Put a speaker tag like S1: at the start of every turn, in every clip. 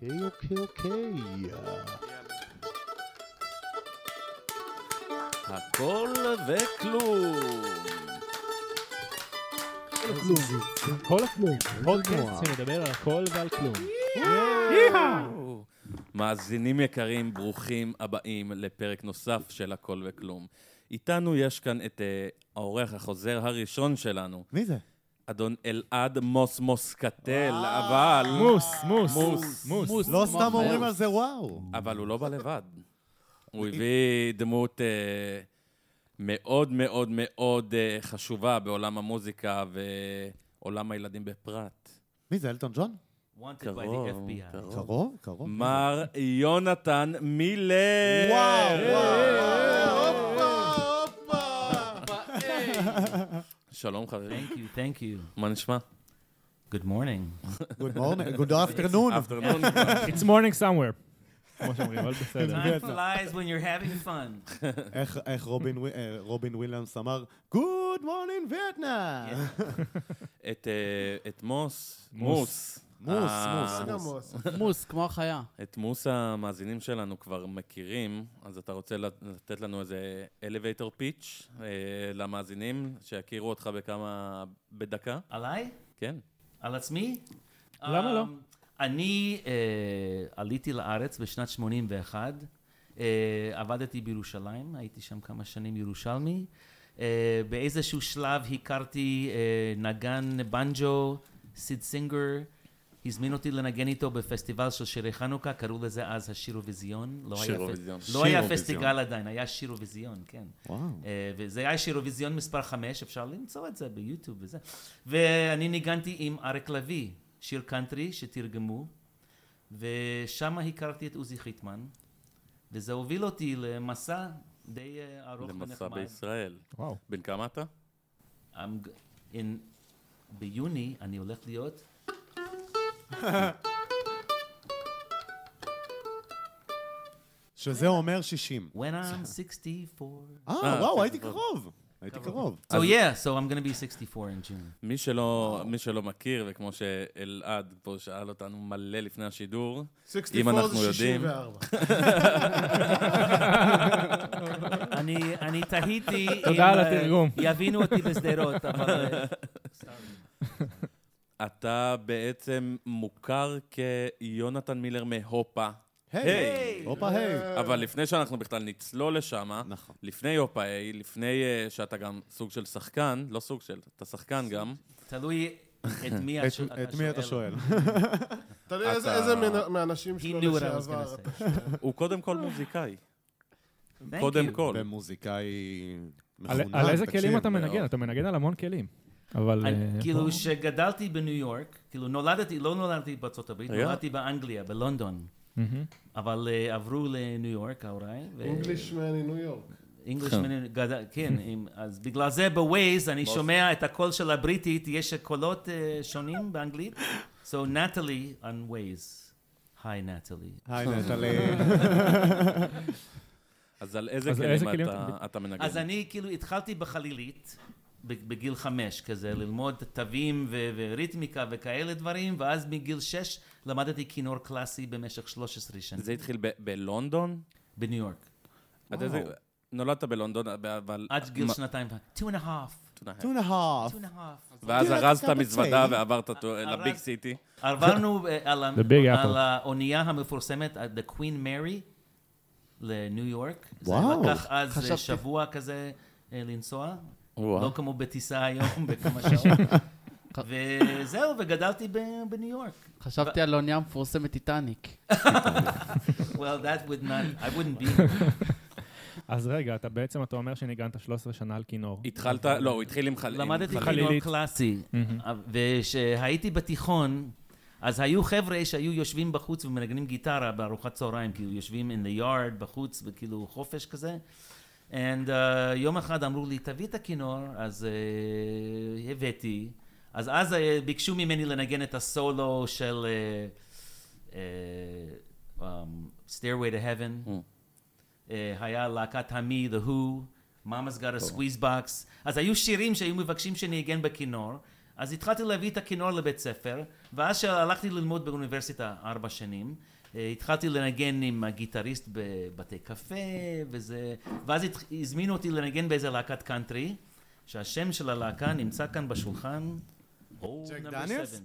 S1: Okay, okay, okay.
S2: הכל וכלום.
S1: כל הכלום.
S3: פודקאסט כן, שמדבר על הכל ועל כלום.
S2: מאזינים יקרים, ברוכים הבאים לפרק נוסף של הכל וכלום. איתנו יש כאן את אה, האורח החוזר הראשון שלנו,
S4: מי זה?
S2: אדון אלעד מוס מוסקטל, אבל...
S3: מוס, מוס,
S2: מוס.
S3: מוס.
S4: לא סתם אומרים על זה וואו.
S2: אבל הוא לא בא לבד. הוא הביא דמות אה, מאוד מאוד מאוד אה, חשובה בעולם המוזיקה ועולם הילדים בפרט.
S4: מי זה, אלטון ג'ון?
S5: Wanted by the
S2: קרוב,
S5: FBI.
S2: קרוב.
S4: קרוב, קרוב.
S2: מר יונתן מילר. שלום חברים,
S5: Thank you, thank you.
S2: מה נשמע?
S5: Good morning.
S4: גוד מורנינג, גוד אפטרנון.
S2: אפטרנון.
S3: It's morning somewhere. כמו שאומרים, אבל בסדר.
S4: מבין
S5: Time
S4: אתה.
S5: flies when you're having fun.
S4: איך רובין ווי- אה, רובין וויליאמס אמר, גוד מורנינג וייטנאם.
S2: את, אה, את מוס,
S3: מוס.
S2: מוס.
S4: מוס,
S2: אה,
S4: מוס.
S6: מוס, כמו החיה.
S2: את מוס המאזינים שלנו כבר מכירים, אז אתה רוצה לת- לתת לנו איזה elevator pitch אה, למאזינים, שיכירו אותך בכמה... בדקה?
S5: עליי?
S2: כן.
S5: על עצמי?
S3: למה לא?
S5: אמ, אני אה, עליתי לארץ בשנת 81, אה, עבדתי בירושלים, הייתי שם כמה שנים ירושלמי. אה, באיזשהו שלב הכרתי אה, נגן בנג'ו, סיד סינגר, הזמין אותי לנגן איתו בפסטיבל של שירי חנוכה, קראו לזה אז השירוויזיון. לא היה פס-
S2: שירוויזיון.
S5: לא היה
S2: שירוויזיון.
S5: פסטיגל עדיין, היה שירוויזיון, כן.
S4: וואו.
S5: אה, וזה היה שירוויזיון מספר 5, אפשר למצוא את זה ביוטיוב וזה. ואני ניגנתי עם אריק לביא, שיר קאנטרי שתרגמו, ושם הכרתי את עוזי חיטמן, וזה הוביל אותי למסע די אה, ארוך
S2: למסע
S5: ונחמד.
S2: בישראל.
S3: וואו.
S2: בן כמה אתה?
S5: I'm g- in- ביוני אני הולך להיות...
S4: שזה אומר 60.
S5: When I'm 64.
S4: אה, וואו, הייתי קרוב. הייתי קרוב.
S5: So Oh, yeah, so I'm gonna be 64 in June.
S2: מי שלא, מי שלא מכיר, וכמו שאלעד פה שאל אותנו מלא לפני השידור, אם אנחנו יודעים...
S5: אני, אני תהיתי אם
S3: תודה על
S5: אה,
S3: התרגום.
S5: יבינו אותי בשדרות, אבל... אה,
S2: אתה בעצם מוכר כיונתן מילר מהופה. היי!
S4: הופה, היי.
S2: אבל לפני שאנחנו בכלל נצלול לשם,
S4: נכון.
S2: לפני הופה היי, לפני אה, שאתה גם סוג של שחקן, לא סוג של, אתה שחקן גם,
S5: תלוי את מי
S4: את-
S5: הש- אתה
S4: את מי אתה שואל?
S7: תלוי איזה-
S2: אתה-
S7: איזה מן- מהאנשים
S5: He
S7: שלו
S5: knew what I was
S7: לשעבר.
S5: gonna say.
S2: הוא קודם כל מוזיקאי,
S5: Thank
S2: קודם
S5: you.
S2: כל.
S4: במוזיקאי
S3: על
S4: מחונן.
S5: נכון.
S3: על איזה
S4: תקשיב. אה,
S3: כלים אתה מנגן?
S2: מאוד.
S3: אתה מנגן על המון כלים. אבל...
S5: אני-
S3: אה,
S5: כאילו,
S3: בוא.
S5: כשגדלתי בניו יורק, כאילו, נולדתי, לא נולדתי בארצות הברית,
S2: רגע.
S5: נולדתי באנגליה, בלונדון.
S3: מהמם.
S5: אבל אה, עברו לניו יורק, ההוריי. ו-
S7: אינגלישמן מניו יורק.
S5: Englishman, גד- כן, עם- אז בגלל זה בווייז אני שומע את הקול של הבריטית, יש קולות אה, שונים באנגלית. So נטלי on Waze. היי נטלי.
S4: היי, נטלי.
S2: אז על איזה
S3: אז על איזה
S2: כלים
S3: כלים
S2: אתה- אתה מנגן?
S5: אז אני כאילו התחלתי בחלילית, ב- בגיל חמש כזה, ללמוד תווים ו- וריתמיקה וכאלה דברים, ואז מגיל שש למדתי כינור קלאסי במשך 13 שנים,
S2: זה התחיל ב- בלונדון?
S5: בניו יורק.
S2: עד איזה... נולדת בלונדון, אבל...
S5: עד גיל
S2: מה-
S5: שנתיים, ו- two and a half,
S4: two and a half.
S5: two and a half.
S2: ואז
S4: תראה,
S2: ארזת
S4: אתה
S2: מזוודה
S4: בצעיר.
S2: ועברת אותו לביג
S5: ארז-
S2: סיטי.
S5: עברנו אה, על ה-
S3: The Big Apple.
S5: על האונייה המפורסמת, ה- The Queen Mary, לניו יורק.
S4: וואו,
S5: זה לקח אז אה, שבוע כזה אה, לנסוע, לא כמו בטיסה היום בכמה שעות. וזהו, וגדלתי ב- בניו יורק.
S6: חשבתי על האונייה המפורסמת טיטניק.
S5: Well, that would not, I wouldn't be. here.
S3: אז רגע, אתה בעצם, אתה אומר שניגנת 13 שנה על כינור.
S2: התחלת, לא, הוא התחיל עם חלילית.
S5: למדתי כינור
S3: חלילית.
S5: קלאסי, אה, וכשהייתי בתיכון, אז היו חבר'ה שהיו יושבים בחוץ ומנגנים גיטרה בארוחת צהריים, כאילו יושבים in the yard בחוץ, וכאילו חופש כזה. And uh, יום אחד אמרו לי, תביא את הכינור, אז uh, הבאתי. אז אז uh, ביקשו ממני לנגן את הסולו של uh, uh, um, Stairway to Heaven. אה, היה להקת המי, The Who, Mama's got a squeeze box. אז היו שירים שהיו מבקשים שניגן בכינור, אז התחלתי להביא את הכינור לבית ספר, ואז כשהלכתי ללמוד באוניברסיטה ארבע שנים, אה, התחלתי לנגן עם הגיטריסט בבתי קפה, וזה... ואז התח- הזמינו אותי לנגן באיזה להקת קאנטרי, שהשם של הלהקה נמצא כאן בשולחן.
S4: Jack
S5: Old
S4: Daniels?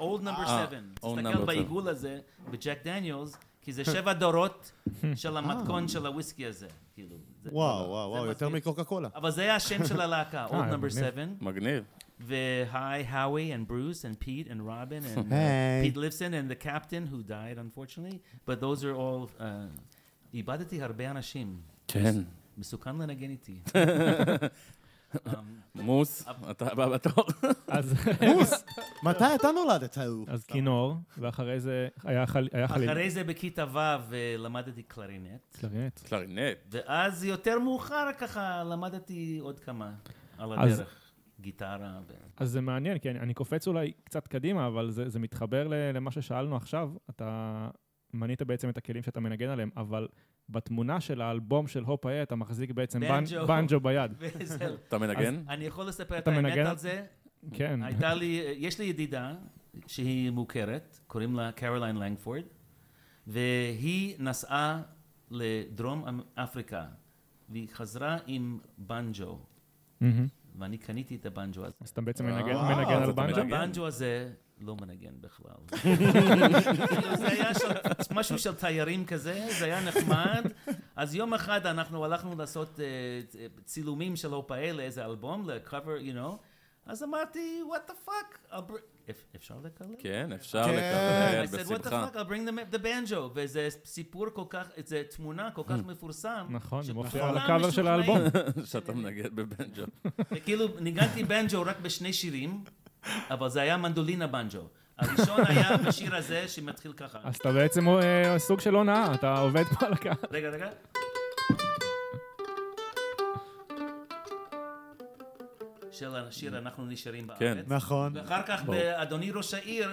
S5: אולד נאמבר
S2: אה,
S5: 7.
S2: Old
S5: תסתכל
S2: Number
S5: בעיגול הזה, בג'ק דניאלס, כי זה שבע דורות של
S3: אה.
S5: המתכון של הוויסקי הזה. כאילו, זה-
S4: וואו, וואו,
S5: זה
S4: וואו, יותר
S5: מזכיר.
S4: מקוקה קולה.
S5: אבל זה היה השם של הלהקה, Old
S3: אה,
S5: Number
S3: מגניב.
S5: 7,
S2: מגניב.
S5: ו-Hi, Howie, and Bruce, and Pete, and Robin, and uh,
S4: היי.
S5: Pete Lifson, and the captain, who died, unfortunately, but those are all... uh, איבדתי הרבה אנשים.
S2: כן.
S5: מסוכן לנגן איתי. Um,
S2: מוס, אתה הבא בתור.
S3: אז
S4: מוס, מתי אתה נולדת? הוא?
S3: אז כינור, ואחרי זה היה חל- היה חליל.
S5: אחרי זה בכיתה ו' אה, למדתי קלרינט,
S3: קלרינט.
S2: קלרינט.
S5: ואז יותר מאוחר ככה למדתי עוד כמה על
S3: אז-
S5: הדרך. גיטרה ו...
S3: אז זה מעניין, כי אני, אני קופץ אולי קצת קדימה, אבל זה, זה מתחבר ל, למה ששאלנו עכשיו. אתה מנית בעצם את הכלים שאתה מנגן עליהם, אבל בתמונה של האלבום של הופ היה, אתה מחזיק בעצם בנ-
S5: בנג'ו.
S3: בנג'ו ביד.
S5: וזהו.
S2: אתה מנגן?
S5: אני יכול לספר את
S3: אתה
S5: האמת
S3: מנגן?
S5: על זה?
S3: כן.
S5: הייתה לי, יש לי ידידה שהיא מוכרת, קוראים לה קרוליין לנגפורד, והיא נסעה לדרום אפריקה, והיא חזרה עם בנג'ו,
S3: מהמם.
S5: ואני קניתי את הבנג'ו הזה.
S3: אז אתה בעצם מנגן
S2: אה,
S3: מנגן
S2: אז
S3: על
S2: אתה
S3: בנג'ו?
S2: מנגן.
S5: הבנג'ו הזה לא מנגן בכלל. כאילו, זה היה של- משהו של תיירים כזה, זה היה נחמד. אז יום אחד אנחנו הלכנו לעשות אה, צ- אה, צילומים של הופעה לאיזה אלבום, לקאבר, you know, אז אמרתי, what the fuck, I'll br- אפ- אפשר לקלל?
S2: כן, אפשר
S4: כן.
S2: לקבל,
S5: I said, what the
S2: בשמחה.
S5: fuck, I'll bring the, the banjo. וזה סיפור כל כך, זו תמונה כל
S2: Hmm.
S5: כך מפורסם.
S3: Mm. נכון, זה מופיע
S5: שכולם
S3: על הקאבר של האלבום.
S5: משוכנעים.
S2: שאתה מנגן בבנג'ו.
S5: וכאילו, ניגנתי בנג'ו רק בשני שירים, אבל זה היה מנדולינה בנג'ו. הראשון היה בשיר הזה שמתחיל ככה.
S3: אז אתה בעצם אה, סוג של הונאה, אתה עובד פה על הקהל.
S5: רגע, רגע. של השיר אנחנו נשארים בארץ.
S2: כן.
S4: נכון.
S5: ואחר כך באדוני ראש העיר.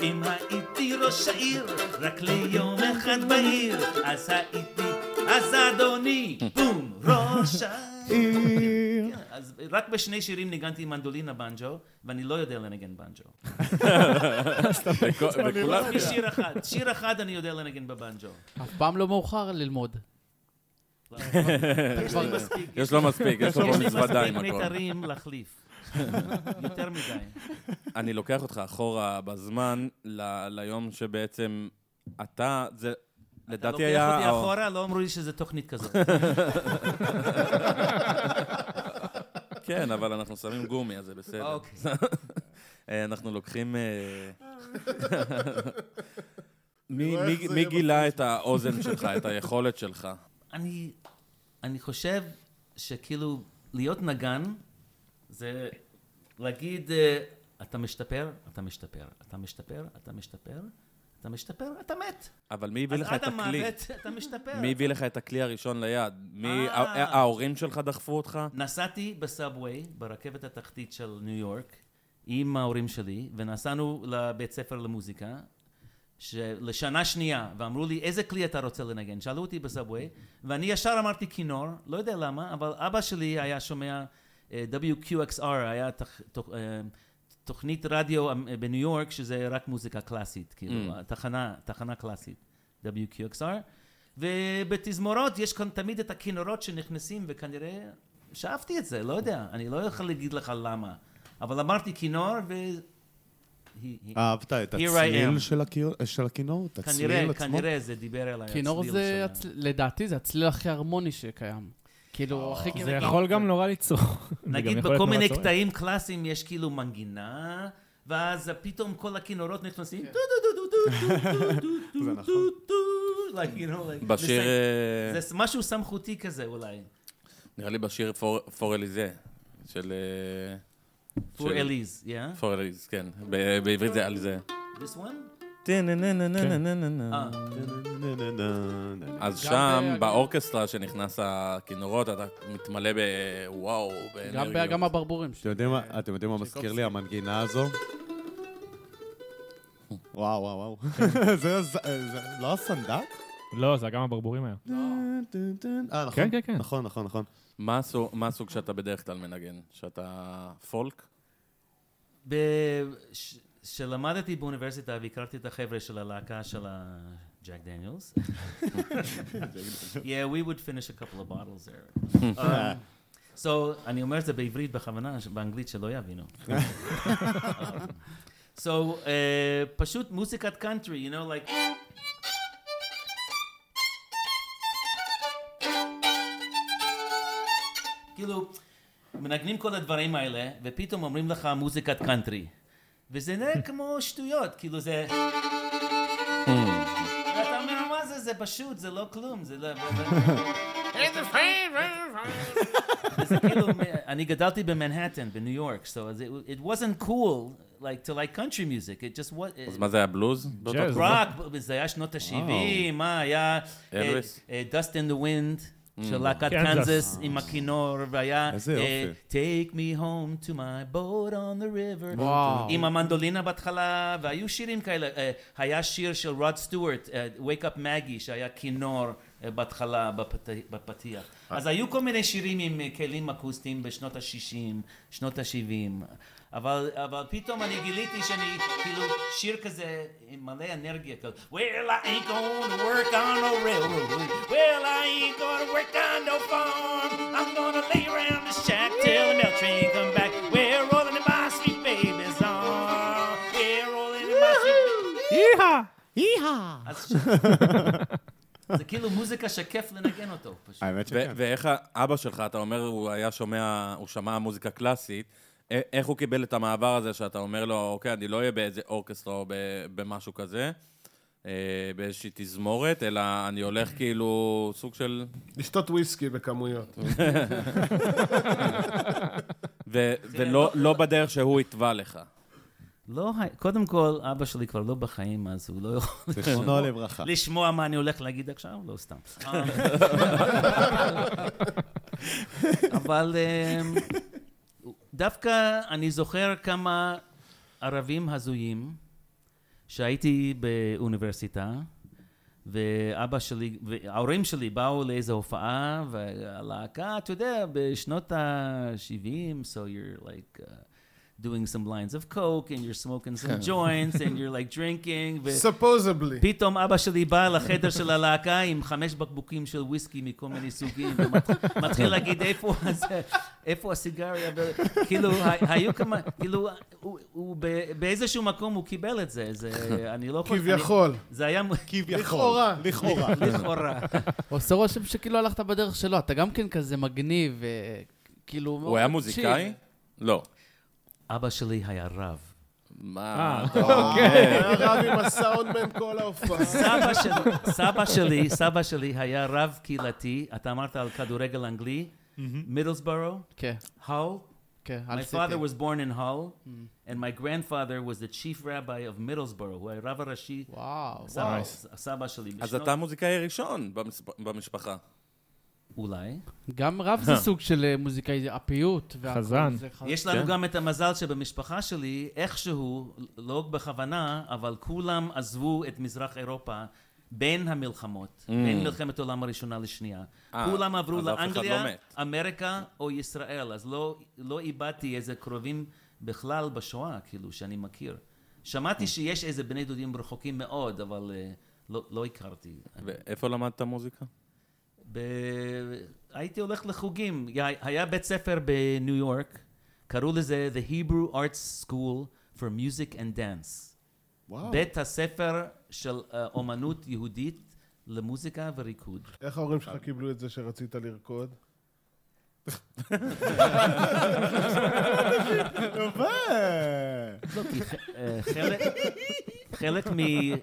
S5: אם הייתי ראש העיר, רק ליום אחד בעיר, אז הייתי, אז אדוני, בום, ראש העיר. כן, אז רק בשני שירים ניגנתי מנדולינה בנג'ו, ואני לא יודע לנגן בנג'ו.
S2: וכו- וכולם...
S5: רק בשיר אחד, שיר אחד אני יודע לנגן בבנג'ו.
S6: אף פעם לא מאוחר ללמוד.
S5: יש לי מספיק,
S2: לא. יש לו מספיק, יש לו
S5: יש לי
S2: מזוודה עם
S5: מספיק
S2: הכל.
S5: מיתרים להחליף. יותר מדי.
S2: אני לוקח אותך אחורה בזמן ל- ליום שבעצם אתה, זה
S5: אתה
S2: לדעתי היה...
S5: לוקח אותי
S2: ה-
S5: אחורה, לא אמרו לי שזה תוכנית כזאת.
S2: כן, אבל אנחנו שמים גומי, אז זה בסדר.
S5: אוקיי.
S2: אה, אנחנו לוקחים... אה,
S7: אני
S2: מי-
S7: רואה
S2: מי-
S7: איך זה
S2: מי
S7: יהיה
S2: גילה את האוזן שלך, את היכולת שלך?
S5: אני, אני חושב שכאילו להיות נגן זה להגיד אה, אתה משתפר, אתה משתפר, אתה משתפר, אתה משתפר, אתה משתפר, אתה מת.
S2: אבל מי הביא לך את
S5: אז עד
S2: הכלי?
S5: המוות אתה משתפר.
S2: מי הביא לך את הכלי הראשון ליד? מי...
S5: אה.
S2: ה- ההורים שלך דחפו אותך?
S5: נסעתי בסאבווי, ברכבת התחתית של ניו יורק, עם ההורים שלי, ונסענו לבית ספר למוזיקה, ש- לשנה שנייה, ואמרו לי, איזה כלי אתה רוצה לנגן? שאלו אותי בסאבווי, ואני ישר אמרתי כינור, לא יודע למה, אבל אבא שלי היה שומע אה, WQXR, היה תח, תוכ, אה, תוכנית רדיו אה, בניו יורק, שזה רק מוזיקה קלאסית, כאילו, תחנה, תחנה קלאסית, WQXR, ובתזמורות יש כאן תמיד את הכינורות שנכנסים, וכנראה שאפתי את זה, לא יודע, אני לא יכול להגיד לך למה, אבל אמרתי כינור, ו... he- he-
S4: אהבת את
S5: Here I
S4: הצליל
S5: am.
S4: של הכיור- של הכינור? את הצליל
S5: כנראה,
S4: עצמו?
S5: כנראה זה דיבר אליי.
S6: כינור
S5: הצליל
S6: זה,
S5: שלה.
S6: הצל- לדעתי, זה הצליל הכי הרמוני שקיים. כאילו, הכי
S3: זה
S6: כאילו...
S3: יכול גם נורא לצרוך. זה גם
S5: נגיד
S3: יכול להיות
S5: בכל
S3: נורא
S5: מיני
S3: צורם.
S5: קטעים קלאסיים יש כאילו מנגינה, ואז פתאום כל הכינורות נכנסים. זה
S4: נכון.
S2: בשיר... אה,
S5: זה משהו סמכותי כזה אולי.
S2: נראה לי בשיר פור אליזה, של... אה,
S5: פור
S2: של-
S5: אליז, כן?
S2: פור אליזה, כן. ב- בעברית זה על זה.
S5: This one?
S2: טה-נה-נה-נה-נה-נה-נה.
S5: אה,
S4: נה, נה, נה, נה, נה.
S2: אז
S6: גם
S2: שם,
S6: ב-
S2: באורקסטרה, שנכנס הכינורות, אתה מתמלא בוואו,
S6: גם ב- גם
S2: באנרגיות.
S6: הברבורים.
S4: אתם יודעים מה- אתם יודעים מה מזכיר לי המנגינה הזו? וואו, וואו, וואו. זה- זה זה- אה, לא הסנדק?
S3: כן. לא, זה גם הברבורים היה.
S4: טן, טן, טן. אה, נכון.
S3: כן, כן, כן.
S4: נכון, נכון, נכון.
S2: מה הסוג- מה הסוג שאתה בדרך כלל מנגן? שאתה פולק?
S5: כשלמדתי באוניברסיטה והכרתי את החבר'ה של הלהקה של ה-Jack Daniels. yeah, we would finish a couple of bottles there. Um, so, אני אומר את זה בעברית בכוונה, ש- באנגלית שלא יבינו. Um, so, uh, פשוט מוזיקת קאנטרי, you know, like... כאילו, מנגנים כל הדברים האלה, ופתאום אומרים לך מוזיקת קאנטרי. וזה נראה כמו שטויות, כאילו זה... ואתה אומר, מה זה, זה פשוט, זה לא כלום, זה לא... זה כאילו, אני גדלתי במנהטן, בניו יורק, so it- it wasn't cool, like, to like country music, it just was...
S2: אז מה זה היה בלוז?
S3: ג'אז.
S2: לא?
S5: רק, זה היה שנות ה-70, מה היה? אה,
S2: אלוויס. Mm.
S5: דסט אין דה ווינד. של להקת
S3: קנזס.
S5: קנזס עם הכינור, והיה...
S4: איזה
S5: אה,
S4: יופי.
S5: Take me home to my boat on the river.
S6: וואו.
S5: עם המנדולינה בהתחלה, והיו שירים כאלה. אה, היה שיר של רוד סטיוארט, אה, Wake Up Maggie, שהיה כינור אה, בהתחלה בפת- בפתיח.
S4: אה.
S5: אז היו כל מיני שירים עם אה, כלים אקוסטיים בשנות ה-60, שנות ה-70. אבל, אבל פתאום אני גיליתי שאני, כאילו, שיר כזה עם מלא אנרגיה כזה. Well, I ain't gonna work on no railroad. Well, I ain't gonna work on no farm. I'm gonna lay around the shack till the mail train come back. We're rolling in my sweet baby's arm. We're rolling in my sweet baby's
S3: איהה!
S5: אז זה כאילו מוזיקה שכיף לנגן אותו, פשוט.
S4: האמת
S2: ו-
S4: שכן.
S2: ואיך אבא שלך, אתה אומר, הוא היה שומע, הוא שמע מוזיקה קלאסית, א- איך הוא קיבל את המעבר הזה שאתה אומר לו, אוקיי, אני לא אהיה באיזה אורקסטרה או ב- במשהו כזה, אה, באיזושהי תזמורת, אלא אני הולך כאילו סוג של...
S7: לשתות וויסקי בכמויות.
S2: אוקיי. ו- ולא לא בדרך שהוא התווה לך.
S5: לא, ה- קודם כל, אבא שלי כבר לא בחיים, אז הוא לא יכול
S4: זיכרונו לברכה.
S5: לשמוע מה אני הולך להגיד עכשיו, לא סתם. אה. אבל אמ, דווקא אני זוכר כמה ערבים הזויים שהייתי באוניברסיטה, ואבא שלי, וההורים שלי באו לאיזו הופעה, והלהקה, אתה יודע, בשנות ה-70, so you're like... Uh, doing some lines of coke, and you're smoking
S4: כן.
S8: כן.
S5: some joints, and you're like drinking. ו-
S7: ספוזבלי.
S5: פתאום אבא שלי בא לחדר של הלהקה עם חמש בקבוקים של וויסקי מכל מיני סוגים, ומתחיל להגיד איפה הזה, איפה הסיגריה, ו- כאילו, ה- היו כמה, כאילו, הוא- הוא ב- באיזשהו מקום הוא קיבל את זה, זה, אני לא יכול...
S7: כביכול.
S5: אני- זה היה... מ-
S4: כביכול.
S7: לכאורה.
S4: לכאורה.
S5: לכאורה.
S6: עושה רושם שכאילו הלכת בדרך שלו, אתה גם כן כזה מגניב, אה, כאילו...
S2: הוא היה
S6: מאוד
S2: מוזיקאי?
S6: צ'יל.
S2: לא.
S5: אבא שלי היה רב.
S6: אה,
S2: מה?
S6: אוקיי.
S7: היה רב עם הסאונדמן כל ההופעה.
S5: סבא שלי, סבא שלי, סבא שלי היה רב קהילתי, אתה אמרת על כדורגל אנגלי, מידלסבורו,
S6: כן,
S5: האול,
S6: כן, Mm.
S5: My
S6: אל
S5: father
S6: תטעי.
S5: was born in Hull, and my grandfather was the chief rabbi of Middlesbrough, הוא הרב הראשי,
S6: וואו, וואו.
S5: סבא- סבא שלי.
S2: אז
S5: בשנות-
S2: אתה המוזיקאי הראשון במס- במשפחה.
S5: אולי.
S6: גם רב זה סוג של אה, מוזיקאי, זה הפיוט. והכל,
S3: חזן.
S6: זה חז-
S5: יש לנו
S2: כן.
S5: גם את המזל שבמשפחה שלי, איכשהו, לא בכוונה, אבל כולם עזבו את מזרח אירופה בין המלחמות, בין מלחמת העולם הראשונה לשנייה.
S2: Mm. אה,
S5: כולם עברו
S2: אז אף אחד
S5: לאנגליה,
S2: לא מת.
S5: אמריקה או ישראל, אז לא- לא איבדתי איזה קרובים בכלל בשואה, כאילו, שאני מכיר.
S2: אה.
S5: שמעתי שיש איזה בני דודים רחוקים מאוד, אבל אה, לא לא הכרתי.
S2: ואיפה למדת מוזיקה?
S5: ב... הייתי הולך לחוגים. היה- היה בית ספר בניו יורק, קראו לזה The Hebrew Arts School for Music and Dance.
S4: וואו.
S5: בית הספר של אה, אומנות יהודית למוזיקה וריקוד.
S7: איך ההורים שלך קיבלו את זה שרצית לרקוד?
S5: לא, כי ח- אה, חלק, חלק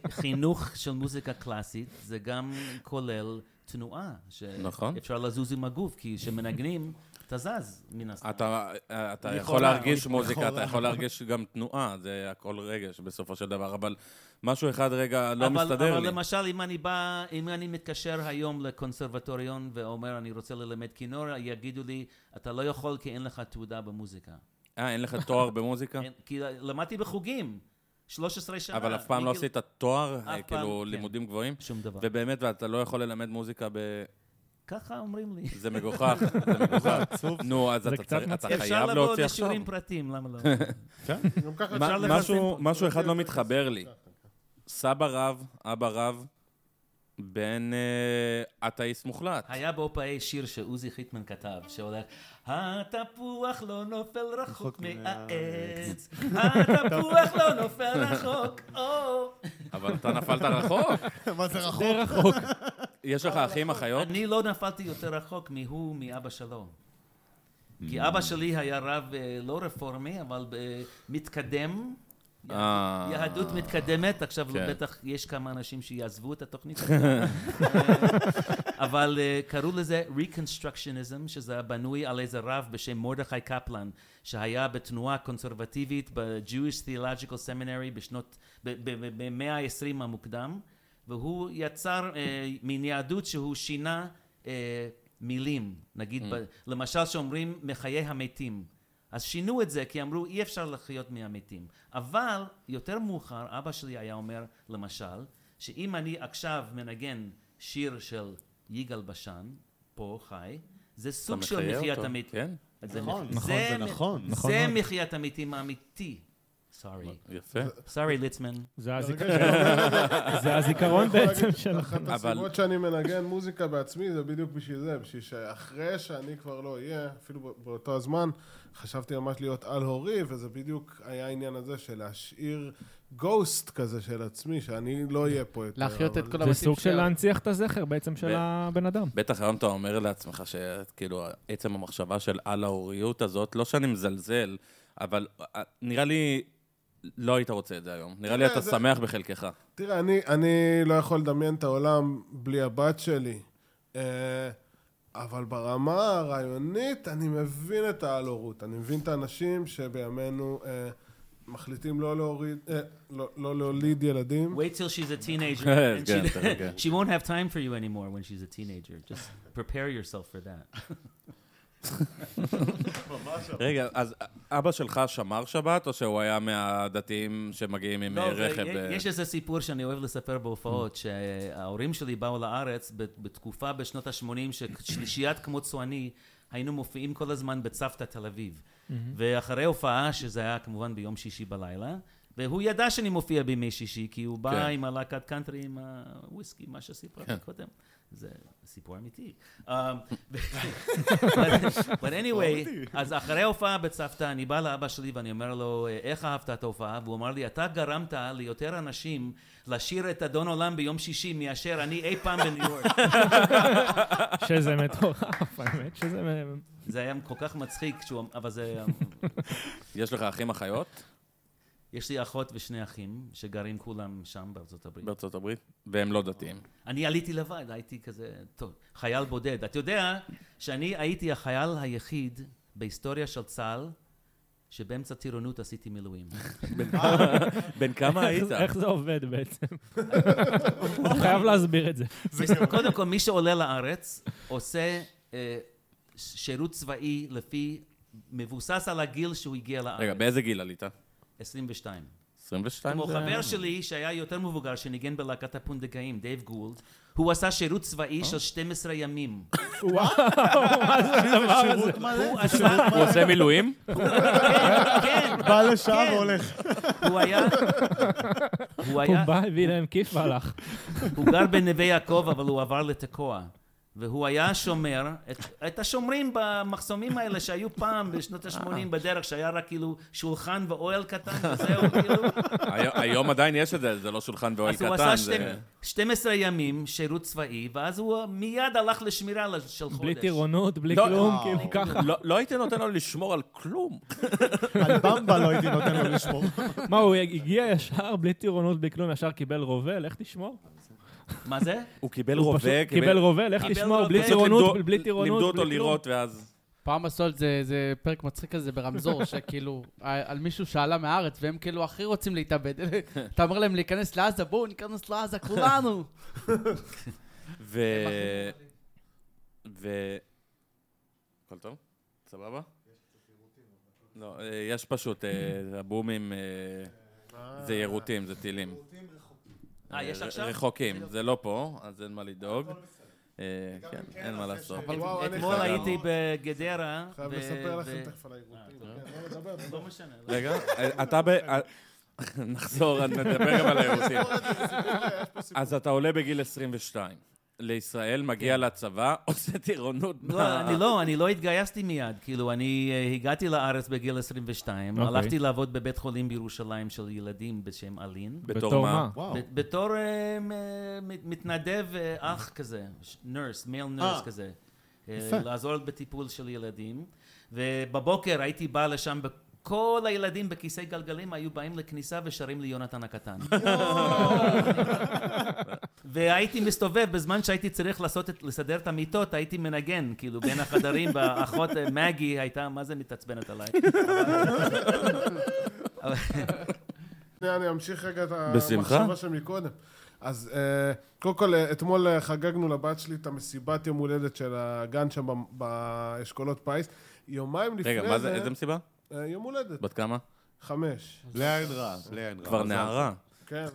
S5: מחינוך של מוזיקה קלאסית זה גם כולל תנועה.
S2: נכון.
S5: שאפשר לזוז עם הגוף, כי כשמנגנים, אתה זז מן הסתם.
S2: אתה, אה, אתה יכול
S4: לכאורה,
S2: להרגיש
S4: לכאורה.
S2: מוזיקה, אתה יכול להרגיש גם תנועה, זה הכל רגש בסופו של דבר, אבל משהו אחד רגע לא
S5: אבל,
S2: מסתדר
S5: אבל
S2: לי.
S5: למשל, אם אני בא, אם אני מתקשר היום לקונסרבטוריון ואומר, אני רוצה ללמד כינור, יגידו לי, אתה לא יכול כי אין לך תעודה במוזיקה. כן.
S2: אה, אין לך תואר במוזיקה?
S5: אין, כי למדתי בחוגים. 13 שנה.
S2: אבל אף פעם לא
S5: מגיל-
S2: עשית תואר,
S5: כאילו- אף
S2: אה,
S5: פעם,
S2: כאילו
S5: כן.
S2: לימודים גבוהים,
S5: שום דבר.
S2: ובאמת, ואתה לא יכול ללמד מוזיקה ב...
S5: ככה אומרים לי.
S2: זה מגוחך, זה מגוחך. נו, אז
S3: זה
S2: אתה
S3: קצת
S2: צריך- אתה
S3: מצחיק.
S5: אפשר
S2: חייב
S5: לבוא
S2: להוציא עכשיו.
S5: לשיעורים פרטיים, למה לא?
S2: כן,
S7: גם ככה
S2: מה-
S5: אפשר
S7: אפשר
S5: לחסן
S2: משהו-
S7: פה.
S2: משהו אחד לא מתחבר לי. סבא רב, אבא רב, בן אה, אתאיסט מוחלט.
S5: היה בהופעי שיר שעוזי חיטמן כתב, שהולך, התפוח לא נופל רחוק
S4: רחוק
S5: מהעץ, התפוח לא נופל רחוק, או.
S2: אבל אתה נפלת רחוק.
S4: מה זה רחוק?
S2: יש לך אחים, אחיות?
S5: אני לא נפלתי יותר רחוק מהוא, מאבא שלו.
S2: Mm.
S5: כי אבא שלי היה רב אה, לא רפורמי, אבל אה, מתקדם.
S2: אה.
S5: יהדות מתקדמת, עכשיו
S2: כן.
S5: בטח יש כמה אנשים שיעזבו את התוכנית הזאת. אבל אה, קראו לזה Reconstructionism, שזה בנוי על איזה רב בשם מרדכי קפלן, שהיה בתנועה קונסרבטיבית ב-Jewish Theological Seminary בשנות, במאה ה-20 המוקדם, והוא יצר אה, מין יהדות שהוא שינה אה, מילים, נגיד, ב- למשל שאומרים מחיי המתים. אז שינו את זה, כי אמרו, אי אפשר לחיות מהמתים. אבל יותר מאוחר, אבא שלי היה אומר, למשל, שאם אני עכשיו מנגן שיר של יגאל בשן, פה חי, זה סוג
S2: אתה
S5: של
S2: מחיה
S5: מחיית
S2: אותו,
S5: המתים.
S2: כן.
S5: זה
S4: נכון,
S5: מח-
S4: נכון, זה
S5: מ-
S4: נכון.
S3: נכון
S5: זה
S3: מאוד.
S5: מחיית המתים האמיתי. סורי.
S2: יפה.
S5: סורי, ליצמן.
S3: זה הזיכ-
S7: מתחבר.
S3: זה הזיכרון בעצם של...
S7: אחת
S2: אבל-
S7: הסיבות שאני מנגן מוזיקה בעצמי זה בדיוק בשביל זה, בשביל שאחרי שאני כבר לא אהיה, אפילו ב- באותו הזמן, חשבתי ממש להיות על-הורי, וזה בדיוק היה העניין הזה של להשאיר גוסט כזה של עצמי, שאני לא אהיה פה יותר.
S6: להחיות את
S7: אבל-
S6: כל
S3: זה
S6: הבתים
S3: סוג של
S6: שלה.
S3: להנציח את הזכר בעצם
S2: ב-
S3: של הבן אדם.
S2: בטח היום אתה אומר לעצמך שכאילו, עצם המחשבה של על ההוריות הזאת, לא שאני מזלזל, אבל אה, נראה לי, לא היית רוצה את זה היום. נראה לי
S7: תראה,
S2: אתה
S7: זה-
S2: שמח בחלקך.
S7: תראה, אני, אני לא יכול לדמיין את העולם בלי הבת שלי, אה, אבל ברמה הרעיונית אני מבין את ההלורות. אני מבין את האנשים שבימינו אה, מחליטים לא להוריד, אה, לא, לא להוליד ילדים.
S5: Wait till she's a teenager.
S2: Yes,
S5: and
S2: good,
S5: she,
S2: okay.
S5: she won't have time for you anymore when she's a teenager. Just prepare yourself for that.
S2: רגע, אז אבא שלך שמר שבת, או שהוא היה מהדתיים שמגיעים עם
S5: לא,
S2: אה,
S5: זה-
S2: רכב?
S5: י-
S2: אה, Mm.
S5: יש איזה סיפור שאני אוהב לספר בהופעות, שההורים שלי באו לארץ ב- בתקופה בשנות ה-80, ששלישיית כמו צועני, היינו מופיעים כל הזמן בצוותא תל אביב.
S2: Mm-hmm.
S5: ואחרי הופעה, שזה היה כמובן ביום שישי בלילה, והוא ידע שאני מופיע בימי שישי, כי הוא בא
S2: כן.
S5: עם הלהקת קאנטרי, עם הוויסקי, מה שסיפרתי קודם. זה סיפור אמיתי. Um, but, but anyway,
S3: אוקיי.
S5: אז אחרי ההופעה בצוותא, אני בא לאבא שלי ואני אומר לו, "אה, איך אהבת את ההופעה? והוא אמר לי, אתה גרמת ליותר אנשים לשיר את אדון עולם ביום שישי מאשר אני אי פעם בניו יורק.
S3: שזה מטורף, האמת שזה... מ-
S5: זה היה כל כך מצחיק, שהוא, אבל זה...
S2: יש לך אחים, אחיות
S5: יש לי אחות ושני אחים שגרים כולם שם בארצות הברית.
S2: בארצות הברית? והם לא דתיים.
S5: אני עליתי לבד, הייתי כזה, טוב, חייל בודד. אתה יודע שאני הייתי החייל היחיד בהיסטוריה של צה"ל, שבאמצע טירונות עשיתי מילואים.
S2: בן כמה
S3: איך-
S2: היית?
S3: איך זה עובד בעצם? אתה חייב להסביר את זה.
S5: קודם כל, מי שעולה לארץ עושה אה, ש- שירות צבאי לפי, מבוסס על הגיל שהוא הגיע לארץ.
S2: רגע, באיזה גיל עלית?
S5: 22.
S2: 22?
S5: כמו
S2: זה-
S5: חבר שלי שהיה יותר מבוגר, שניגן בלהקת הפונדקאים, דייב גולד, הוא עשה שירות צבאי של 12 ימים.
S4: שירות מלא.
S5: הוא עשה...
S2: הוא עושה מילואים?
S5: כן,
S4: בא לשעה
S5: כן.
S4: והולך.
S5: הוא היה... הוא
S3: הוא
S5: היה...
S3: בא, הביא להם כיף והלך.
S5: הוא גר בנווה יעקב, אבל הוא עבר לתקוע. והוא היה שומר את, את השומרים במחסומים האלה שהיו פעם בשנות ה-80 בדרך, שהיה רק כאילו שולחן ואוהל קטן וזהו, כאילו.
S2: היום- היום עדיין יש את זה, זה לא שולחן ואוהל
S5: אז הוא
S2: קטן.
S5: עשה
S2: זה-
S5: שתים- 12 ימים שירות צבאי, ואז הוא מיד הלך לשמירה לש- של חודש.
S3: בלי טירונות, בלי
S2: לא,
S3: כלום,
S2: וואו.
S3: כאילו ככה.
S2: לא- לא הייתי נותן לו לשמור על כלום.
S4: על במבה לא הייתי נותן לו לשמור.
S3: מה, הוא הגיע ישר בלי טירונות, בלי כלום, ישר קיבל רובה, לך תשמור.
S5: מה זה?
S2: הוא כאילו- קיבל
S3: הוא פשוט
S2: רובה,
S3: קיבל רובה, לך
S5: קיבל
S3: תשמור,
S5: רובה.
S3: בלי
S5: פשוט
S3: טירונות,
S2: לימדו-
S3: בלי טירונות.
S2: לימדו
S3: בלי
S2: אותו
S3: כלום.
S2: לראות, ואז...
S6: פעם עשו על זה, זה פרק מצחיק כזה ברמזור, שכאילו, אה, על מישהו שעלה מהארץ, והם כאילו הכי רוצים להתאבד. אתה אומר להם להיכנס לעזה, בואו ניכנס לעזה, כולנו.
S2: ו... ו... הכל טוב? סבבה? לא, אה, יש פשוט, אה, הבומים... אה, זה יירוטים, זה טילים.
S5: אה, יש
S2: ר-
S5: עכשיו?
S2: רחוקים, זה לא פה, אז אין מה לדאוג. אה,
S7: גם
S2: כן,
S7: אם כן,
S2: אין מה
S7: אז
S2: לעשות.
S7: יש- וואו, אני
S5: אתמול
S7: חייב-
S5: הייתי בגדרה.
S7: חייב
S5: ו-
S7: לספר לכם
S5: ו-
S7: תכף על העירותים.
S5: אה,
S7: כן, לא לדבר.
S5: לא משנה. לא.
S2: רגע, אה, אתה ב... נחזור, נדבר גם על האירוסים. אז אתה עולה בגיל 22. לישראל, מגיע לצבא, עושה טירונות. ב-
S5: כן. לא, אני לא, אני לא התגייסתי מיד. כאילו, אני אה, הגעתי לארץ בגיל 22,
S3: אוקיי.
S5: הלכתי לעבוד בבית חולים בירושלים של ילדים בשם אלין.
S2: בתור מה?
S4: וואו.
S5: ב- בתור אה, מ- מ- מתנדב אה, אח כזה, נרס, מייל נרס
S4: אה.
S5: כזה. אה,
S4: יפה.
S5: לעזור בטיפול של ילדים. ובבוקר הייתי בא לשם, כל הילדים בכיסא גלגלים היו באים לכניסה ושרים לי יונתן הקטן. והייתי מסתובב, בזמן שהייתי צריך לעשות את, לסדר את המיטות, הייתי מנגן, כאילו, בין החדרים, והאחות אה, מגי הייתה, מה זה מתעצבנת עליי? אבל-
S7: שנייה, אני אמשיך רגע את
S2: בשמחה.
S7: המחשבה שמקודם. אז אה, קודם כל, אה, אתמול אה, חגגנו לבת שלי את המסיבת יום הולדת של הגן שם ב- באשכולות פיס. יומיים לפני
S2: רגע, מה זה, איזה מסיבה?
S7: אה, יום הולדת,
S2: בת כמה?
S7: חמש.
S4: לאה אין רע, לאה אין רע.
S2: כבר
S4: אבל זה-
S2: נערה.
S7: כן.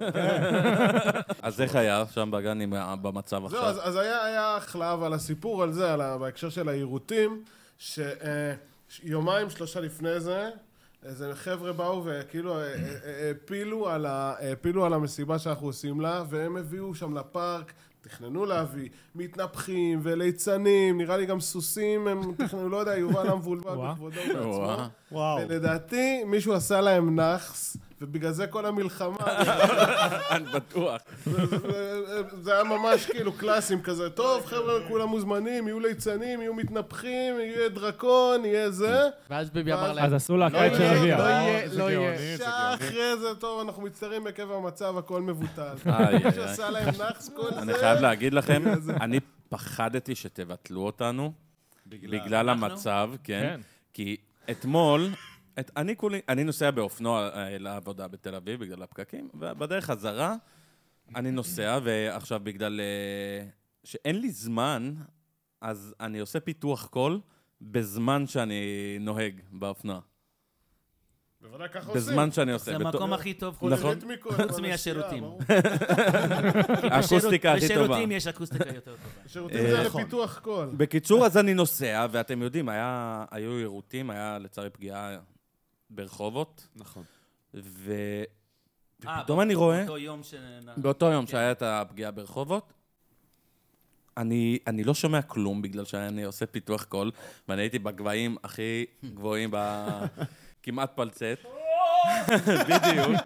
S2: אז איך היה שם בגן עם ה- במצב
S7: זהו,
S2: עכשיו?
S7: לא, אז, אז היה, היה אחלה, אבל הסיפור על זה, על ה, בהקשר של העירותים, שיומיים, שלושה לפני זה, איזה חבר'ה באו וכאילו אה, אה, אה, הפילו על, ה, הפילו על המסיבה שאנחנו עושים לה, והם הביאו שם לפארק, תכננו להביא מתנפחים וליצנים, נראה לי גם סוסים, הם תכננו, לא יודע, יובל המבולבל
S3: וואו.
S7: בכבודו
S2: וואו.
S7: ובעצמו.
S4: וואו.
S7: ולדעתי, מישהו עשה להם נאחס, ובגלל זה כל המלחמה...
S2: אני בטוח.
S7: זה- זה היה ממש כאילו קלאסים כזה, טוב חבר'ה כולם מוזמנים, יהיו ליצנים, יהיו מתנפחים, יהיה דרקון, יהיה זה.
S6: ואז ביבי אמר
S7: ואז-
S6: להם,
S3: אז עשו לה
S7: לא
S3: קיץ של
S7: יהיה,
S3: אביה.
S7: לא יהיה.
S6: לא יהיה.
S1: גאוני, אה, זה
S7: שעה
S1: גאוני.
S7: אחרי זה, טוב, אנחנו מצטערים עקב המצב, הכל מבוטל.
S2: איי, איי,
S7: מישהו
S2: איי.
S7: עשה להם נאחס כל זה.
S2: אני חייב להגיד לכם, אני פחדתי שתבטלו אותנו בגלל
S5: אנחנו?
S2: המצב, כן.
S3: כן.
S2: כי אתמול, את, אני כולי, אני נוסע באופנוע אה, לעבודה בתל אביב בגלל הפקקים, ובדרך חזרה אני נוסע, ועכשיו בגלל אה, שאין לי זמן, אז אני עושה פיתוח קול בזמן שאני נוהג באופנוע.
S7: בוודאי ככה עושים.
S2: בזמן שאני עושה.
S5: זה
S2: בתור-
S5: המקום הכי טוב.
S7: כולל
S2: נכון.
S7: ריתמיקות,
S5: חוץ
S7: כל
S5: מהשירותים.
S7: השתייה, ברור. נכון.
S2: האקוסטיקה הכי טובה.
S5: בשירותים יש אקוסטיקה יותר טובה.
S7: שירותים זה
S2: נכון.
S7: לפיתוח קול.
S2: בקיצור, אז אני נוסע, ואתם יודעים, היה, היו יירוטים, היה לצערי פגיעה ברחובות,
S4: נכון.
S2: ו...
S5: אה,
S2: ופתאום אני רואה,
S5: באותו יום שנ... כן.
S2: באותו יום שהיה את הפגיעה ברחובות, אני, אני לא שומע כלום בגלל שאני עושה פיתוח קול, ואני הייתי בגבהים הכי גבוהים, ב... כמעט פלצט. בדיוק.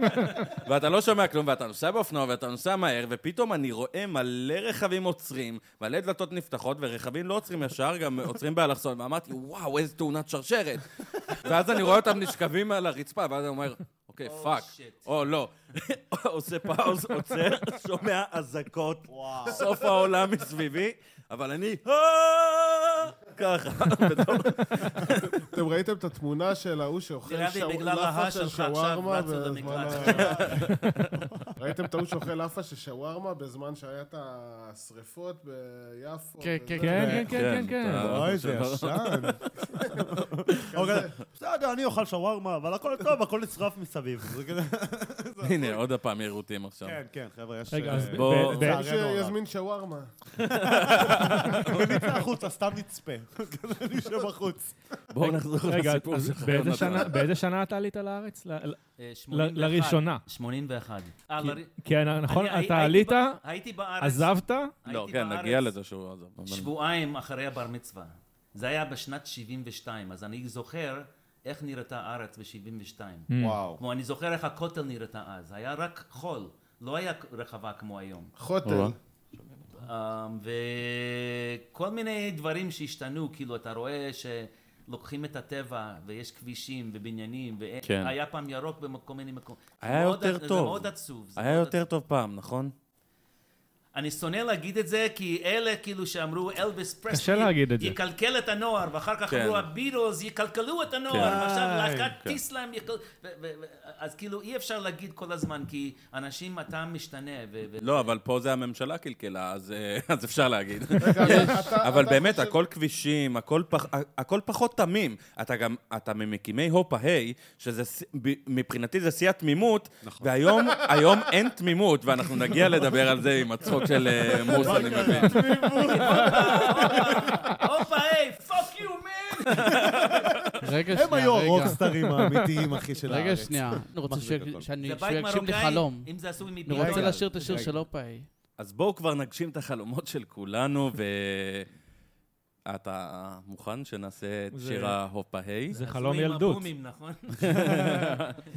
S2: ואתה לא שומע כלום, ואתה נוסע באופנוע, ואתה נוסע מהר, ופתאום אני רואה מלא רכבים עוצרים, מלא דלתות נפתחות, ורכבים לא עוצרים ישר, גם עוצרים באלכסון, ואמרתי, וואו, איזה תאונת שרשרת. ואז אני רואה אותם נשכבים על הרצפה, ואז אני אומר, אוקיי,
S5: Oh,
S2: פאק,
S5: shit.
S2: או לא. עושה פאוז, עוצר, שומע אזעקות, סוף העולם מסביבי, אבל אני, "אה!" ככה, בתור-
S7: אתם ראיתם את התמונה של ההוא שאוכל
S5: נראה לי
S7: שו-
S5: בגלל ההא
S7: לאפה של
S5: שלך עכשיו
S7: שווארמה
S5: רצו
S7: בזמן
S5: למקלט.
S7: ה... ראיתם את ההוא שאוכל לאפה של שווארמה בזמן שהיה את השריפות ביפו?
S6: כן, כן,
S7: וזה?
S6: כן, כן, כן, כן.
S2: אתה-
S4: אוי, זה ישן. אוקיי, בסדר, אני אוכל שווארמה, אבל הכל טוב, הכל נשרף מסביב. זה כזה-
S2: הנה, עוד הפעם עירותים עכשיו.
S4: נכון. כן, כן, חבר'ה, יש...
S3: רגע, אז
S4: אה,
S3: ב-
S2: בוא-
S3: ב- ב-
S4: זה- לצערנו הרב.
S7: שיזמין שווארמה.
S4: נצא החוצה, סתם נצפה. כזה נשב בחוץ.
S2: בואו נחזור
S3: רגע,
S2: לסיפור
S3: אז
S2: שלך.
S3: באיזה
S2: יונתן.
S3: שנה- באיזה שנה אתה עלית לארץ? ל- ל-
S5: אה, 81.
S3: לראשונה.
S5: 81. אה, לר-
S3: כי נכון,
S5: אני- הייתי
S3: אתה עלית,
S5: ב- הייתי בארץ.
S3: עזבת, אוקיי.
S2: לא,
S5: הייתי
S2: כן,
S5: בארץ
S2: נגיע לזה שהוא עזב. אבל-
S5: שבועיים אחרי הבר מצווה. זה היה בשנת 72, אז אני זוכר איך נראתה הארץ ב-72.
S3: Mm.
S4: וואו.
S5: כמו, אני זוכר איך הכותל נראתה אז. היה רק חול. לא היה רחבה כמו היום.
S2: אוקיי.
S7: חוטל.
S5: Um, וכל מיני דברים שהשתנו, כאילו אתה רואה שלוקחים את הטבע ויש כבישים ובניינים,
S2: כן.
S5: והיה פעם ירוק בכל מיני מקומות.
S2: היה
S5: מאוד-
S2: יותר
S5: זה
S2: טוב.
S5: מאוד עצוב. זה
S2: היה
S5: מאוד
S2: יותר טוב פעם, נכון?
S5: עצוב. אני שונא להגיד את זה, כי אלה כאילו שאמרו אלביס פרסלי,
S3: להגיד את זה.
S5: יקלקל את הנוער, ואחר כך
S2: כן.
S5: אמרו הביטלס יקלקלו את הנוער,
S2: כן.
S5: ועכשיו
S4: איי,
S5: להקת
S2: כן.
S5: טיסלאם יקל... ו- ו- ו- אז כאילו אי אפשר להגיד כל הזמן, כי אנשים, אתה משתנה, ו... ו-
S2: לא, אבל פה זה הממשלה קלקלה, אז, אה, אז אפשר להגיד.
S7: רגע, אבל אתה-
S2: אבל
S7: אתה
S2: באמת,
S7: חושב-
S2: הכל כבישים, הכל פח- הכל פחות תמים. אתה גם, אתה ממקימי הופה היי, שזה, ס- ב- מבחינתי זה שיא התמימות,
S4: נכון.
S2: והיום היום אין תמימות, ואנחנו נגיע לדבר על זה עם הצחוק של אה, מוס, אני מבין.
S5: הופה, היי, פאק יו, מן!
S6: רגע, שנייה,
S4: הם היו
S6: רגע.
S4: הרוקסטרים האמיתיים, אחי, של הארץ.
S6: רגע, שנייה. אני רוצה ש- שאני-
S5: זה
S6: שהוא
S5: בית
S6: יגשים לי
S5: מרוקאי,
S6: חלום.
S5: אם זה עשוי לא
S6: אני
S5: מביטלס.
S6: רוצה לשיר את השיר של אופאי.
S2: אז בואו כבר נגשים את החלומות של כולנו, ו... אתה מוכן שנעשה את
S3: זה-
S2: שיר ההופה היי?
S3: זה חלום ילדות.
S5: הבומים, נכון?
S3: זה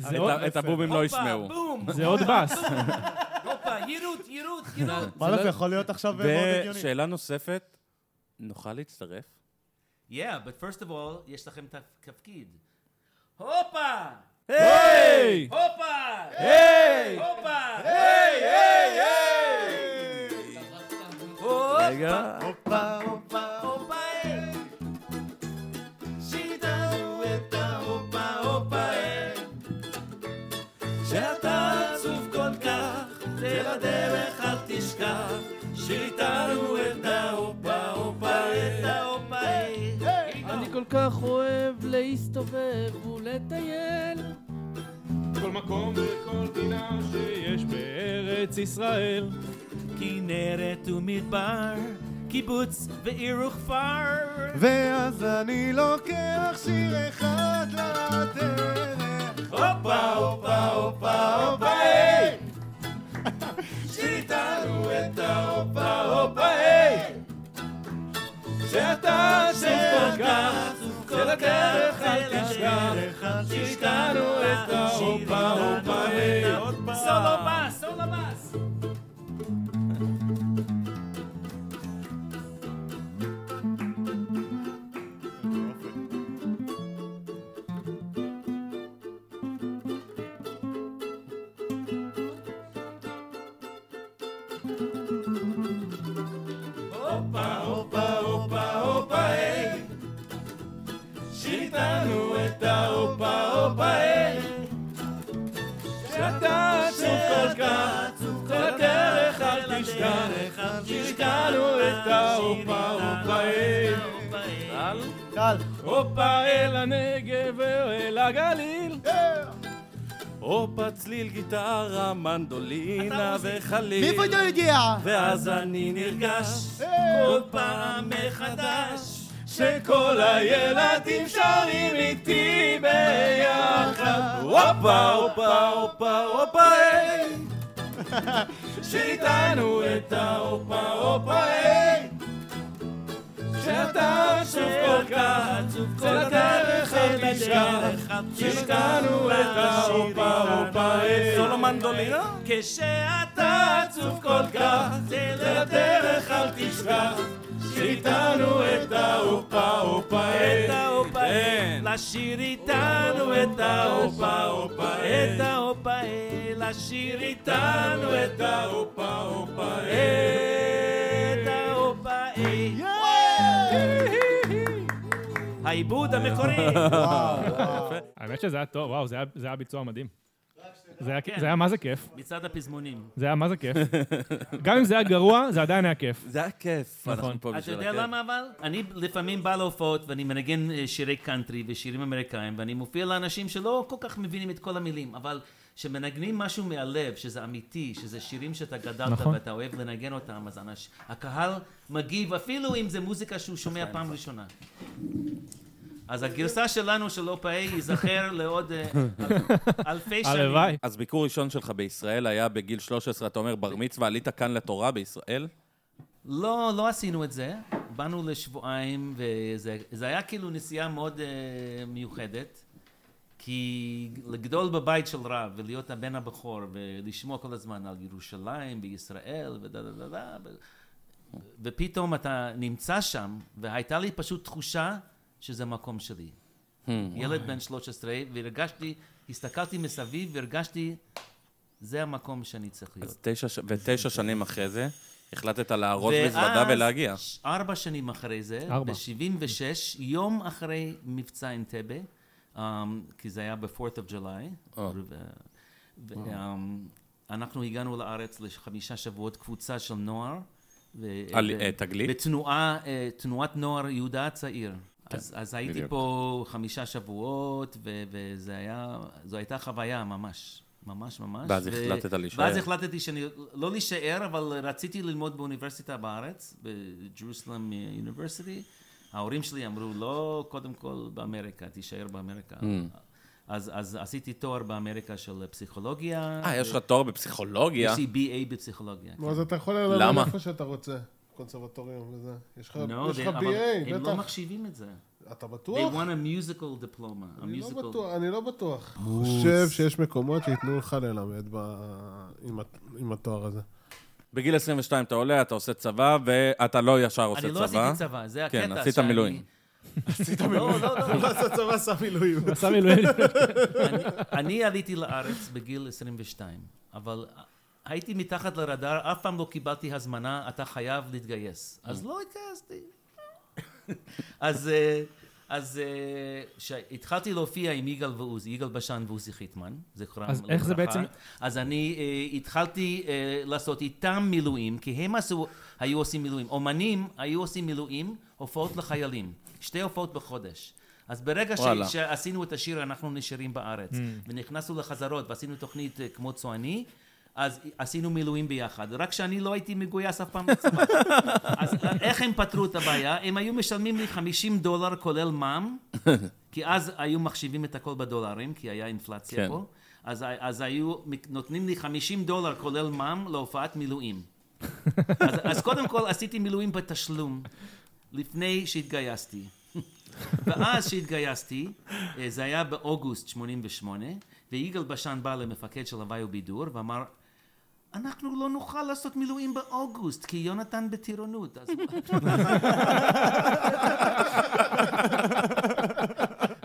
S2: את
S3: עוד-
S2: ה- את הבובים לא ישמעו.
S5: הופה, בום!
S3: זה עוד באס.
S5: הופה, יירוט, יירוט, יירוט.
S4: וואלה,
S3: לא,
S4: זה יכול להיות עכשיו
S3: אה,
S4: מאוד הגיוני.
S2: ושאלה נוספת, נוכל להצטרף?
S5: Yeah, but first of all, יש לכם את התפקיד. הופה!
S2: היי!
S5: הופה!
S2: היי!
S5: הופה!
S2: היי! רגע.
S5: הופה, הופה, הופה, אה. היי! שידענו את ההופה, הופה, היי! שאתה עצוב כל כך, זה לדרך אל תשכח. שידענו את ההופה, הופה, את ההופה, אה. היי!
S6: אני כל כך אוהב להסתובב ולטייל.
S3: כל מקום וכל פינה שיש בארץ ישראל.
S5: כנרת ומדבר, קיבוץ ועיר
S2: אה.
S5: וכפר.
S4: ואז אני לוקח שיר אחד לדרך.
S5: הופה, הופה, הופה, הופה, היי! שאיתנו את ההופה, הופה, היי! שאתה שכל כך, כל הדרך אל תשכח, שאיתנו את ההופה, הופה, היי! סולו בס, סולו בס! הופה, הופה, הופה, הופה, היי! שאיתנו את ההופה, הופה, היי! שאתה עצוב כל כך, כל הדרך אל תשכח, שאיתנו את ההופה, הופה, היי!
S4: טל,
S3: הופה אל הנגב ואל הגליל.
S2: הופה צליל גיטרה, מנדולינה וחליל.
S4: מאיפה אתה יודע?
S2: ואז אני נרגש כל פעם מחדש שכל הילדים שרים איתי ביחד. הופה, הופה, הופה, הופה, היי. שאיתנו את ההופה, הופה, היי. שאתה עצוב כל כך, כל הדרך אל תשכח. שאיתנו את אה. ההופה, הופה, היי. סולו מנדולינה?
S5: כשאתה עצוב כל כך, זה
S2: הדרך אל תשכח, שאיתנו את אה. ההופה הופה
S5: את ההופה,
S2: אין.
S5: לשיר איתנו את ההופה, הופה, את ההופה, לשיר איתנו את
S2: ההופה הופה
S5: את ההופה, העיבוד המקורי.
S3: האמת שזה היה טוב, וואו, זה היה- זה היה ביצוע מדהים. זה היה- זה היה מה זה כיף,
S5: מצעד כן. הפזמונים.
S3: זה היה מה זה כיף. גם אם זה היה גרוע, זה עדיין היה כיף.
S2: זה היה כיף,
S3: נכון.
S2: אנחנו פה
S5: אתה
S2: בשביל
S5: יודע
S2: הכיף.
S5: למה אבל? אני לפעמים בא להופעות ואני מנגן אה, שירי קאנטרי ושירים אמריקאים ואני מופיע לאנשים שלא כל כך מבינים את כל המילים, אבל כשמנגנים משהו מהלב, שזה אמיתי, שזה שירים שאתה גדלת
S3: נכון.
S5: ואתה אוהב לנגן אותם, אז אנש, הקהל מגיב אפילו אם זה מוזיקה שהוא
S2: נכון.
S5: שומע פעם ראשונה. אז הגרסה שלנו של אופאי ייזכר לעוד אה, אל- אלפי שנים.
S3: הלוואי.
S2: אז ביקור ראשון שלך בישראל היה בגיל 13, אתה אומר בר מצווה, עלית כאן לתורה בישראל?
S5: לא, לא עשינו את זה. באנו לשבועיים, וזה זה היה כאילו נסיעה מאוד uh, מיוחדת. כי לגדול בבית של רב, ולהיות הבן הבכור, ולשמוע כל הזמן על ירושלים וישראל, ודה דה דה דה, ו- ופתאום אתה נמצא שם, והייתה לי פשוט תחושה שזה המקום שלי. ילד בן 13, והרגשתי, הסתכלתי מסביב, והרגשתי, זה המקום שאני צריך להיות.
S2: אז תשע ש- ותשע שנים אחרי זה, החלטת להרוס מזוודה ולהגיע.
S5: ש- ארבע שנים אחרי זה,
S3: ארבע.
S5: ב-76, יום אחרי מבצע אנטבה, um, כי זה היה ב-4th of July,
S2: אה.
S5: ו- ו- um, אנחנו הגענו לארץ לחמישה שבועות, קבוצה של נוער. ו-
S2: על,
S5: ו-
S2: אה, תגלית?
S5: בתנועה, אה, תנועת נוער יהודה הצעיר. אז, אז הייתי
S2: כן, בדיוק.
S5: פה חמישה שבועות, ו- וזו הייתה חוויה ממש, ממש ממש.
S2: ואז החלטת להישאר.
S5: ואז החלטתי שאני, לא להישאר, אבל רציתי ללמוד באוניברסיטה בארץ, בג'רוסלם אה, יוניברסיטי. ההורים שלי אמרו, לא, קודם כל באמריקה, תישאר באמריקה.
S2: Mm.
S5: אז, אז עשיתי תואר באמריקה של פסיכולוגיה.
S2: אה, יש לך תואר בפסיכולוגיה?
S5: יש לי BA בפסיכולוגיה. כן.
S7: נו, אז אתה יכול ללמד
S2: למה?
S7: איפה שאתה רוצה, קונסרבטוריום וזה. יש לך
S5: No,
S7: יש לך
S5: they- אבל
S7: BA,
S5: הם לא
S7: בטח.
S5: מחשיבים את זה.
S7: אתה
S5: They
S7: בטוח?
S5: want a musical diploma. A
S7: אני לא
S5: musical- Oh.
S7: בטוח, אני לא בטוח. חושב שיש מקומות שייתנו לך ללמד ב- עם ה- עם התואר הזה.
S2: בגיל 22 אתה עולה, אתה עושה צבא, ואתה לא ישר עושה
S5: אני
S2: צבא.
S5: לא עשיתי צבא, זה הקטע.
S2: כן, עשית
S5: שאני-
S2: מילואים.
S5: עשית מילואים. לא, לא, לא.
S7: אז הצבא שם מילואים.
S3: הוא עשה מילואים.
S5: אני- אני עליתי לארץ בגיל 22, אבל הייתי מתחת לרדאר, אף פעם לא קיבלתי הזמנה, אתה חייב
S7: Mm.
S5: להתגייס. אז לא התגייסתי. אז... אה, אז כשהתחלתי להופיע עם יגאל ועוזי, יגאל בשן ועוזי חיטמן, זכרם
S3: אז איך זה
S5: לברכה,
S3: בעצם-
S5: אז אני אה, התחלתי אה, לעשות איתם מילואים, כי הם עשו, היו עושים מילואים. אומנים היו עושים מילואים, הופעות לחיילים. שתי הופעות בחודש. אז ברגע ש-
S2: וואלה.
S5: שעשינו את השיר, אנחנו נשארים בארץ. ונכנסנו לחזרות ועשינו תוכנית אה, כמו צועני. אז עשינו מילואים ביחד, רק שאני לא הייתי מגויס אף פעם לצבא. אז אה, איך הם פתרו את הבעיה? הם היו משלמים לי 50 דולר כולל מע"מ, כי אז היו מחשיבים את הכל בדולרים, כי היה אינפלציה
S2: כן.
S5: פה. אז, אז היו נותנים לי 50 דולר כולל מע"מ להופעת מילואים. אז, אז קודם כל עשיתי מילואים בתשלום, לפני שהתגייסתי. ואז שהתגייסתי, אה, זה היה באוגוסט 88, ויגאל בשן בא למפקד של הוואי ובידור ואמר, אנחנו לא נוכל לעשות מילואים באוגוסט, כי יונתן בטירונות. אז...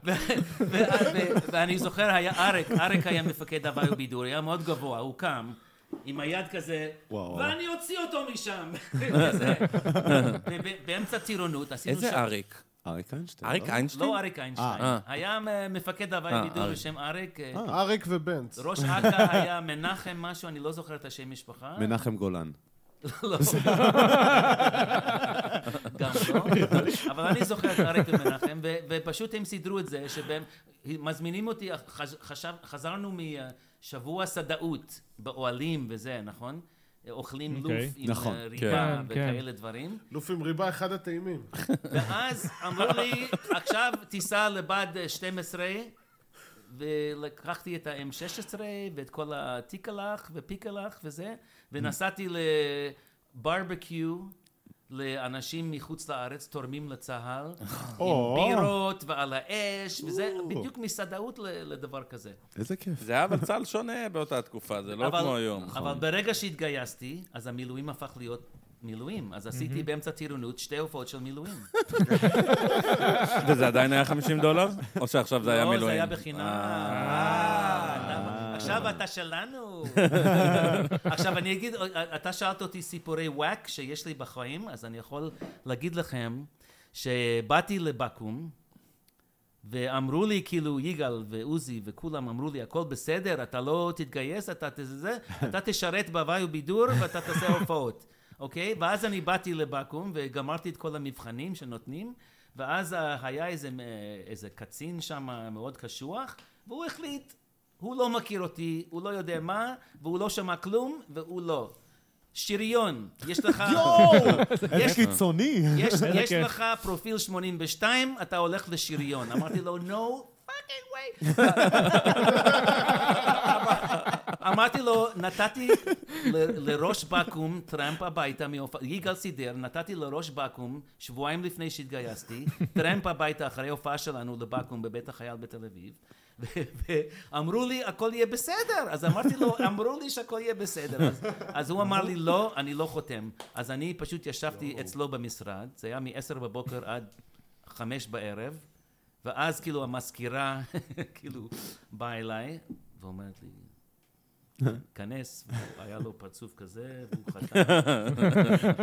S5: ו- ו- ו- ואני זוכר, היה אריק, אריק היה מפקד הוואי ובידור, היה מאוד גבוה, הוא קם. עם היד כזה, ואני אוציא אותו משם. כזה. וב- באמצע טירונות, עשינו
S2: איזה אריק?
S8: אריק איינשטיין.
S2: אריק איינשטיין?
S5: לא אריק איינשטיין.
S2: אה.
S5: היה מ- מפקד
S2: אה,
S5: הוואי בידור
S2: אריק.
S5: בשם אריק. אה,
S7: אריק ובנץ.
S5: ראש אכ"א היה מנחם משהו, אני לא זוכר את השם משפחה.
S8: מנחם גולן.
S5: לא. גם לא. אבל אני זוכר את אריק ומנחם, ו- ופשוט הם סידרו את זה, שבהם מזמינים אותי, חש- חשב- חזרנו משבוע סדאות באוהלים וזה, נכון? אוכלים לוף
S3: אוקיי.
S5: עם
S8: נכון.
S5: אה, ריבה
S3: כן, כן.
S5: וכאלה דברים.
S7: לוף עם ריבה, אחד הטעימים.
S5: ואז אמרו לי, עכשיו תיסע לבה"ד 12, ולקחתי את ה-M16 ואת כל הטיקלח ופיקלח וזה, ונסעתי לברבקיו. לאנשים מחוץ לארץ, תורמים לצה"ל, עם בירות ועל האש, וזה בדיוק מסעדאות ל- לדבר כזה.
S8: איזה כיף.
S2: זה היה אבל צה"ל שונה באותה תקופה, זה לא
S5: אבל-
S2: כמו היום.
S5: אבל ברגע שהתגייסתי, אז המילואים הפך להיות מילואים. אז עשיתי באמצע טירונות שתי הופעות של מילואים.
S2: וזה עדיין היה 50 דולר? או שעכשיו זה היה
S5: לא,
S2: מילואים?
S5: זה היה בחינם.
S2: אה,
S5: אה, למה? עכשיו אתה שלנו. עכשיו אני אגיד, אה, אתה שאלת אותי סיפורי וואק שיש לי בחיים, אז אני יכול להגיד לכם שבאתי לבקו"ם, ואמרו לי, כאילו, יגאל ועוזי וכולם אמרו לי, הכל בסדר, אתה לא תתגייס, אתה, ת- זה, אתה תשרת בהוואי ובידור ואתה תעשה הופעות, אוקיי? ואז אני באתי לבקו"ם וגמרתי את כל המבחנים שנותנים, ואז אה, היה איזה, אה, איזה קצין שם מאוד קשוח, והוא החליט, הוא לא מכיר אותי, הוא לא יודע מה, והוא לא שמע כלום, והוא לא. שריון, יש לך...
S4: איזה קיצוני.
S5: יש, יש
S3: כיף.
S5: לך פרופיל 82, אתה הולך לשריון. אמרתי לו, no fucking way. אמרתי לו, נתתי ל- לראש בקו"ם טראמפ הביתה, מהופ- יגאל סידר, נתתי לראש בקו"ם, שבועיים לפני שהתגייסתי, טראמפ הביתה אחרי הופעה שלנו לבקו"ם בבית החייל בתל אביב. ו- ואמרו לי, הכל יהיה בסדר. אז אמרתי לו, אמרו לי שהכל יהיה בסדר. אז, אז הוא אמר לי, לא, אני לא חותם. אז אני פשוט ישבתי אצלו במשרד, זה היה מ-10 בבוקר עד 5 בערב, ואז כאילו המזכירה, כאילו, באה אליי ואומרת לי, כנס, היה לו פרצוף כזה, והוא חתם,
S2: נכון.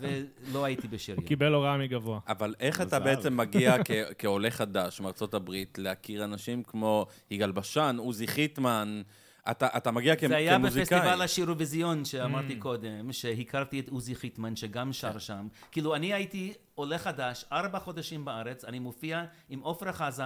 S5: ולא הייתי בשריון.
S3: קיבל הוראה מגבוה.
S2: אבל איך אתה
S4: מזל.
S2: בעצם מגיע כ- כעולה חדש מארצות הברית להכיר אנשים כמו יגאל בשן, עוזי חיטמן? אתה, אתה מגיע כ-
S5: זה היה
S2: כמוזיקאי.
S5: בפסטיבל השירוויזיון שאמרתי
S3: Mm.
S5: קודם, שהכרתי את עוזי חיטמן, שגם שר
S3: כן.
S5: שם. כאילו, אני הייתי עולה חדש, ארבע חודשים בארץ, אני מופיע עם עפרה חזה,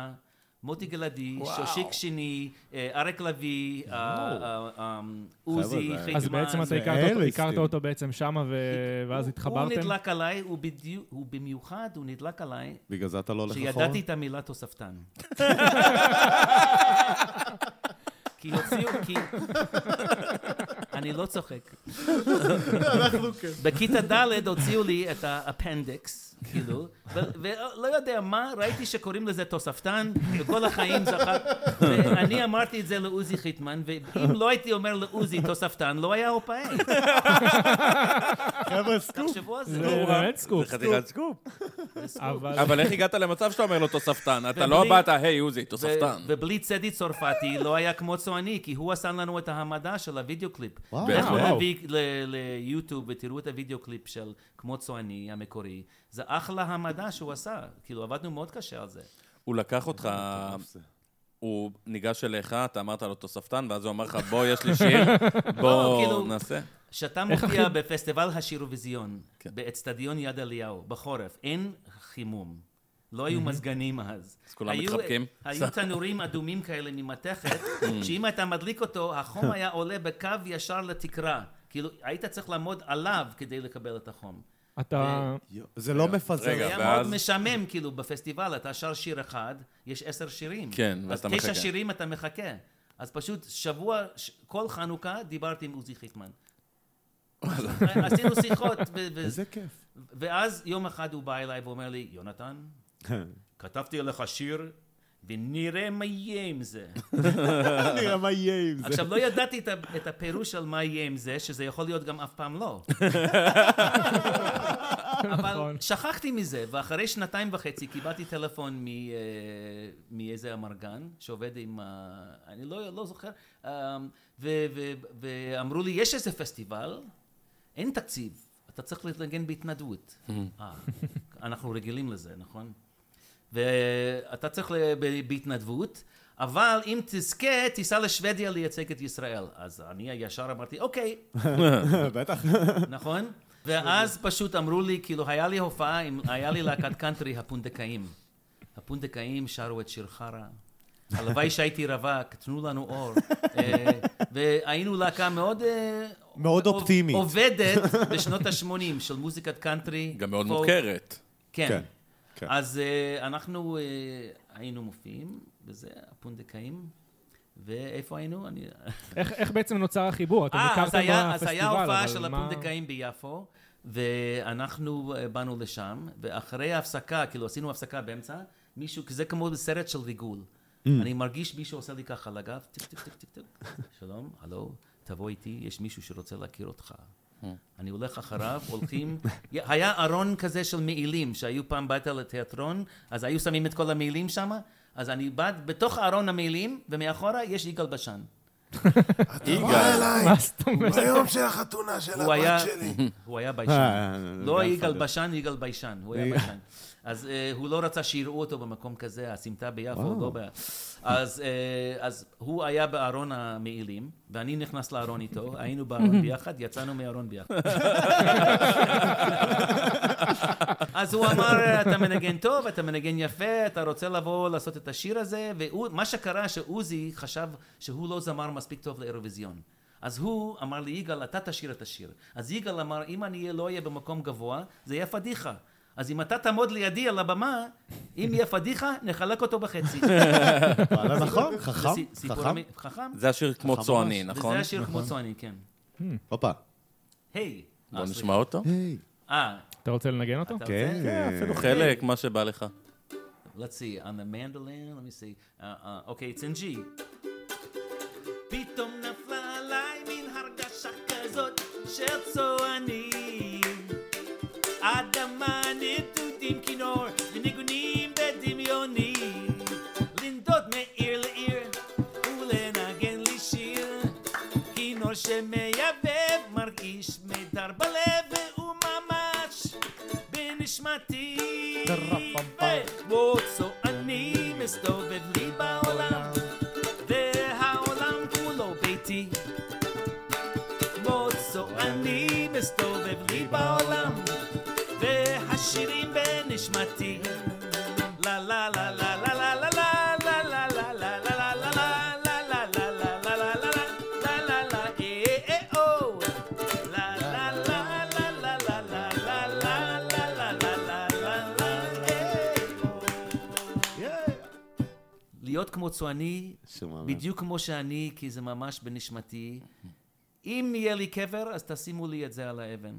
S5: מוטי גלעדי, שושיק שני, אה, אריק לביא, אה, אה, אה, עוזי
S2: חבר'ה,
S5: חיטמן.
S3: אז בעצם אתה
S2: זה
S3: הכרת אותו-
S1: אלה
S3: הכרת
S1: סטיל.
S3: אותו בעצם שמה, ו- ואז
S5: הוא-
S3: התחברתם?
S5: הוא נדלק עליי, הוא בדיוק- הוא במיוחד, הוא נדלק עליי,
S8: בגלל זה אתה לא הולך אחורה?
S5: שידעתי את המילה תוספתן. כי הוציאו, כי... אני לא צוחק.
S2: כן.
S8: כן.
S5: בכיתה ד' הוציאו לי את האפנדיקס, כאילו, ו- ולא יודע מה, ראיתי שקוראים לזה תוספתן, וכל החיים זכר... ואני אמרתי את זה לעוזי חיטמן, ואם לא הייתי אומר לעוזי תוספתן, לא היה הופעי.
S4: חבר'ה, סקופ. לא,
S5: תחשבו על
S3: זה
S5: זה.
S3: באמת סקופ.
S2: זה חתיכת סקופ.
S3: אבל
S2: אבל איך הגעת למצב שאתה אומר לו תוספתן? אתה לא
S5: ובלי-
S2: באת, היי עוזי,
S5: ו-
S2: תוספתן.
S5: ובלי צדי צרפתי לא היה כמו צועני, כי הוא עשה לנו את ההעמדה של הוידאו קליפ.
S8: וואו.
S5: לכו
S3: וואו.
S5: לווי- ל- ליוטיוב ותראו את הוידאו קליפ של כמו צועני המקורי. זה אחלה העמדה שהוא עשה. כאילו, עבדנו מאוד קשה על זה.
S2: הוא לקח אותך, הוא ניגש אליך, אתה אמרת לו תוספתן, ואז הוא אמר לך, בוא, יש לי שיר,
S5: לא,
S2: בוא
S5: כאילו-
S2: נעשה.
S5: כשאתה
S3: איך
S5: מופיע
S3: הכי-
S5: בפסטיבל השירוויזיון,
S2: כן.
S5: באצטדיון יד אליהו, בחורף, אין חימום. לא היו מזגנים אז.
S2: אז כולם
S5: היו-
S2: מתחבקים.
S5: היו תנורים אדומים כאלה ממתכת, שאם אתה מדליק אותו, החום היה עולה בקו ישר לתקרה. כאילו, היית צריך לעמוד עליו כדי לקבל את החום. אה,
S3: אתה...
S8: יו, זה לא מפזר.
S5: זה
S2: רגע,
S5: היה
S2: ואז-
S5: מאוד משעמם, כאילו, בפסטיבל אתה שר שיר אחד, יש עשר שירים.
S2: כן,
S5: אז
S2: ואתה
S5: תשע
S2: מחכה.
S5: שירים אתה מחכה. אז פשוט שבוע, ש- כל חנוכה דיברתי עם עוזי חיטמן. עשינו שיחות, ו- ו-
S8: איזה כיף.
S5: ואז יום אחד הוא בא אליי ואומר לי, יונתן, כתבתי עליך שיר, ונראה מה יהיה עם זה.
S8: נראה מה יהיה עם
S5: עכשיו, לא ידעתי את ה- את הפירוש של מה יהיה עם זה, שזה יכול להיות גם אף פעם לא. אבל
S3: נכון.
S5: שכחתי מזה, ואחרי שנתיים וחצי קיבלתי טלפון מ, אה, מאיזה אמרגן, שעובד עם, ה- אני לא, לא זוכר, אה, ו, ו, ואמרו לי, יש איזה פסטיבל, אין תקציב, אתה צריך להתנגן בהתנדבות. אה, אנחנו רגילים לזה, נכון? ואתה צריך ל- ב- בהתנדבות, אבל אם תזכה, תיסע לשוודיה לייצג את ישראל. אז אני ישר אמרתי, אוקיי,
S8: בטח.
S5: נכון? ואז פשוט אמרו לי, כאילו, היה לי הופעה, עם, היה לי להקת קאנטרי, הפונדקאים. הפונדקאים שרו את שיר חרא. הלוואי שהייתי רווק, תנו לנו אור. אה, והיינו להקה מאוד... אה,
S8: מאוד
S5: עוב-
S8: אופטימית.
S5: עובדת בשנות ה-80 של מוזיקת קאנטרי.
S2: גם מאוד
S5: פולק.
S2: מוכרת.
S5: כן.
S8: כן, כן.
S5: אז אה, אנחנו אה, היינו מופיעים, וזה, הפונדקאים. ואיפה היינו? אני...
S3: איך איך בעצם נוצר החיבור? אתם
S5: אה,
S3: הכרתם
S5: אז
S3: אוקיי, בפסטיבל,
S5: היה-
S3: אבל
S5: אז היה הופעה
S3: מה-
S5: של הפונדקאים ביפו, ואנחנו אה, באנו לשם, ואחרי ההפסקה, כאילו עשינו הפסקה באמצע, מישהו, זה כמו סרט של ריגול. אני מרגיש מישהו עושה לי ככה על הגב, טיק טיק טיק טיק טיק, שלום, הלו, תבוא איתי, יש מישהו שרוצה להכיר אותך. אני הולך אחריו, הולכים, היה ארון כזה של מעילים, שהיו פעם באת לתיאטרון, אז היו שמים את כל המעילים שם, אז אני בא בתוך ארון המעילים, ומאחורה יש יגאל בשן.
S2: יגאל,
S3: מה זאת אומרת? אה,
S7: ביום של החתונה של
S5: הוא היה,
S7: הבת שלי.
S5: הוא היה ביישן. לא יגאל בשן, יגאל ביישן, הוא היה ביישן. אז אה, הוא לא רצה שיראו אותו במקום כזה, הסמטה ביפו, לא ב... אז, אה, אז הוא היה בארון המעילים, ואני נכנס לארון איתו, היינו בארון ביחד, יצאנו מהארון ביחד. אז הוא אמר, אתה מנגן טוב, אתה מנגן יפה, אתה רוצה לבוא לעשות את השיר הזה, ומה שקרה שעוזי חשב שהוא לא זמר מספיק טוב לאירוויזיון. אז הוא אמר לי, יגאל, אתה תשיר את השיר. אז יגאל אמר, אם אני לא אהיה במקום גבוה, זה יהיה פדיחה. אז אם אתה תעמוד לידי על הבמה, אם יהיה פדיחה, נחלק אותו בחצי.
S8: נכון,
S5: זה
S8: חכם,
S5: סי- סיפור
S8: חכם.
S5: אמי- חכם.
S2: זה השיר כמו
S8: ממש.
S2: צועני, נכון?
S5: וזה השיר כמו צועני, כן.
S8: הופה.
S5: היי.
S2: בוא
S5: אה,
S2: נשמע
S5: סליחה.
S2: אותו.
S8: היי.
S5: אה,
S3: אתה רוצה לנגן
S5: אתה
S3: אותו?
S5: רוצה?
S2: אוקיי,
S8: כן.
S2: אפילו חלק, מה שבא לך.
S5: let's see, on the mandolin, let me see. Uh, uh, okay, it's in G. פתאום נפלה עליי מין הרגשה כזאת של צוענים. אדמה נטודים כינור וניגונים בדמיוני. לנדוד מעיר לעיר ולנגן לי שיר כי בלב והוא ממש בנשמתי.
S6: טרפמפאי.
S5: ובוצו אני מסתובב לי בעולם, והעולם כולו ביתי. בוצו אני מסתובב לי בעולם, והשירים בנשמתי. לה לה לה לה לה לה לה לה לה לה לה לה לה לה לה להיות כמו צועני,
S8: שמע,
S5: בדיוק כמו שאני, כי זה ממש בנשמתי. אם יהיה לי קבר, אז תשימו לי את זה על האבן.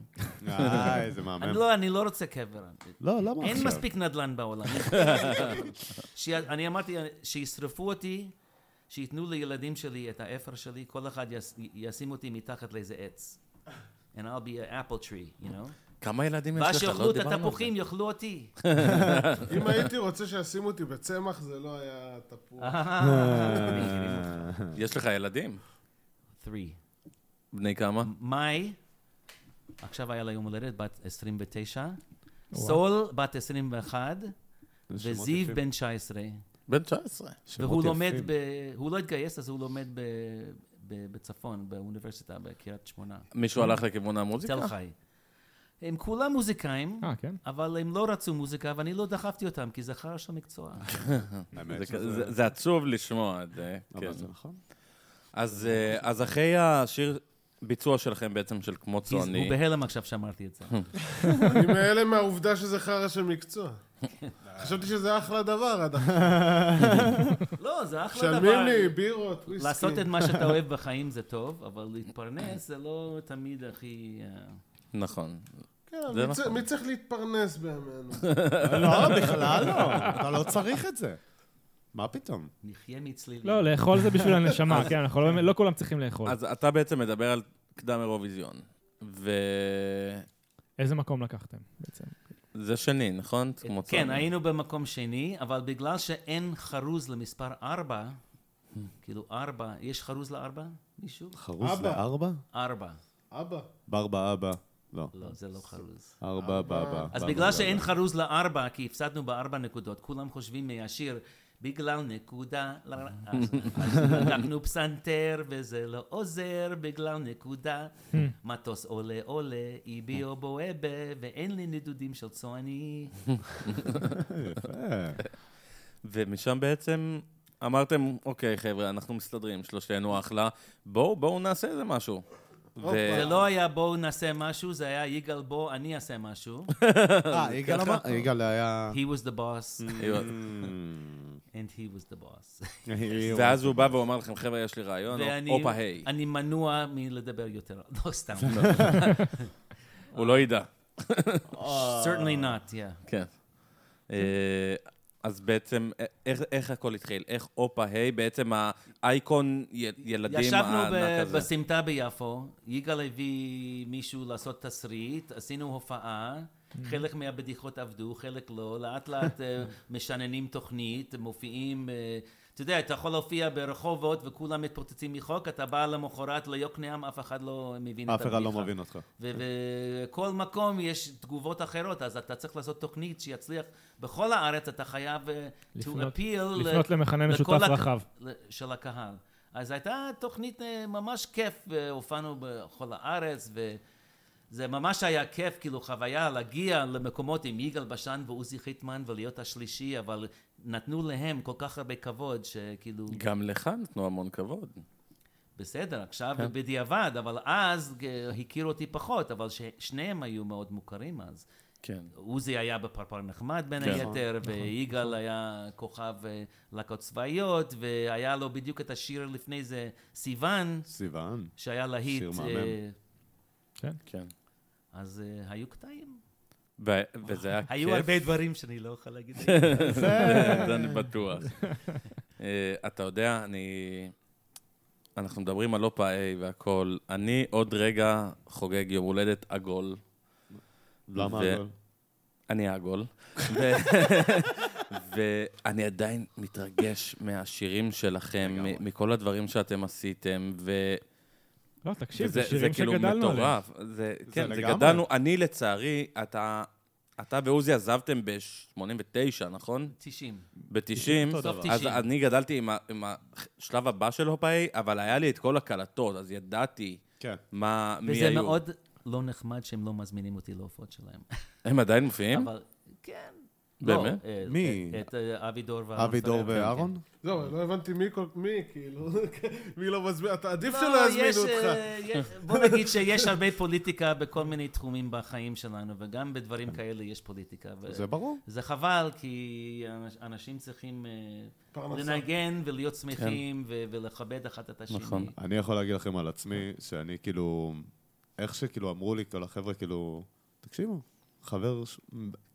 S8: אה, איזה
S5: אני
S8: מהמם.
S5: לא, אני לא רוצה קבר.
S8: לא, למה עכשיו?
S5: אין מספיק נדל"ן בעולם. ש- אני אמרתי, שישרפו אותי, שייתנו לילדים שלי את האפר שלי, כל אחד יס- י- ישים אותי מתחת לאיזה עץ. And I'll be an apple tree, you know?
S2: כמה ילדים
S5: ואז
S2: יש לך? לא
S5: שיאכלו את
S2: דיברנו על זה.
S5: התפוחים, יאכלו אותי.
S7: אם הייתי רוצה שישימו אותי בצמח, זה לא היה תפוח.
S5: אה,
S2: אה. יש לך ילדים?
S5: Three.
S2: בני כמה?
S5: מאי, עכשיו היה לה יום הולדת, בת 29. סול, בת 21. וזיו, בן 19.
S2: בן 19.
S5: והוא לומד, ב... הוא לא התגייס, אז הוא לומד ב... ב... בצפון, באוניברסיטה, בקריית שמונה. כן.
S2: מישהו הלך לכיוון המוזיקה?
S5: תל חי. הם כולם מוזיקאים,
S3: אה, כן?
S5: אבל הם לא רצו מוזיקה, ואני לא דחפתי אותם, כי זה חרא של מקצוע.
S2: זה- זה- זה עצוב לשמוע את זה. כן.
S8: אבל זה נכון.
S2: אז אה, אז אחרי השיר ביצוע שלכם בעצם, של כמו
S5: כי זה-
S2: צועני,
S5: הוא בהלם עכשיו שאמרתי את זה.
S7: אני מאלה מהעובדה שזה חרא של מקצוע. חשבתי שזה אחלה דבר עד עכשיו.
S5: לא, זה אחלה
S7: משלמים
S5: דבר.
S7: לי בירות, וויסקי.
S5: לעשות את מה שאתה אוהב בחיים זה טוב, אבל להתפרנס זה לא תמיד הכי... אה,
S2: נכון.
S7: כן,
S2: זה
S7: מי צ-
S2: נכון.
S7: מי צריך להתפרנס בימינו?
S8: לא, בכלל לא. אתה לא צריך את זה. מה פתאום?
S5: נחיה מצלילים.
S3: לא, לאכול זה בשביל הנשמה, כן, אנחנו לא- לא כולם צריכים לאכול.
S2: נכון. אז אתה בעצם מדבר על קדם אירוויזיון. וזה
S3: איזה מקום לקחתם בעצם?
S2: שני, נכון? כמו
S5: כן,
S2: צועני.
S5: היינו במקום שני, אבל בגלל שאין חרוז למספר ארבע, כאילו ארבע, יש חרוז לארבע? מישהו?
S8: חרוז
S7: אבא.
S8: לארבע?
S5: ארבע.
S7: אבא.
S8: ברבא אבא. לא.
S5: לא, זה לא חרוז.
S8: ארבע באבא.
S5: אז
S8: באבא,
S5: בגלל
S8: באבא.
S5: שאין חרוז לארבע, כי הפסדנו בארבע נקודות, כולם חושבים מהשיר, בגלל נקודה, ל- אז- אז לקחנו פסנתר וזה לא עוזר, בגלל נקודה, מטוס עולה עולה, איביו בואבה, ואין לי נדודים של צועני.
S8: יפה.
S2: ומשם בעצם אמרתם, אוקיי, חבר'ה, אנחנו מסתדרים, שלושתנו אחלה, בואו, בואו נעשה איזה משהו. ו...
S5: זה לא היה בואו נעשה משהו, זה היה יגאל בוא אני אעשה משהו.
S8: אה, יגאל אמר, יגאל היה... Mm.
S5: He was the boss,
S8: Hmm.
S5: and he was the boss. לא-
S2: ואז הוא בא והוא אמר לכם, חבר'ה, יש לי רעיון,
S5: ואני
S2: הופה, היי.
S5: אני מנוע מלדבר יותר, לא סתם.
S2: הוא לא ידע.
S5: Oh, Certainly not, yeah.
S2: כן. אה, אז בעצם, א- איך- איך הכל התחיל? איך הופה, היי, בעצם האייקון י- ילדים
S5: ישבנו ב-
S2: הענק הזה.
S5: בסמטה ביפו, יגאל הביא מישהו לעשות תסריט, עשינו הופעה,
S8: Mm-hmm.
S5: חלק מהבדיחות עבדו, חלק לא, לאט לאט אה, משננים תוכנית, מופיעים, אה, אתה יודע, אתה יכול להופיע ברחובות וכולם מתפוצצים מחוק, אתה בא למחרת ליוקנעם, אף אחד לא מבין את
S8: אף
S5: הבדיחה.
S8: אחד לא מבין אותך.
S5: ובכל מקום יש תגובות אחרות, אז אתה צריך לעשות תוכנית שיצליח בכל הארץ, אתה חייב אה, to
S3: לפנות-
S5: appeal
S3: לפנות למכנה משותף
S5: לכל
S3: רחב.
S5: ל- של הקהל. אז הייתה תוכנית אה, ממש כיף, אה, הופענו בכל הארץ, וזה ממש היה כיף, כאילו חוויה להגיע למקומות עם יגאל בשן ועוזי חיטמן ולהיות השלישי, אבל נתנו להם כל כך הרבה כבוד, שכאילו...
S2: גם לך נתנו המון כבוד.
S5: בסדר, עכשיו בדיעבד, אבל אז אה, הכירו אותי פחות, אבל שניהם היו מאוד מוכרים אז.
S2: כן.
S5: עוזי היה בפרפר נחמד בין
S2: כן.
S5: היתר,
S2: נכון.
S5: ויגאל היה כוכב אה, להקות צבאיות, והיה לו בדיוק את השיר לפני זה, סיוון,
S8: סיוון.
S5: שהיה להיט.
S8: שיר מהמם.
S5: אה,
S2: כן.
S5: אז אה, היו קטעים.
S2: ו- וזה היה כיף.
S5: היו הרבה דברים שאני לא יכול להגיד.
S2: זה אני בטוח. אה, אתה יודע, אני... אנחנו מדברים על אופה איי והכל. אני עוד רגע חוגג יום הולדת עגול.
S8: למה
S2: ו-
S8: אבל?
S2: אני העגול. ו- ואני עדיין מתרגש מהשירים שלכם, מ- מכל הדברים שאתם עשיתם, ו...
S3: לא, תקשיב,
S2: וזה-
S3: זה שירים
S2: זה כאילו
S3: שגדלנו עליהם.
S2: מטורף. זה, כן, זה
S8: לגמרי.
S2: גדלנו. אני, לצערי, אתה... אתה ועוזי עזבתם ב-89, נכון?
S5: 90.
S2: ב-90.
S5: סוף
S2: אז
S5: 90.
S2: אני גדלתי עם ה- עם השלב הבא של הופאי, אבל היה לי את כל הקלטות, אז ידעתי
S8: כן.
S2: מה, מי
S5: וזה
S2: היו.
S5: מאוד לא נחמד שהם לא מזמינים אותי להופעות שלהם.
S2: הם עדיין מופיעים?
S5: אבל, כן.
S2: באמת?
S5: לא, אה,
S8: מי?
S5: את אה, אבי דור ואהרון
S8: אבי דור
S5: פרח, כן,
S8: ואהרון?
S7: זהו, אני לא הבנתי מי, כל- מי, כאילו, מי לא מזמין, אתה
S5: כן.
S7: עדיף
S5: לא,
S7: שלא
S5: יש,
S7: יזמינו אותך.
S5: אה, יש- בוא נגיד שיש הרבה פוליטיקה בכל מיני תחומים בחיים שלנו, וגם בדברים
S2: כן.
S5: כאלה יש פוליטיקה. ו-
S8: זה ברור.
S5: זה חבל, כי אנש- אנשים צריכים אה,
S7: פרנסה.
S5: לנגן ולהיות שמחים ו- ולכבד אחד את השני.
S2: כן. נכון.
S8: אני יכול להגיד לכם על עצמי, שאני כאילו, איך שכאילו אמרו לי כל החבר'ה, כאילו, תקשיבו, חבר ש-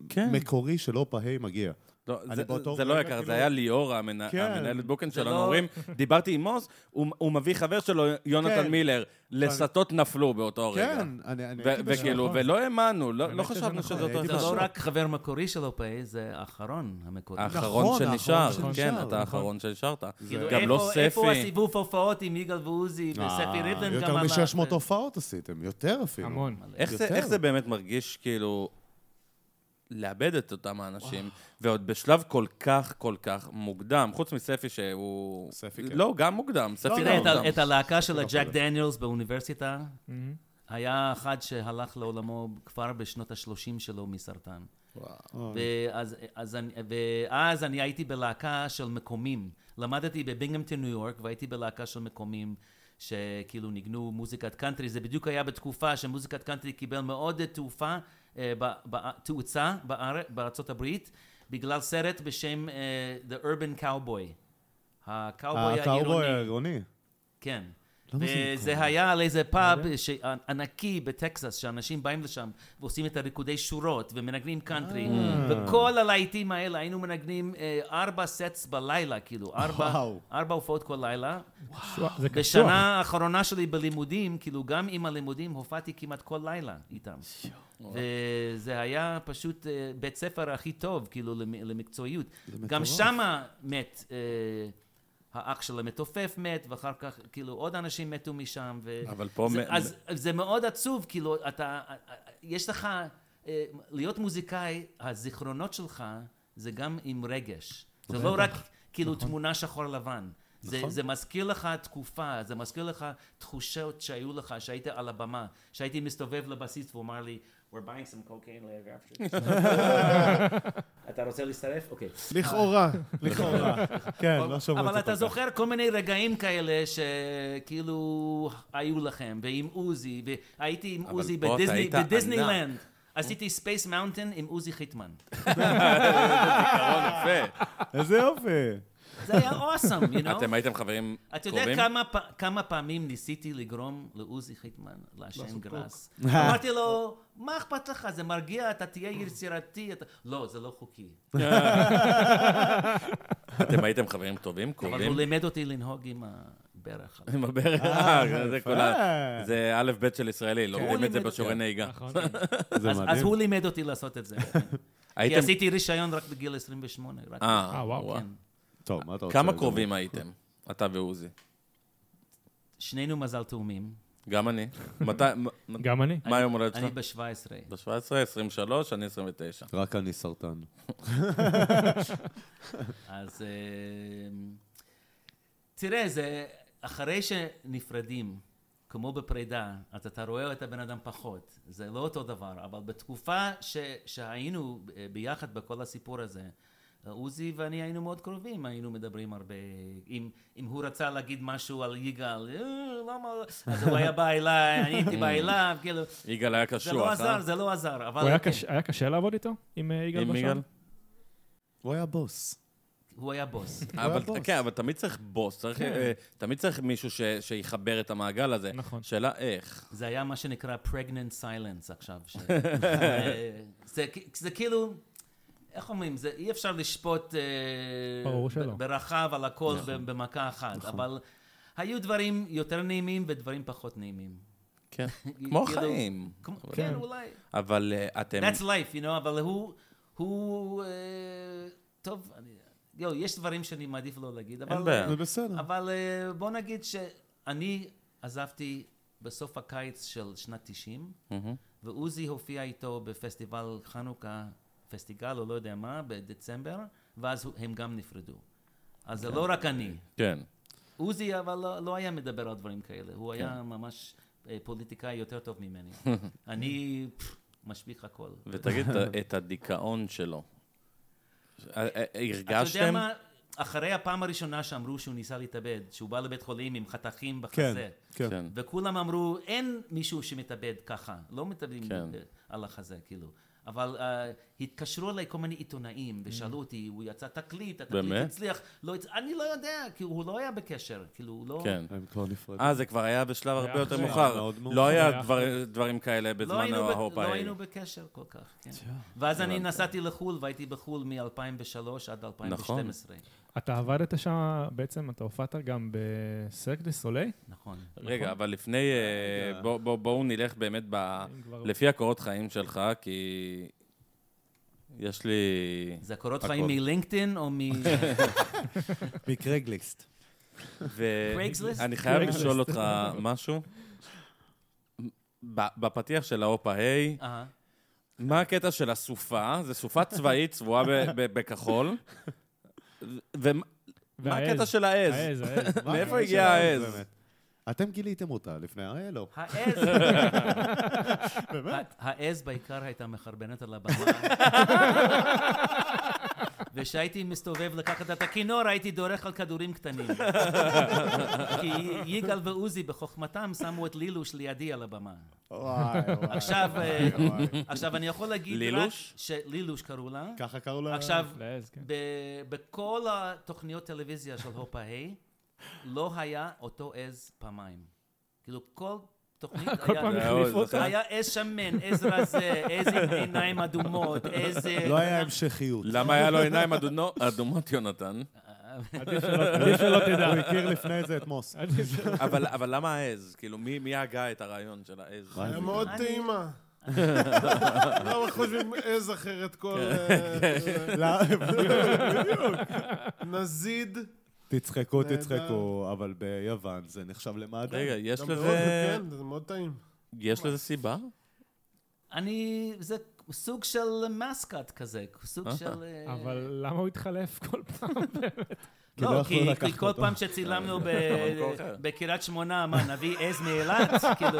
S2: כן.
S8: מקורי של אופה היי מגיע.
S2: לא,
S8: אני
S2: זה-
S8: באותו
S2: זה לא
S8: רגע,
S2: יקר, זה
S8: כאילו-
S2: היה ליאורה, המנה-
S8: כן.
S2: המנהלת בוקן שלנו,
S5: לא-
S2: אומרים, דיברתי עם עוז, הוא הוא מביא חבר שלו, יונתן
S8: כן.
S2: מילר, לסטות נפלו באותו רגע.
S8: כן, אני... נכון. אני
S2: ו-
S8: הייתי בשוק.
S2: וכאילו, ולא האמנו, לא לא
S3: באמת שזה
S2: חשבנו
S3: נכון,
S2: שזה אותו
S5: זה
S8: הייתי
S2: אחד.
S5: לא
S8: בשוק.
S5: רק חבר מקורי של אופאי, זה האחרון המקורי.
S2: האחרון
S8: נכון,
S2: שנשאר,
S8: האחרון
S2: כן,
S8: שנשאר,
S2: אתה
S8: נכון.
S2: האחרון שנשארת.
S5: כאילו,
S2: גם
S5: איפה-
S2: לא
S5: איפה
S2: ספי.
S5: הסיבוב הופעות עם יגאל ועוזי וספי
S8: אה,
S5: ריבלין? גם
S8: יותר
S5: עלה.
S8: מ-600 הופעות עשיתם, יותר אפילו.
S3: המון.
S2: איך זה-
S8: יותר.
S2: איך זה באמת מרגיש, כאילו, לאבד את אותם האנשים, ועוד בשלב כל כך כל כך מוקדם, חוץ מספי שהוא...
S8: ספי, כן. לא.
S2: לא, גם מוקדם, ספי
S5: תראה
S2: גם
S5: את ה-
S2: מוקדם. לא Mm-hmm.
S5: את הלהקה של הג'ק דניאלס באוניברסיטה, היה אחד שהלך לעולמו כבר בשנות ה-30 שלו מסרטן. ואז, אז אני, ואז אני הייתי בלהקה של מקומים. למדתי בבינגהמפטון, ניו יורק, והייתי בלהקה של מקומים, שכאילו ניגנו מוזיקת קאנטרי. זה בדיוק היה בתקופה שמוזיקת קאנטרי קיבל מאוד תעופה, אה, ב- ב- תאוצה באר- בארצות הברית, בגלל סרט בשם אה, The Urban Cowboy. הקאובוי
S8: הקאובוי
S5: העירוני.
S8: העירוני.
S5: כן. וזה היה על איזה פאב ש- אה, ענקי בטקסס, שאנשים באים לשם ועושים את הריקודי שורות ומנגנים קאנטרי. וכל הלהיטים האלה היינו מנגנים אה, ארבע סטס בלילה, כאילו, ארבע-
S8: וואו.
S5: ארבע הופעות כל לילה.
S3: קשוח, זה
S5: בשנה
S3: קשוח.
S5: האחרונה שלי בלימודים, כאילו, גם עם הלימודים הופעתי כמעט כל לילה איתם. וזה היה פשוט אה, בית ספר הכי טוב, כאילו, למ- למקצועיות. גם שמה מת, אה, האח של המתופף מת, ואחר כך, כאילו, עוד אנשים מתו משם. ו...
S2: אבל פה
S5: זה,
S2: מ-
S5: אז זה מאוד עצוב, כאילו, אתה... יש לך... אה, להיות מוזיקאי, הזיכרונות שלך זה גם עם רגש. זה לא רק כאילו
S2: נכון.
S5: תמונה שחור לבן. זה, זה מזכיר לך תקופה, זה מזכיר לך תחושות שהיו לך, שהיית על הבמה, שהייתי מסתובב לבסיס והוא אמר לי, we're buying some cocaine later after. אתה רוצה להצטרף? אוקיי.
S2: אה,
S8: לכאורה, לכאורה. כן, לא שומעים את
S5: אבל
S8: זה
S5: אתה
S8: כל כך.
S5: זוכר כל מיני רגעים כאלה שכאילו היו לכם, ועם עוזי, והייתי עם עוזי
S2: פה אתה
S5: בדיסני-
S2: היית
S5: בדיסנילנד. עשיתי ספייס מאונטן עם עוזי חיטמן.
S2: זיכרון יפה.
S8: איזה יופי.
S5: זה היה awesome, you know?
S2: אתם הייתם חברים
S5: אתה יודע
S2: קרובים?
S5: כמה, פ- כמה פעמים ניסיתי לגרום לעוזי חיטמן
S8: לא,
S5: לעשן גראס? אמרתי לו, מה אכפת לך? זה מרגיע, אתה תהיה יצירתי. אתה... לא, זה לא חוקי.
S2: אתם הייתם חברים טובים,
S5: אבל הוא
S2: קרובים?
S5: לימד אותי לנהוג עם הברך.
S2: עם הברך, אה, זה כל ה...
S8: יפה.
S2: זה א' ב' של ישראלי, לא לומדים את זה
S5: לימד אותי.
S2: בשיעורי נהיגה.
S3: נכון.
S8: זה
S5: אז- אז
S8: מדהים.
S5: הוא לימד אותי לעשות את זה. כי
S2: הייתם...
S5: עשיתי רישיון רק בגיל 28. רק
S2: אה,
S3: אה, וואו.
S2: וואו.
S5: כן.
S8: טוב, מה אתה רוצה?
S2: כמה קרובים הייתם? אתה ועוזי.
S5: שנינו מזל תאומים.
S2: גם אני. מתי... מ- מ-
S3: גם אני.
S2: מה היום הולדת
S5: אני
S2: שלך?
S5: ב-17.
S2: ב-17, 23, אני 29.
S8: רק אני סרטן.
S5: אז אמ, תראה, זה אחרי שנפרדים, כמו בפרידה, אז אתה רואה את הבן אדם פחות. זה לא אותו דבר, אבל בתקופה ש, שהיינו אה, ביחד בכל הסיפור הזה, עוזי ואני היינו מאוד קרובים, היינו מדברים הרבה. אם, אם הוא רצה להגיד משהו על יגאל, "אה, למה... אז הוא היה בא אליי, אני הייתי בא אליו, כאילו,
S2: Mm. יגאל היה
S5: זה לא
S2: קשוח, אה?
S5: עזר, זה לא עזר. אבל
S3: הוא היה
S5: כן.
S3: קש- היה קשה לעבוד איתו? עם אה, יגאל
S2: עם
S3: בשן?
S2: יגאל?
S8: הוא היה בוס.
S5: הוא היה בוס.
S8: הוא
S2: אבל,
S8: היה בוס.
S2: כן, אבל תמיד צריך בוס, צריך, אה, תמיד צריך מישהו ש, שיחבר את המעגל הזה.
S3: נכון.
S2: שאלה איך.
S5: זה היה מה שנקרא pregnant silence עכשיו. ש... זה, זה, זה כאילו, איך אומרים, זה, אי אפשר לשפוט אה,
S3: ברור
S5: ב-
S3: שלא.
S5: ברחב על הכל
S2: נכון.
S5: ב- במכה אחת, אבל היו דברים יותר נעימים ודברים פחות נעימים.
S2: כן. כמו
S5: כאילו-
S2: חיים.
S5: כמו,
S2: אבל-
S5: כן, אולי.
S2: אבל אה, אתם...
S5: That's life, you know, אבל הוא, הוא, אה, טוב, אני, יו, יש דברים שאני מעדיף לא להגיד, אבל...
S2: בעיה.
S8: זה בסדר.
S5: אבל אה, בוא נגיד שאני עזבתי בסוף הקיץ של שנת 90,
S2: מהמם.
S5: ועוזי הופיע איתו בפסטיבל חנוכה, פסטיגל או לא יודע מה, בדצמבר, ואז הוא- הם גם נפרדו. אז זה לא רק אני.
S2: כן.
S5: עוזי אבל לא, לא היה מדבר על דברים כאלה, הוא
S2: כן.
S5: היה ממש אה, פוליטיקאי יותר טוב ממני. אני פפ, משפיך הכל.
S2: ותגיד את- את הדיכאון שלו. אה, אה,
S5: אתה יודע
S2: הרגשתם?
S5: מה? אחרי הפעם הראשונה שאמרו שהוא ניסה להתאבד, שהוא בא לבית חולים עם חתכים
S4: כן,
S5: בחזה,
S4: כן.
S2: כן.
S5: וכולם אמרו, אין מישהו שמתאבד ככה, לא מתאבדים
S2: כן.
S5: על החזה, כאילו. אבל uh, התקשרו אליי כל מיני עיתונאים ושאלו אותי, הוא יצא תקליט, התקליט
S2: Mm. באמת?
S5: הצליח, לא יצ... אני לא יודע, כי הוא לא היה בקשר, כאילו, הוא לא...
S2: כן.
S8: הם כבר נפרדים.
S2: אה, זה כבר היה בשלב
S3: היה
S2: הרבה יותר
S3: אחרי.
S8: היה
S2: מאוחר.
S8: מאוד
S2: לא
S8: מאוחר.
S2: היה
S3: היה
S2: דבר- דברים כאלה
S5: לא
S2: בזמן
S5: היינו, ב...
S2: ההופ
S5: לא
S2: ההיא.
S5: היינו בקשר כל כך, כן. ואז אני
S2: הבנתי.
S5: נסעתי לחו"ל, והייתי בחו"ל מ-2003 עד 2012. נכון.
S3: אתה עבדת שם, בעצם אתה הופעת גם בסרק דה סולי?
S5: נכון.
S2: רגע, אבל לפני... אה, בוא- בוא- בואו נלך באמת ב...
S3: אם
S5: לא.
S3: כבר-
S2: לפי הקורות חיים שלך, כי... יש לי...
S5: זה קורות
S2: הכל.
S5: חיים מלינקדאין או מ...
S4: מקרגליקסט.
S2: ו-
S5: Craigslist?
S2: אני חייב
S3: Craigslist.
S2: לשאול אותך משהו. ב- בפתיח של ההופה היי,
S5: אהה.
S2: מה הקטע של הסופה? זו סופה צבאית צבועה ב- ב- בכחול. ומה מה הקטע של העז?
S3: העז, העז.
S8: מה
S2: מאיפה
S8: הקטע
S2: הגיע
S8: שלהם,
S2: העז?
S8: באמת? אתם גיליתם אותה לפני, הרי לא.
S5: העז. באמת? העז בעיקר הייתה מחרבנת על הבמה. וכשהייתי מסתובב לקחת את הכינור, הייתי דורך על כדורים קטנים. כי יגאל ועוזי בחוכמתם שמו את לילוש לידי על הבמה.
S8: וואי, וואי.
S5: עכשיו, אה,
S8: וואי, וואי.
S5: עכשיו אני יכול להגיד רק...
S2: לילוש?
S5: ש- לילוש קראו לה.
S8: ככה קראו לה...
S5: עכשיו,
S3: לעז, כן.
S5: ב- בכל התוכניות טלוויזיה של הופה היי, לא היה אותו עז פעמיים. כאילו, כל תוכנית היה...
S3: כל פעם החליפו
S2: אותה.
S5: היה עז שמן, עז רזה, עז עם עיניים אדומות, עז...
S8: לא היה המשכיות.
S2: למה היה לו עיניים אדונו- אדומות, יונתן?
S3: עדיף שלא- עדיף שלא
S8: הוא
S3: תדע.
S8: הכיר לפני זה את מוס.
S3: עדיף שלא-
S2: אבל אבל למה העז? כאילו, מי מי הגה את הרעיון של העז?
S8: וואי,
S7: היה מאוד
S5: אני-
S7: טעימה. למה חושבים עז אחרת כל...
S2: כן.
S8: כן.
S7: אה, נזיד.
S8: תצחקו,
S7: נהדר.
S8: תצחקו, אבל ביוון זה נחשב למעדן.
S2: רגע, יש
S7: גם
S2: לזה...
S7: מאוד, כן, זה מאוד טעים.
S2: יש לזה סיבה?
S5: אני... זה סוג של מסקט כזה, סוג של... אה,
S3: אבל למה הוא התחלף כל פעם?
S8: כי לא
S5: לא,
S8: יכלו
S5: כי
S8: לקחת
S5: כי כל
S8: אותו.
S5: פעם שצילמנו ב-
S2: במקום אחר.
S5: בקריית שמונה, מה, נביא עז מאילת? כאילו...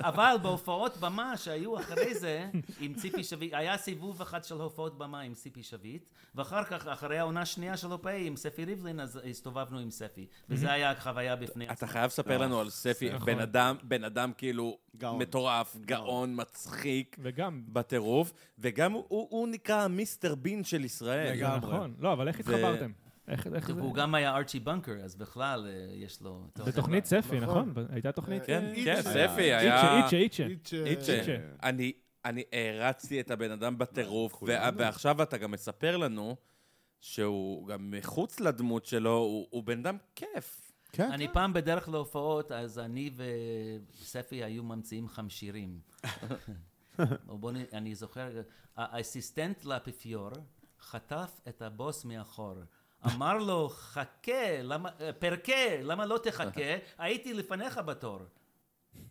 S5: אבל בהופעות במה שהיו אחרי זה, עם ציפי שביט, היה סיבוב אחד של הופעות במה עם ציפי שביט, ואחר כך, אחרי העונה השנייה של הופעי עם ספי ריבלין, אז הסתובבנו עם ספי. וזו הייתה חוויה בפני
S2: אתה
S5: עצמה.
S2: חייב לספר
S3: אה,
S2: לנו על ספי,
S3: נכון.
S2: בן אדם, בן אדם כאילו
S8: גאון.
S2: מטורף, גאון, מצחיק,
S3: וגם,
S2: בטירוף, וגם הוא- הוא הוא נקרא המיסטר בין של ישראל.
S3: זה נכון. לא, אבל איך התחברתם? איך איך זה?
S5: הוא גם היה ארצ'י בנקר, אז בכלל אה, יש לו... לא- אתה יודע,
S3: בתוכנית ספי, נכון? הייתה תוכנית...
S2: כן,
S3: אה,
S2: כן,
S7: איצ'ה.
S2: ספי
S3: איצ'ה,
S2: היה...
S3: איצ'ה, איצ'ה.
S7: איצ'ה.
S2: איצ'ה. אני, אני הערצתי את הבן אדם
S5: אה,
S2: בטירוף, וה- ועכשיו אתה גם מספר לנו שהוא גם מחוץ לדמות שלו, הוא, הוא בן אדם כיף.
S8: כן.
S5: אני פעם בדרך להופעות, אז אני וספי היו ממציאים חמשירים. או בוא נ... אני זוכר, האסיסטנט לאפיפיור חטף את הבוס מאחור. אמר לו, חכה, למה, אה, פרקה, למה לא תחכה? הייתי לפניך בתור.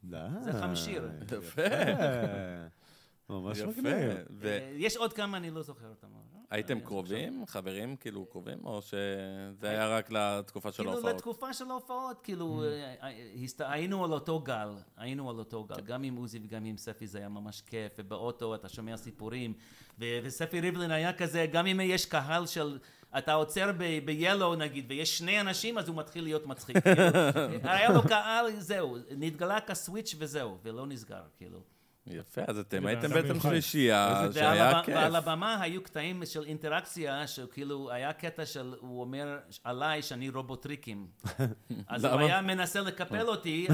S5: זה חמשיר.
S2: יפה.
S8: אה, ממש מגניב.
S2: יפה.
S5: אה, יש עוד כמה, אני לא זוכר אותם. אבל-
S2: והייתם
S5: אה,
S2: קרובים? חברים כאילו קרובים? או שזה היה רק לתקופה של
S5: כאילו
S2: ההופעות?
S5: לתקופה של ההופעות, כאילו,
S2: Mm.
S5: אה, אה, הסת- היינו על אותו גל, היינו על אותו
S2: כן.
S5: גל, גם עם עוזי וגם עם ספי זה היה ממש כיף, ובאוטו אתה שומע סיפורים, ו- וספי ריבלין היה כזה, גם אם יש קהל של, אתה עוצר ב- ב-Yellow נגיד, ויש שני אנשים, אז הוא מתחיל להיות מצחיק, כאילו, היה לו קהל, זהו, נתגלה כסוויץ' וזהו, ולא נסגר, כאילו.
S2: יפה, אז אתם
S3: זה
S2: הייתם
S3: בן אדם
S2: בעצם
S3: מיוחד.
S2: שלישייה,
S5: ועל
S2: שהיה
S5: הב- ועל
S2: כיף.
S5: הבמה היו קטעים של אינטראקציה, שכאילו היה קטע של, הוא אומר עליי שאני רובוטריקים. אז הוא
S2: למה?
S5: היה מנסה לקפל אותי,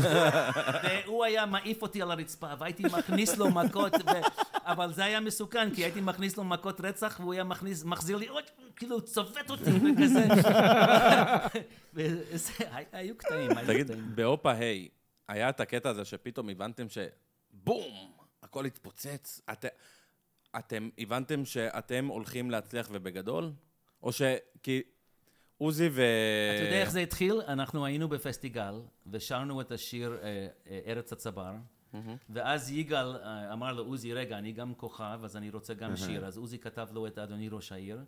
S5: והוא היה מעיף אותי על הרצפה, והייתי מכניס לו מכות, ו- אבל זה היה מסוכן, כי הייתי מכניס לו מכות רצח, והוא היה מכניס, מחזיר לי עוד, כאילו צובט אותי וכזה. וזה- היו קטעים, היו
S2: תגיד,
S5: קטעים.
S2: בהופה היי, היה את הקטע הזה שפתאום הבנתם שבום, הכל התפוצץ? את- אתם הבנתם שאתם הולכים להצליח ובגדול? או ש... כי עוזי ו...
S5: אתה יודע איך זה התחיל? אנחנו היינו בפסטיגל, ושרנו את השיר אה, אה, ארץ הצבר, ואז יגאל אה, אמר לעוזי, רגע, אני גם כוכב, אז אני רוצה גם שיר. אז עוזי כתב לו את אדוני ראש העיר.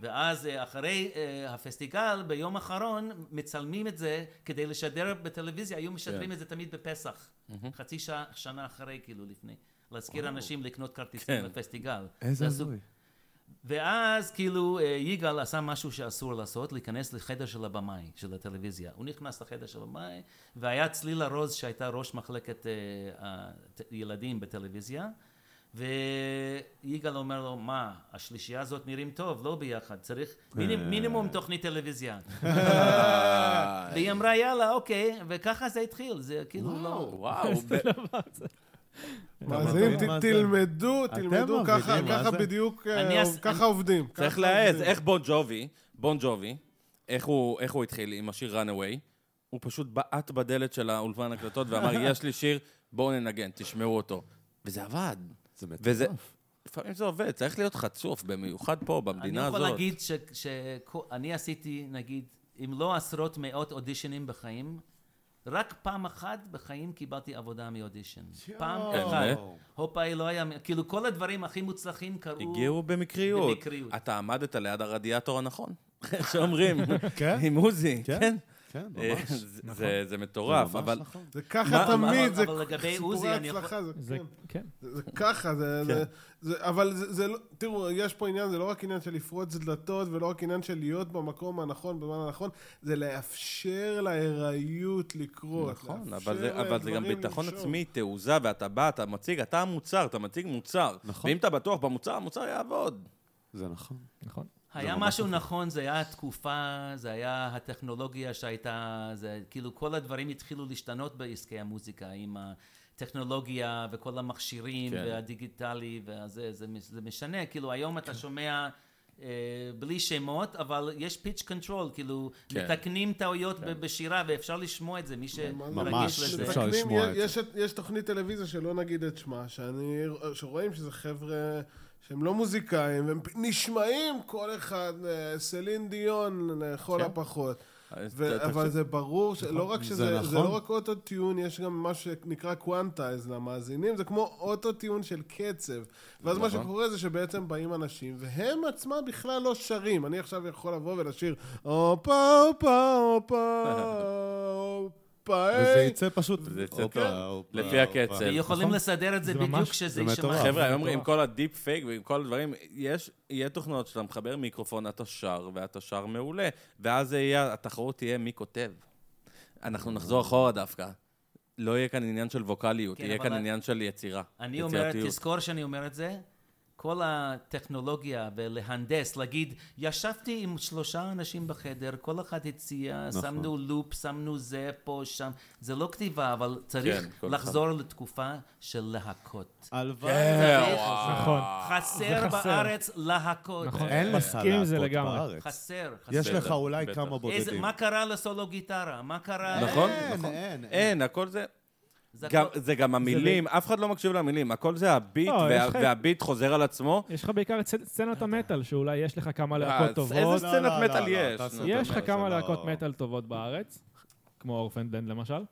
S5: ואז אה, אחרי אה, הפסטיגל, ביום האחרון, מצלמים את זה כדי לשדר בטלוויזיה, היו משדרים את זה תמיד בפסח. חצי שעה, שנה אחרי, כאילו, לפני. להזכיר אנשים לקנות כרטיסים
S2: כן.
S5: לפסטיגל.
S8: איזה
S5: ואז הוא-
S8: הזוי.
S5: ואז כאילו אה, יגאל עשה משהו שאסור לעשות, להיכנס לחדר של הבמאי, של הטלוויזיה. הוא נכנס לחדר של הבמאי, והיה צלילה רוז שהייתה ראש מחלקת אה, אה, ת- ילדים בטלוויזיה, ויגאל אומר לו, מה, השלישייה הזאת נראים טוב, לא ביחד, צריך
S2: אה.
S5: מיני- מינימום תוכנית טלוויזיה.
S2: אה.
S5: והיא אמרה, יאללה, אוקיי, וככה זה התחיל, זה כאילו לא...
S2: וואו, ב-
S7: מאזינים,
S4: מבין מה
S7: ת-
S4: זה?
S7: תלמדו,
S4: אתם
S7: תלמדו,
S4: מבינים
S7: ככה
S4: מה
S7: ככה
S4: זה?
S7: בדיוק, אה,
S5: אני אס-
S7: ככה
S5: אני-
S7: עובדים.
S2: צריך
S7: ככה
S2: להעז,
S7: עובדים.
S2: איך בון ג'ובי, בון ג'ובי, איך הוא איך הוא התחיל עם השיר runaway, הוא פשוט בעט בדלת של האולפן הקלטות ואמר, יש לי שיר, בואו ננגן, תשמעו אותו. וזה עבד.
S8: זה מטורף.
S2: וזה... לפעמים זה עובד, צריך להיות חצוף, במיוחד פה,
S5: אני
S2: במדינה
S5: יכול
S2: הזאת.
S5: להגיד שאני עשיתי, נגיד, אם לא עשרות מאות אודישנים בחיים, רק פעם אחת בחיים קיבלתי עבודה מאודישן. פעם
S2: כן,
S5: אחת.
S2: אה?
S5: הופאי לא היה, כאילו כל הדברים הכי מוצלחים קרו.
S2: הגיעו במקריות.
S5: במקריות.
S2: אתה עמדת ליד הרדיאטור הנכון, שאומרים,
S4: כן?
S2: עם עוזי, כן?
S8: כן, ממש.
S2: זה- זה- זה מטורף,
S8: ממש
S2: אבל...
S8: נכון.
S7: זה
S5: מה-
S7: ככה
S5: אבל-
S7: תמיד, זה
S5: אבל לגבי עוזי,
S7: סיפורי
S5: אני יכול- כן.
S7: הצלחה, זה
S3: זה,
S7: כן.
S3: כן.
S7: זה זה ככה, זה... זה- זה- אבל זה- זה לא... תראו, יש פה עניין, זה לא רק עניין של לפרוץ דלתות, ולא רק עניין של להיות במקום הנכון, בזמן הנכון, זה לאפשר לארעיות לקרות.
S2: נכון,
S7: לאפשר
S2: אבל זה, אבל זה גם
S7: לדברים
S2: ביטחון
S7: לנשום.
S2: עצמי, תעוזה, ואתה בא, אתה מציג, אתה המוצר, אתה מציג מוצר.
S8: נכון.
S2: ואם אתה בטוח במוצר, המוצר יעבוד.
S8: זה נכון.
S3: נכון.
S5: היה משהו נכון, זה היה התקופה, זה היה הטכנולוגיה שהייתה, זה כאילו כל הדברים התחילו להשתנות בעסקי המוזיקה, עם הטכנולוגיה וכל המכשירים
S2: כן.
S5: והדיגיטלי וזה, זה, מש- זה משנה, כאילו היום
S8: כן.
S5: אתה שומע אה, בלי שמות, אבל יש פיץ' קונטרול, כאילו
S2: כן.
S5: מתקנים טעויות ב- בשירה ואפשר לשמוע את זה, מי
S8: ממש,
S5: שרגיש לזה.
S8: אפשר
S7: מתקנים,
S8: לשמוע
S7: יש-
S8: את זה.
S7: יש, יש תוכנית טלוויזיה שלא נגיד את שמה, שאני, שרואים שזה חבר'ה שהם לא מוזיקאים, והם פ- נשמעים כל אחד, אה, סלין דיון אה, לכל
S2: כן.
S7: הפחות.
S2: אז אתה-
S7: ו-
S2: אתה-
S7: אבל זה ברור, שלא רק
S8: זה
S7: שזה, זה
S8: נכון.
S7: לא רק אוטוטיון, יש גם מה שנקרא קוונטייז למאזינים, זה כמו אוטוטיון של קצב. ואז מה
S8: נכון.
S7: שקורה זה שבעצם באים אנשים, והם עצמם בכלל לא שרים. אני עכשיו יכול לבוא ולשיר, הופה, הופה, הופה, הופה,
S8: וזה יצא פשוט...
S2: זה יצא
S8: הופה,
S2: טוב.
S8: הופה,
S2: לפי
S8: הופה.
S2: הקצב. נכון?
S5: יכולים לסדר את זה
S3: זה
S5: בדיוק
S3: ממש-
S5: כשזה
S8: זה
S5: יישמע.
S8: מטורף.
S2: חבר'ה, היום עם כל הדיפ פייק ועם כל הדברים, יש, יהיה תוכנות שאתה מחבר מיקרופון, אתה שר, ואתה שר מעולה, ואז זה יהיה, התחרות תהיה מי כותב. אנחנו נחזור אחורה דווקא. לא יהיה כאן עניין של ווקאליות,
S5: כן,
S2: יהיה
S5: אבל
S2: כאן
S5: אני-
S2: עניין של יצירה.
S5: אני אומר,
S2: יצירתיות.
S5: תזכור שאני אומר את זה, כל הטכנולוגיה ולהנדס, להגיד, ישבתי עם שלושה אנשים בחדר, כל אחד הציע,
S8: נכון.
S5: שמנו לופ, שמנו זה, פה, שם, זה לא כתיבה, אבל צריך
S2: כן, כל אחד.
S5: לחזור לתקופה של להקות.
S4: הלוואי.
S2: כן,
S5: צריך-
S3: נכון.
S5: חסר
S3: חסר.
S5: בארץ להקות.
S3: נכון.
S5: אה,
S4: אין לך.
S3: מסכים עם זה
S8: להקות
S3: לגמרי.
S8: בארץ.
S5: חסר, חסר.
S4: יש לך אולי
S2: בטח.
S4: כמה
S5: איזה-
S4: בודדים.
S5: מה קרה לסולו גיטרה? מה קרה?
S2: נכון?
S4: אין,
S2: נכון.
S4: אין, אין.
S2: אין, הכל זה...
S5: זה
S2: גם,
S5: הכל-
S2: זה גם המילים, אף אחד לא מקשיב למילים, הכל זה הביט,
S3: לא,
S2: וה-
S3: יש לך-
S2: והביט חוזר על עצמו.
S3: יש לך בעיקר את סצ- סצנת המטאל, שאולי יש לך כמה
S2: לא אה,
S3: להקות
S2: איזה
S3: טובות.
S4: לא,
S2: סצנת
S4: לא, לא,
S2: מטאל
S4: לא,
S2: יש?
S4: תעשה
S2: נו.
S4: את
S3: יש
S4: זה
S3: לך כמה
S4: לא-
S3: להקות מטאל טורבות בארץ, כמו אורפנדלנד למשל,
S8: ברור.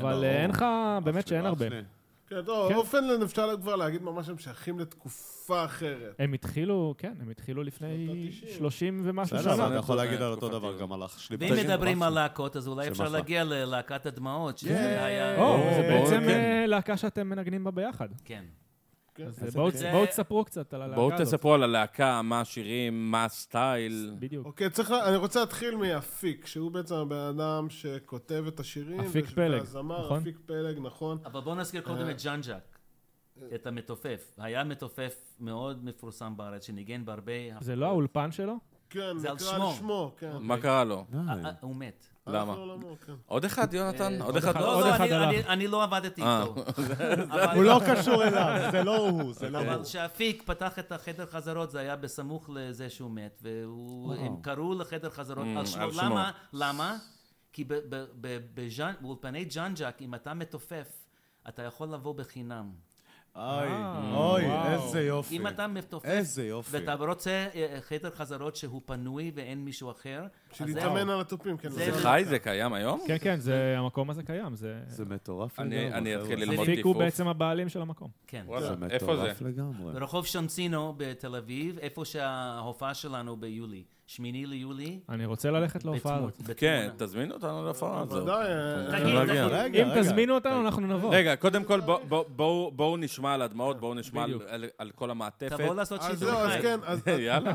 S3: אבל אה, אין לך, באמת שאין הרבה.
S8: שני.
S7: כן, טוב,
S3: כן.
S7: אופנלנד אפשר כבר להגיד ממש הם שייכים לתקופה אחרת.
S3: הם התחילו, כן, הם התחילו
S7: שנות
S3: לפני
S7: ה-תשעים.
S3: 30 ומשהו
S8: בסדר,
S3: שנה.
S8: אבל אתה יכול
S2: זה
S8: להגיד על אותו
S2: תקופתי.
S8: דבר גם על אח שלי.
S5: ואם
S8: בטח.
S5: מדברים על להקות, אז אולי
S8: שם
S5: אפשר
S8: אחלה.
S5: להגיע ללהקת הדמעות, שזה היה...
S3: או,
S2: זה
S3: זה בעצם
S2: כן.
S3: אה, להקה שאתם מנגנים בה ביחד.
S5: כן.
S3: אז אה, בואו
S5: זה-
S3: בואו תספרו קצת על
S2: בואו
S3: הלהקה הזאת.
S2: תספרו על הלהקה, מה השירים, מה הסטייל.
S3: בדיוק.
S7: אוקיי, צריך, לה- אני רוצה להתחיל מאפיק, שהוא בעצם הבן אדם שכותב את השירים.
S3: אפיק
S7: וש-
S3: פלג,
S7: והזמר,
S3: נכון?
S7: אפיק פלג, נכון.
S5: אבל בואו נזכיר קודם את ג'אנג'אק,
S3: אה,
S5: את המתופף. היה מתופף מאוד מפורסם בארץ, שניגן בהרבה...
S3: זה אוקיי. לא האולפן שלו?
S7: כן,
S5: זה על
S7: נקרא
S5: שמו.
S7: על שמו, כן.
S2: מה קרה לו?
S5: אה, אה, הוא מת.
S7: הלך
S4: לא,
S2: למה?
S7: לעולמו,
S4: אוקיי.
S7: כן.
S2: עוד אחד, יונתן? עוד אחד?
S5: לא,
S3: אה, עוד
S5: לא,
S3: אחד
S5: אני-
S3: הלך.
S5: אני- אני לא עבדתי
S2: אה.
S5: איתו.
S4: הוא
S5: אבל-
S4: לא קשור אליו, זה לא הוא, זה לא
S5: אבל
S2: אוקיי.
S4: הוא.
S5: כשאפיק פתח את החדר חזרות, זה היה בסמוך לזה שהוא מת, והם קראו לחדר חזרות
S2: Mm,
S5: על
S2: על
S5: שמו.
S2: שמו.
S5: למה? למה? כי ב- ב- ב- בז'אן- באולפני ג'אנג'אק, אם אתה מתופף, אתה יכול לבוא בחינם.
S4: אוי,
S3: אה,
S4: אוי,
S3: וואו.
S8: איזה יופי.
S5: אם אתה מתופף,
S8: איזה יופי.
S5: ואתה רוצה אה, חדר חזרות שהוא פנוי ואין מישהו אחר, אז זהו.
S7: שלהתאמן על התופים, כן.
S5: זה-
S7: זה-
S2: חי זה קיים היום?
S3: כן, כן, זה, המקום הזה קיים, זה...
S8: זה מטורף
S2: אני-
S8: לגמרי.
S2: אני
S8: חבר'ה.
S2: אתחיל ללמוד
S3: הפיקו
S2: טיפוף.
S3: בעצם הבעלים של המקום.
S5: כן.
S2: וואלה,
S8: זה
S2: איפה זה?
S8: מטורף לגמרי.
S5: ברחוב שונצינו בתל אביב, איפה שההופעה שלנו ביולי. שמיני ליולי.
S3: אני רוצה ללכת להופעה
S5: בתמונה-
S3: הזאת.
S5: בתמונה.
S2: כן, תזמינו אותנו להופעה הזאת.
S7: ודאי, אה,
S5: תגיד,
S2: רגע,
S5: תגיד.
S8: רגע,
S3: אם
S8: רגע.
S3: תזמינו אותנו, אנחנו נבוא.
S2: רגע, קודם כל,
S7: אה.
S2: בוא- בוא- בואו בואו נשמע על הדמעות, בואו נשמע על-
S3: בדיוק.
S2: על- על כל המעטפת.
S5: תבואו לעשות
S7: אז
S5: שידור
S7: זהו, אז
S5: חי.
S7: כן, אז-
S2: יאללה.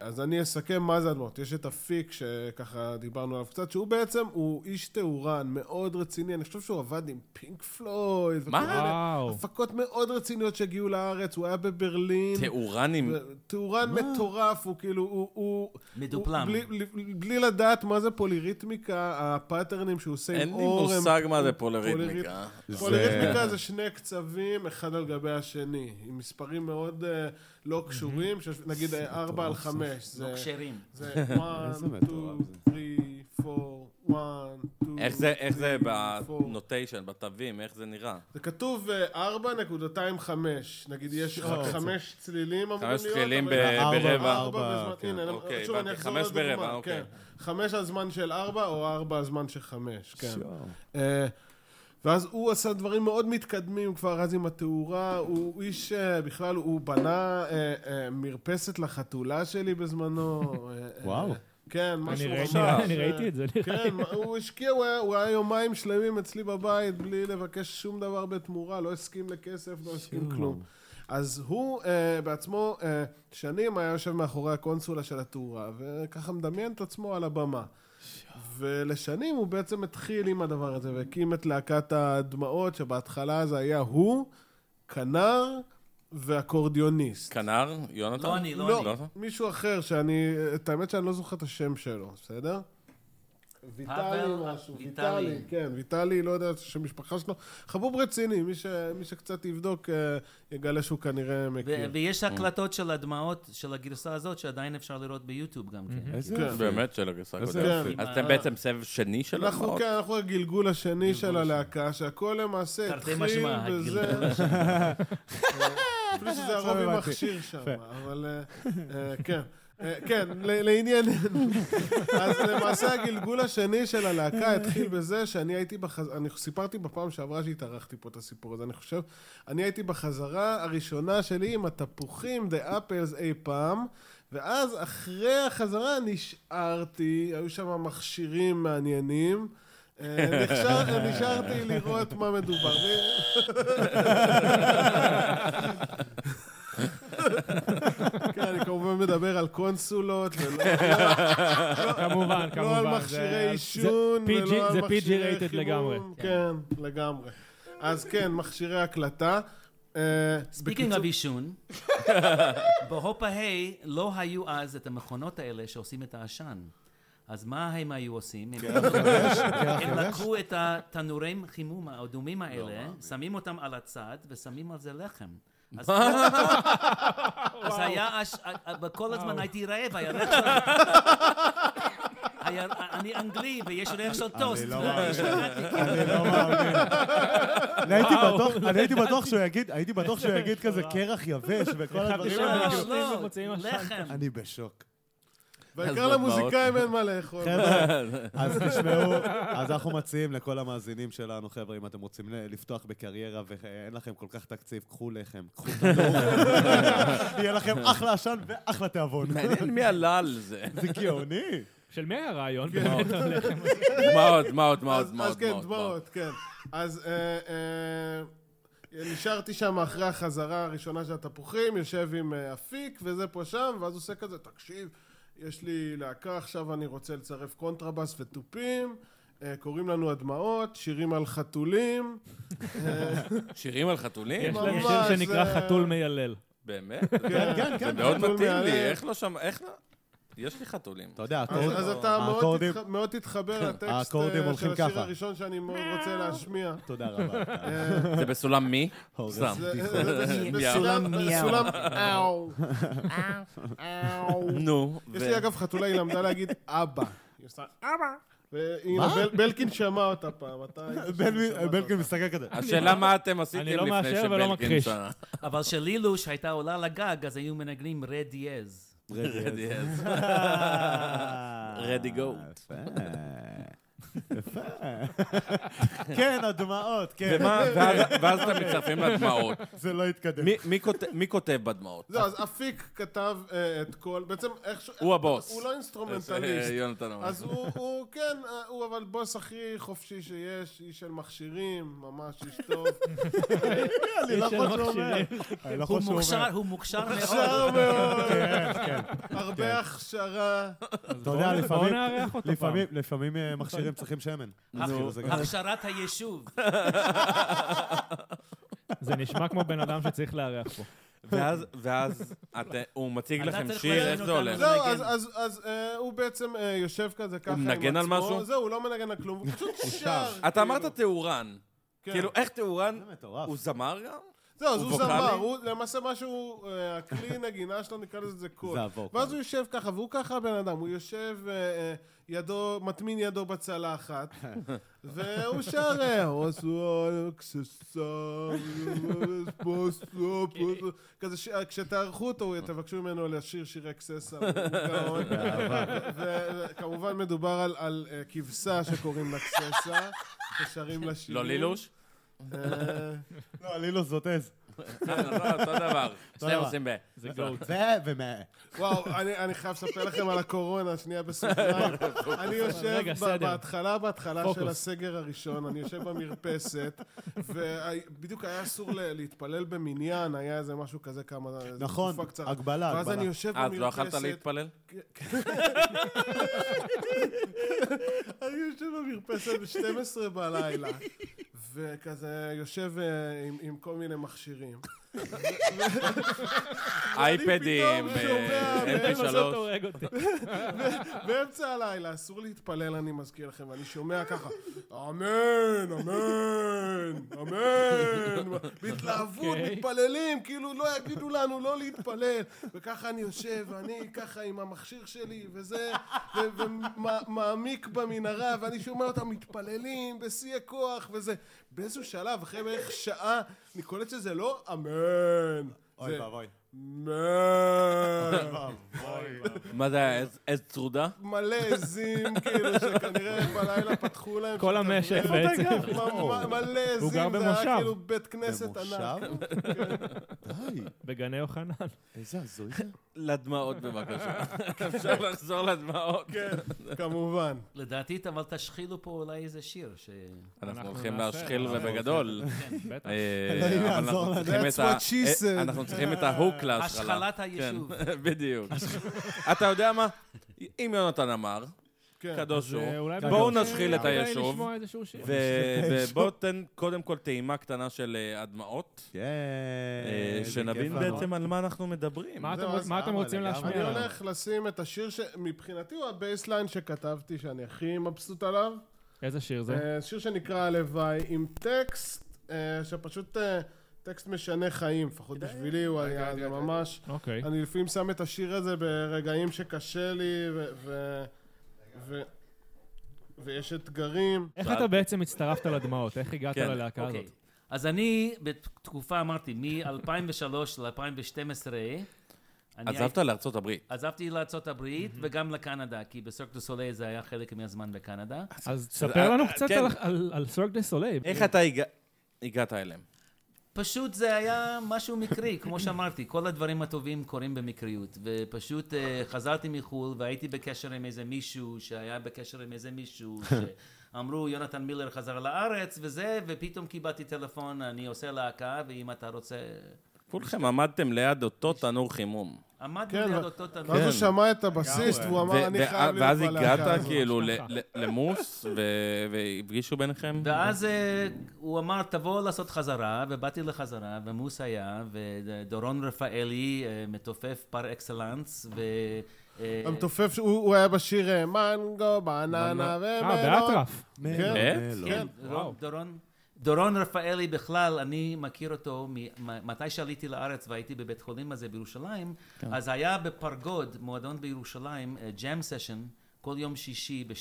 S7: אז אני אסכם מה זה הדמעות. יש את אפיק, שככה דיברנו עליו קצת, שהוא בעצם, הוא איש תאורן מאוד רציני, אני חושב שהוא עבד עם פינק פלויד.
S2: מה?
S7: וכל מיני
S3: וואו.
S7: הפקות מאוד רציניות שהגיעו לארץ, הוא היה בברלין.
S2: תאורנים.
S7: תאורן מטורף, הוא כאילו, הוא... הוא
S5: מדופלם.
S7: הוא- בלי- בלי- בלי לדעת מה זה פוליריתמיקה, הפאטרנים שהוא עושה עם
S2: אין לי
S7: אור. הם-
S2: מושג מה זה
S7: פולריתמיקה.
S2: פולריתמיקה.
S7: פוליריתמיקה זה שני קצבים, אחד על גבי השני, עם מספרים מאוד אה, לא קשורים, שיש- נגיד 4 על 5.
S5: לא כשרים.
S7: זה 1,
S8: איזה
S7: 2,
S8: מטורף
S7: 3, 4, 1, 2,
S2: איך זה, איך זה
S7: 4.
S2: בנוטיישן, בתווים, איך זה נראה?
S7: זה כתוב אה, 4.25, נגיד יש
S8: שעות.
S7: רק חמש צלילים אמורים להיות.
S2: חמש צלילים
S7: אבל-
S2: ב-
S8: ארבע,
S2: ברבע.
S8: ארבע,
S7: ארבע בזמן,
S8: כן.
S7: הנה,
S2: אוקיי,
S7: שוב אני
S2: הבנתי,
S7: אחזור
S2: חמש ברבע,
S7: לדוגמה,
S2: אוקיי.
S7: כן. חמש הזמן של ארבע, או ארבע הזמן של חמש, כן. אה, ואז הוא עשה דברים מאוד מתקדמים כבר אז עם התאורה, הוא איש, אה, בכלל, הוא בנה אה, אה, מרפסת לחתולה שלי בזמנו. אה, אה,
S8: וואו.
S7: כן, משהו
S3: אני ראיתי-
S7: ממש,
S3: אני
S7: אה,
S3: ראיתי את זה, נראה
S7: כן, מה- הוא השקיע, הוא היה- הוא היה יומיים שלמים אצלי בבית בלי לבקש שום דבר בתמורה, לא הסכים לכסף, לא הסכים כלום. אז הוא אה, בעצמו אה, שנים היה יושב מאחורי הקונסולה של התאורה, וככה מדמיין את עצמו על הבמה. ולשנים הוא בעצם התחיל עם הדבר הזה, והקים את להקת הדמעות, שבהתחלה זה היה הוא, כנר ואקורדיוניסט.
S2: כנר? יונתן?
S5: לא אני, לא
S7: לא, מישהו אחר שאני, את האמת שאני לא זוכר את השם שלו, בסדר? ויטלי
S5: פאבל,
S7: משהו,
S5: ויטלי.
S7: ויטלי, כן, ויטלי, לא יודע את שם משפחה שלו. חבוב רציני, מי ש- מי שקצת יבדוק אה, יגלה שהוא כנראה מכיר.
S2: כן.
S5: ו- ויש
S2: Mm.
S5: הקלטות של הדמעות של הגרסה הזאת שעדיין אפשר לראות ביוטיוב גם כן. אה,
S8: איזה
S7: כן.
S8: יופי.
S2: באמת של הגרסה
S8: איזה
S2: הקודמת.
S7: יופי.
S2: אז אתם בעצם סבב שני של
S7: אנחנו,
S2: הדמעות?
S7: כן, אנחנו הגלגול השני של הלהקה, שהכל למעשה
S5: תרתי
S7: התחיל
S5: משמע,
S7: בזה...
S5: הגלגול לא
S7: אפילו שזה הרוב עם מכשיר שם, אבל אה, אה, כן. אה, כן, ל- לענייננו. אז למעשה הגלגול השני של הלהקה התחיל בזה שאני הייתי בחזרה, אני סיפרתי בפעם שעברה שהתארחתי פה את הסיפור הזה, אני חושב, אני הייתי בחזרה הראשונה שלי עם התפוחים, דה אפלס אי פעם, ואז אחרי החזרה נשארתי, היו שם מכשירים מעניינים. אה, נשאר- נשארתי לראות מה מדובר. כן, אני כמובן מדבר על קונסולות, ולא
S3: כמובן, כמובן.
S7: לא על
S3: זה-
S7: מכשירי
S3: זה
S7: עישון,
S3: PG
S7: ולא על
S3: זה PG
S7: מכשירי
S3: rated לגמרי.
S7: חימום. כן, לגמרי. אז כן, מכשירי הקלטה. אה,
S5: ספיקינג אב עישון, בהופה היי לא היו אז את המכונות האלה שעושים את העשן. אז מה הם היו עושים?
S8: כן.
S5: הם- הם לקחו את התנורי חימום האדומים
S3: לא
S5: האלה, שמים אותם על הצד ושמים על זה לחם. אז אז היה, אש- אה, בכל הזמן הייתי רעב, היה ריח של... היה- אני אנגלי ויש ריח של טוסט.
S4: לא
S5: ואני
S4: מאמין.
S5: השתגעתי.
S4: אני לא מאמין. אני הייתי בטוח- אני הייתי בטוח שהוא יגיד, הייתי בטוח שהוא יגיד כזה קרח יבש וכל הדברים האלה.
S5: לא,
S3: מבשלים
S5: לא,
S3: ומוציאים עשן.
S5: לחם.
S8: אני בשוק.
S7: בעיקר למוזיקאים אין מה לאכול.
S4: חבר'ה, אז תשמעו, אז אנחנו מציעים לכל המאזינים שלנו, חבר'ה, אם אתם רוצים ל- לפתוח בקריירה ואין לכם כל כך תקציב, קחו לחם, קחו תנור. יהיה לכם אחלה עשן ואחלה תיאבון.
S2: מעניין מי עלה על זה.
S4: זה גאוני.
S3: של מי היה הרעיון?
S7: כן.
S3: באמת,
S7: לא
S3: הלחם הזה?
S2: דמעות, דמעות, דמעות,
S7: אז
S2: דמעות.
S7: אז כן, דמעות, כן. אז אה, אה, נשארתי שם אחרי החזרה הראשונה של התפוחים, יושב עם אה, אפיק וזה פה שם, ואז הוא עושה כזה, תקשיב, יש לי להקה, עכשיו אני רוצה לצרף קונטרבאס ותופים. אה, קוראים לנו הדמעות, שירים על חתולים. אה,
S2: שירים על חתולים?
S3: יש להם
S7: ממש,
S3: שיר שנקרא
S7: אה,
S3: חתול מיילל.
S2: באמת?
S7: כן, כן,
S2: זה מאוד
S7: חתול
S2: מתאים
S7: מהלב.
S2: לי, איך לא שם... איך לא... יש לי חתולים.
S8: אתה יודע,
S7: אז
S8: אתה...
S7: אז אתה מאוד
S4: האקורדים-
S7: תתח- מאוד תתחבר לטקסט
S4: האקורדים
S7: אה, של
S4: כן, הולכים
S7: השיר
S4: ככה.
S7: הראשון שאני מאוד רוצה להשמיע. אה,
S4: תודה רבה.
S2: זה בסולם מי?
S4: אורן.
S2: סתם.
S7: זה- זה- זה-
S2: מיאו.
S7: בסולם,
S5: מיאו.
S7: בסולם, אאו, אאו.
S2: נו.
S7: יש
S2: ו-
S7: לי אגב חתולה, היא למדה להגיד אבא. היא עושה אבא. והנה, בל- בלקין שמע אותה פעם, אתה... היית שם, שמעת אותה.
S4: בלקין מסתכל כזה.
S2: השאלה מה אתם עשיתם
S3: לא
S2: לפני
S3: מאשר ולא
S2: שבלגין
S3: מכחיש.
S2: שנה.
S5: אבל של אילוש הייתה עולה לגג, אז היו מנגנים רד דיאז.
S2: רדי אז. Ready go.
S4: יפה. יפה. כן, הדמעות, כן.
S2: ומה- ואז- ואז אתם מצטרפים לדמעות.
S4: זה לא התקדם.
S2: מי- מי כות- מי כותב בדמעות?
S7: זהו, לא, אז אפיק כתב אה, את כל... בעצם איך ש...
S2: הוא הבוס.
S7: הוא לא אינסטרומנטליסט.
S2: אה, יונתן אומר.
S7: אז הוא, הוא, כן, אה, הוא אבל בוס הכי חופשי שיש, איש של מכשירים, ממש איש טוב.
S4: אני לא יכול שהוא אומר. אני לא
S5: הוא
S4: יכול שהוא
S5: מוכשר,
S4: אומר.
S5: הוא מוכשר מאוד.
S7: שר מאוד,
S4: כן, כן.
S7: הרבה הכשרה.
S4: אתה יודע,
S3: בואו
S4: לפעמים...
S3: נארח אותו פעם.
S4: לפעמים, לפעמים אה, מכשירים צריכים שמן.
S2: נכון.
S4: אז כאילו, זה גם-
S5: הכשרת היישוב.
S3: זה נשמע כמו בן אדם שצריך לארח פה.
S2: ואז- ואז אתה- הוא מציג
S5: אתה
S2: לכם
S5: צריך
S2: שיר,
S5: לראיין
S2: איך זה
S5: אותנו.
S2: הולך?
S7: זהו,
S5: מנגן.
S7: אז, אז, אז אה, הוא בעצם אה, יושב כזה ככה עם עצמו.
S2: מנגן על משהו?
S7: זהו, הוא לא מנגן על כלום, הוא פשוט שר.
S2: אתה אמרת
S7: כאילו.
S2: תאורן.
S7: כן.
S2: כאילו, איך תאורן?
S4: זה מטורף.
S2: הוא זמר גם?
S7: זהו, לא, אז
S2: הוא
S7: הוא
S2: ווקאלי?
S7: זמר, הוא למעשה משהו, אה, הכלי נגינה שלו, נקרא לזה זה קול.
S4: זה הווקאל.
S7: ואז הוא יושב ככה, והוא ככה הבן אדם, הוא יושב, אה, אה, ידו, מטמין ידו בצלחת, והוא שר, אה, "עשו אקססם, אספסו, פסו", לא, כזה, ש- כשתערכו אותו, תבקשו ממנו לשיר שירי אקססם. וכמובן מדובר על- על אה, כבשה שקוראים לה אקססה, ששרים לה שירים.
S2: לא לילוש?
S7: אה,
S4: לא, לי לא זאת עז.
S2: לא, אותו דבר. שניהם
S4: דבר.
S2: עושים ב...
S3: זה גאוט.
S4: זה ומה.
S7: וואו, אני, אני חייב לספר לכם על הקורונה, שנייה בסוגריים. אני יושב
S3: רגע,
S7: ב-
S3: סדר.
S7: בהתחלה, בהתחלה של
S3: פוקוס.
S7: הסגר הראשון, אני יושב במרפסת, ובדיוק היה אסור ל- להתפלל במניין, היה איזה משהו כזה כמה...
S4: נכון,
S7: תקופה קצרה.
S4: הגבלה,
S7: ואז
S4: הגבלה.
S7: אני יושב
S2: אה, אז לא יכלת
S7: במרפסת,
S2: להתפלל?
S7: אני יושב במרפסת ב-12 בלילה, וכזה יושב אה, עם, עם כל מיני מכשירים.
S2: אייפדים,
S7: פתאום שומע,
S2: mp3.
S3: בסוף אתה הורג אותי.
S7: באמצע הלילה, אסור להתפלל, אני מזכיר לכם, ואני שומע ככה, אמן, אמן, אמן, בהתלהבות,
S3: אוקיי.
S7: מתפללים, כאילו לא יגידו לנו לא להתפלל, וככה אני יושב, ואני ככה עם המכשיר שלי, וזה, ומעמיק במנהרה, ואני שומע אותם מתפללים בשיא הכוח, וזה, באיזשהו שלב, אחרי בערך שעה, אני קולט שזה לא אמן,
S4: אוי
S7: זה
S4: ואבוי. אה,
S7: אמן.
S2: מה זה היה, עז- עז צרודה?
S7: מלא עזים, כאילו, שכנראה בלילה פתחו להם.
S3: כל
S7: שאתה
S3: המשק
S7: מבין.
S3: בעצם.
S7: מ- מ- מלא עזים,
S3: גר
S7: זה היה
S3: במושב.
S7: כאילו בית כנסת ענק. כן.
S4: במושב?
S3: בגני יוחנן.
S4: איזה הזוי.
S2: לדמעות בבקשה. אפשר לחזור לדמעות?
S7: כן, כמובן.
S5: לדעתי, אבל תשחילו פה אולי איזה שיר. ש-
S2: אנחנו
S3: אנחנו
S2: הולכים
S3: נעשה,
S2: להשחיל
S3: אנחנו כן,
S2: ובגדול.
S3: בטח.
S2: אה,
S7: לא,
S4: אלוהים
S2: אבל
S4: יעזור
S2: אנחנו
S4: לנו.
S2: צריכים את
S7: That's
S2: ה-
S7: what she said.
S2: אה, אנחנו צריכים את ההוק להשחלה.
S5: השחלת היישוב.
S2: כן, בדיוק. אתה יודע מה? אם יונתן אמר,
S7: כן.
S2: קדוש הוא,
S3: אה, אולי
S2: בואו
S3: בגלל-
S2: נשחיל את
S3: אולי
S2: היישוב,
S3: לשמוע איזשהו שיר.
S2: ובואו תן קודם כל טעימה קטנה של אה, הדמעות,
S4: כן.
S2: אה,
S4: זה
S2: שנבין
S4: כיף לנו.
S2: בעצם על מה אנחנו מדברים.
S3: מה אתם-
S7: זהו, אז
S3: מה אתם
S4: למה,
S3: רוצים
S4: לגמרי.
S3: להשמיע
S7: אני
S3: לנו?
S7: הולך לשים את השיר שמבחינתי הוא הבייסליין שכתבתי, שאני הכי מבסוט עליו.
S3: איזה שיר זה?
S7: אה, שיר שנקרא הלוואי, עם טקסט, אה, שפשוט אה, טקסט משנה חיים, לפחות בשבילי הוא היה, זה ממש...
S3: אוקיי.
S7: אני לפעמים שם את השיר הזה ברגעים שקשה לי, ו... ו- ו- ויש אתגרים.
S3: איך אתה בעצם הצטרפת לדמעות? איך הגעת
S2: כן,
S3: ללהקה
S5: אוקיי.
S3: הזאת?
S5: אז אני בתקופה, אמרתי, מ-2003 ל-2012,
S2: עזבת לארצות הברית.
S5: עזבתי לארצות הברית וגם לקנדה, כי בסרק דו סולי זה היה חלק מהזמן בקנדה.
S3: אז תספר לנו
S2: אה,
S3: קצת
S2: כן.
S3: על- על- על סורק דה סולי.
S2: איך אתה הגע- הגעת אליהם?
S5: פשוט זה היה משהו מקרי, כמו שאמרתי, כל הדברים הטובים קורים במקריות. ופשוט uh, חזרתי מחו"ל והייתי בקשר עם איזה מישהו שהיה בקשר עם איזה מישהו שאמרו, יונתן מילר חזר לארץ וזה, ופתאום קיבלתי טלפון, אני עושה להקה, ואם אתה רוצה...
S2: כולכם עמדתם ליד אותו תנור חימום.
S5: עמדנו
S7: כן,
S5: ליד
S7: ו-
S5: אותו תנור.
S7: ואז הוא שמע את הבסיסט, והוא אמר,
S2: ו-
S7: אני
S2: ו-
S7: חייב להיות
S2: ואז
S7: בלהקה
S2: הגעת
S7: הזאת."
S2: כאילו ל- ל- למוס, ו- והפגישו ביניכם?
S5: ואז אה, הוא אמר, תבוא לעשות חזרה, ובאתי לחזרה, ומוס היה, ודורון רפאלי, אה, מתופף פר אקסלנס, ו... אה,
S7: המתופף, שהוא- הוא היה בשיר אה, מנגו, בננה
S3: אה,
S7: ומלון.
S3: באטרף.
S2: באמת?
S5: כן,
S7: כן,
S5: דורון- דורון. דורון רפאלי בכלל, אני מכיר אותו מ- מתי שעליתי לארץ והייתי בבית חולים הזה בירושלים,
S2: כן.
S5: אז היה אה, בפרגוד, מועדון בירושלים, ג'אם סשן, כל יום שישי ב-12.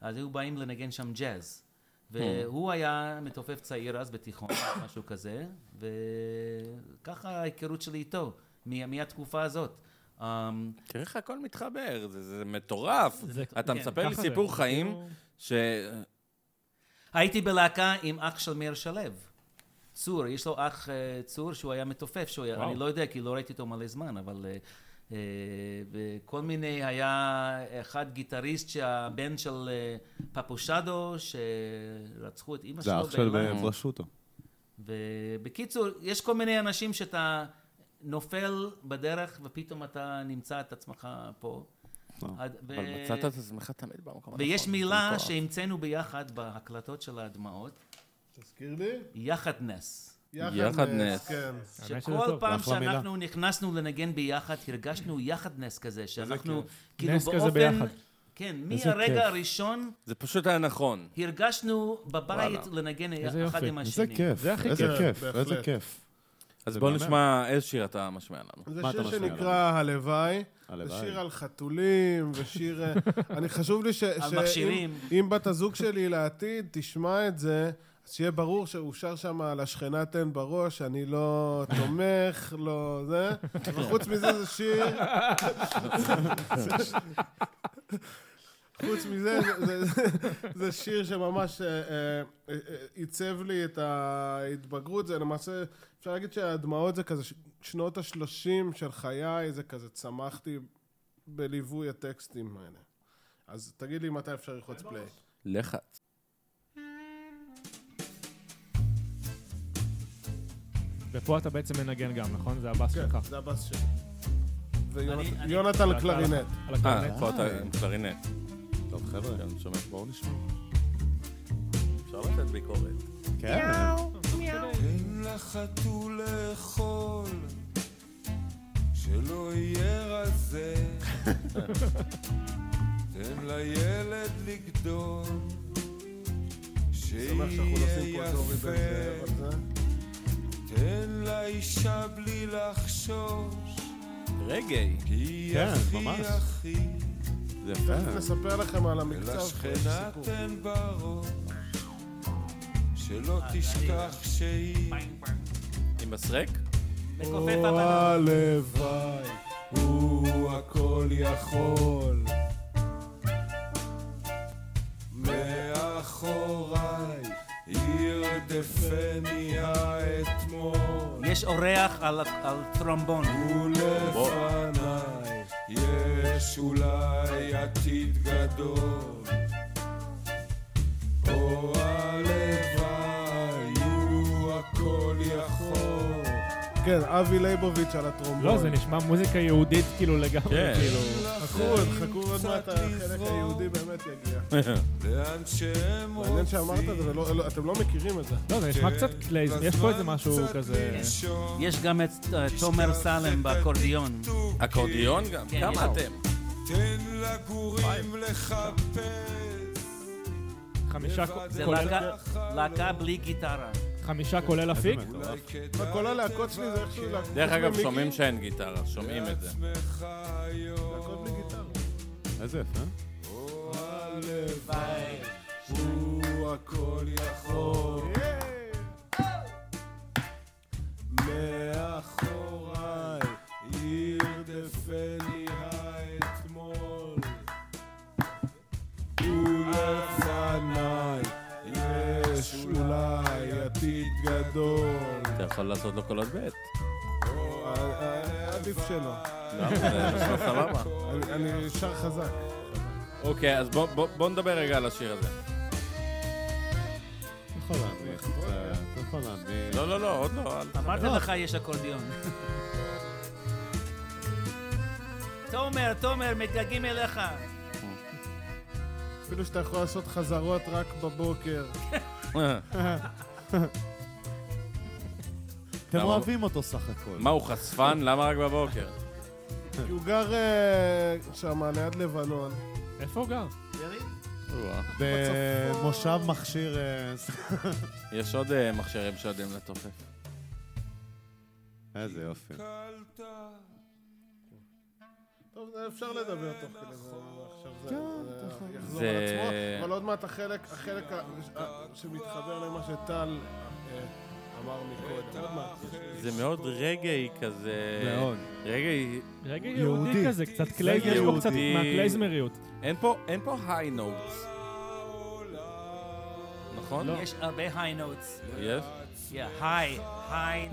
S5: אז היו באים לנגן שם ג'אז.
S2: Hmm.
S5: והוא היה מתופף צעיר אז בתיכון, משהו כזה, וככה ההיכרות שלי איתו, מה- מהתקופה הזאת. אמ,
S2: תראה איך הכל מתחבר, זה- זה מטורף.
S3: זה-
S2: אתה
S5: כן,
S2: מספר לי
S3: ככה זה,
S2: סיפור חיים
S3: כאילו-
S2: ש...
S5: הייתי בלהקה עם אח של מאיר שלו, צור, יש לו אח אה, צור שהוא היה מתופף, שהוא היה,
S3: וואו.
S5: אני לא יודע כי לא ראיתי אותו מלא זמן, אבל אה, אה, בכל מיני, היה אחד גיטריסט שהבן של אה, פפושדו, שרצחו את אימא שלו.
S8: זה אח של
S5: באילת.
S8: אה, פרשוטו.
S5: ובקיצור, יש כל מיני אנשים שאתה נופל בדרך ופתאום אתה נמצא את עצמך פה. עד- ו-
S2: אבל מצאת את עצמך תמיד במקום הנכון.
S5: ויש מילה
S2: מטורף.
S5: שהמצאנו ביחד בהקלטות של הדמעות,
S7: תזכיר לי.
S5: יחדנס.
S2: יחד נס.
S7: כן.
S3: האמת שזה
S5: שכל
S3: טוב.
S5: פעם
S4: אחלה מילה.
S5: שאנחנו נכנסנו לנגן ביחד, הרגשנו יחד נס כזה, שאנחנו כאילו
S3: נס כזה
S5: באופן...
S3: ביחד.
S5: כן,
S3: איזה כיף.
S5: מהרגע הראשון
S2: זה פשוט היה נכון.
S5: הרגשנו בבית
S2: וואלה.
S5: לנגן
S3: איזה
S5: אחד
S3: יופי.
S5: עם
S8: איזה
S5: השני.
S8: כיף,
S3: זה הכי
S8: איזה
S7: כיף.
S8: כיף,
S7: בהחלט.
S8: איזה כיף.
S2: אז
S8: זה
S2: בואו
S8: מהמם.
S2: נשמע איזה שיר אתה משמיע לנו.
S7: זה
S8: מה אתה
S7: שיר
S8: משמיע
S7: שנקרא הלוואי. זה
S8: הלוואי.
S7: שיר על חתולים, ושיר... אה, אני חשוב לי ש...
S5: על
S7: שאם-
S5: מכשירים.
S7: אם בת הזוג שלי לעתיד תשמע את זה, אז שיהיה ברור שהוא שר שם על השכנה תן בראש, אני לא תומך, לא זה. וחוץ מזה זה שיר... חוץ מזה, זה- זה- זה שיר שממש אה, אה, אה, עיצב לי את ההתבגרות. זה למעשה, אפשר להגיד שהדמעות זה כזה ש- שנות ה-30 של חיי, זה כזה צמחתי בליווי הטקסטים האלה. אז תגיד לי מתי אפשר ללחוץ פליי.
S2: לחץ.
S3: ופה אתה בעצם מנגן גם, נכון? זה הבאס שלך.
S7: כן, זה הבאס שלי.
S5: אני- אני-
S7: ויונתן על קלרינט.
S3: על הקלרנט.
S2: אה, פה אתה עם קלרינט.
S8: טוב, חבר'ה,
S2: כן, שומע. בואו נשמע. אפשר לתת ביקורת.
S8: כן.
S9: תן לחתול לאכול, שלא יהיה רזה. תן לילד לגדול,
S7: אני שמח שאנחנו לא עושים
S9: שיהיה
S7: פה את אורי בן זאב
S9: יפה.
S7: על זה.
S9: תן לאישה בלי לחשוש,
S2: רגעי.
S9: כי היא
S8: כן,
S9: הכי
S8: ממש.
S9: הכי.
S2: זה יפה.
S7: תכף נספר לכם על המקצב.
S9: ולשכנה תן בראש,
S5: אה,
S9: שלא תשכח שהיא...
S2: עם מסרק?
S5: וכופף
S7: או
S5: הבנות.
S7: הלוואי,
S9: הוא הכל יכול. מאחוריי ירדפני האתמול,
S5: יש אורח על על טרומבון.
S9: ולפניי יש אולי עתיד גדול. או הלוואי הוא הכל יכול.
S7: כן, אבי ליבוביץ' על הטרומבון.
S3: לא, זה נשמע מוזיקה יהודית כאילו לגמרי,
S2: כן.
S3: כאילו.
S7: חכו, עוד, חכו עוד מעט החלק היהודי באמת יגיע.
S9: לאן שהם
S7: מעניין
S9: רוצים
S7: שאמרת את זה, ולא- לא- אתם לא מכירים את זה.
S3: לא, זה נשמע קצת
S9: כן.
S3: קלייז, יש פה איזה משהו כזה... כן.
S9: לישון.
S5: כן. יש גם את אה, תומר סלם באקורדיון.
S2: אקורדיון גם?
S5: כן,
S2: כמה
S5: יש. כן.
S2: אתם?
S9: תן לגורים לחפש.
S3: חמישה
S5: זה
S3: כולל-
S5: להקה- להקה בלי גיטרה.
S3: חמישה כולל אפיק?
S9: אולי כדאי
S7: כל הלהקות שלי זה
S5: כן.
S7: איכשהו להקות
S2: דרך אגב,
S7: במיקי,
S2: שומעים שאין גיטרה, שומעים את זה.
S9: לעצמך היום.
S7: להקות בלי גיטרה.
S8: איזה יפה.
S2: אה?
S9: הלוואי הוא הכל יכול. מאחוריי ירדפני האתמול. ולפניי יש אולי עתיד גדול.
S2: אתה יכול לעשות לו קולות ב'.
S7: אה, אה, עדיף שלא.
S2: למה? זה נשמע סבבה.
S7: אני- אני שר חזק.
S2: אוקיי, אז בוא- בוא- בוא נדבר רגע על השיר הזה.
S8: אתה יכול להנמיך את
S4: אה,
S8: זה, אתה יכול להנמיך.
S2: לא, לא, לא, עוד לא. אל-
S5: אמרתי לך יש אקורדיון. תומר, תומר, מתגעגעים אליך.
S7: אפילו שאתה יכול לעשות חזרות רק בבוקר.
S4: אתם
S2: למה?
S4: אוהבים אותו סך הכל.
S2: מה, הוא חשפן? למה רק בבוקר?
S7: כי הוא גר אה, שם, ליד לבנון.
S3: איפה הוא גר?
S4: במושב מכשיר... אה, ס-
S2: יש עוד אה, מכשירים שיודעים לתופף.
S8: איזה יופי.
S7: טוב, זה אפשר לדבר תוך כדי זה, עכשיו זה-
S3: כן,
S7: זה יחזור על
S2: זה-
S7: עצמו, אבל עוד מעט החלק, החלק ה- ה- שמתחבר למה שטל אה, אמר מקודם, עוד מעט.
S2: זה מאוד רגעי כזה.
S4: מאוד.
S2: רגעי,
S3: רגע
S4: יהודי.
S3: יהודי כזה, קצת קלייז, יש פה
S2: יהודי.
S3: קצת מהקלייזמריות.
S2: אין פה, אין פה היי נוטס. נכון?
S3: לא.
S5: יש הרבה היי נוטס.
S2: יש?
S5: היי, היי.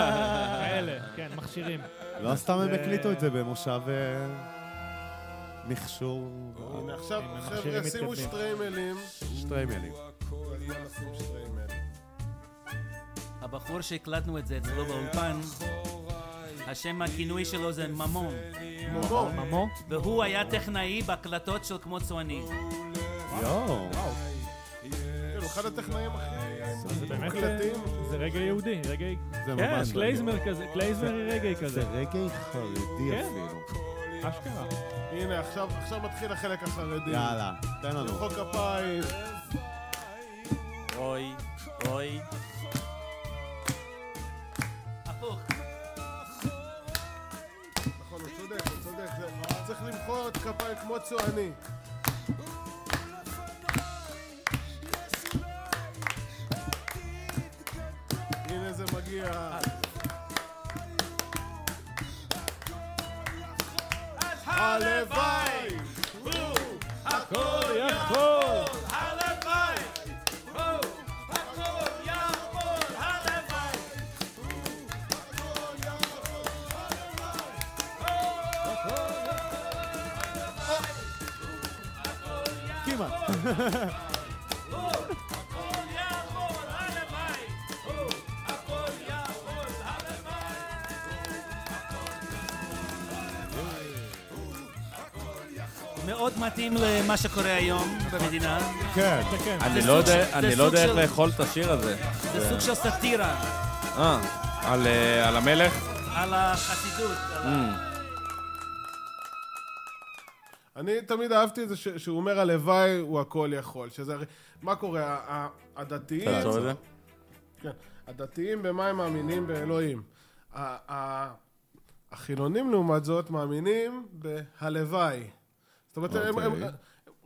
S3: כאלה, כן, מכשירים.
S4: לא סתם הם הקליטו את זה במושב אה, מכשור
S7: הנה עכשיו,
S3: עם המכשירים
S7: חבר'ה, שימו
S3: מתקדמים.
S7: שטריימלים,
S4: שטריימלים.
S7: וגם נשים שטריימל.
S5: הבחור שהקלטנו את זה אצלו באולפן, השם הכינוי שלו זה ממון,
S7: מומו,
S3: ממו?
S5: והוא היה טכנאי בהקלטות של כמו צועני.
S4: יואו,
S7: כאילו, אחד הטכנאים הכי
S3: אז זה באמת,
S7: מוקלטים.
S3: זה רגע יהודי, רגע...
S4: זה
S3: כן,
S4: ממש
S3: קלייזמר כזה, קלייזמרי רגעי
S4: זה
S3: כזה.
S4: רגעי חרדי
S3: כן.
S4: אפילו.
S3: אשכרה.
S7: הנה, עכשיו עכשיו מתחיל החלק החרדי.
S4: יאללה, תן לנו.
S7: למחוא כפיים.
S2: אוי, אוי.
S5: הפוך.
S7: נכון, הוא צודק, הוא צודק. זה- צריך למחוא את כפיים כמו צועני. הנה זה מגיע. הלוואי!
S3: הכל יכול!
S4: כמעט.
S5: מאוד מתאים למה שקורה היום במדינה.
S4: כן.
S3: כן,
S2: אני
S5: זה
S2: לא
S5: סוג
S2: יודע-
S5: של-
S2: אני
S5: זה
S2: לא
S5: סוג
S2: יודע איך
S5: של-
S2: לאכול את השיר הזה.
S5: זה סוג של סאטירה
S2: אה, על, אה, על המלך?
S5: על החסידות. על ה-
S7: אני תמיד אהבתי את זה ש- שהוא אומר הלוואי הוא הכל יכול, שזה הרי... מה קורה? ה- ה- הדתיים...
S2: אתה זוכר את זה?
S7: כן. הדתיים במה הם מאמינים? באלוהים. ה- ה- החילונים לעומת זאת מאמינים בהלוואי. זאת אומרת, הם, הם,
S8: אוקיי.
S7: הם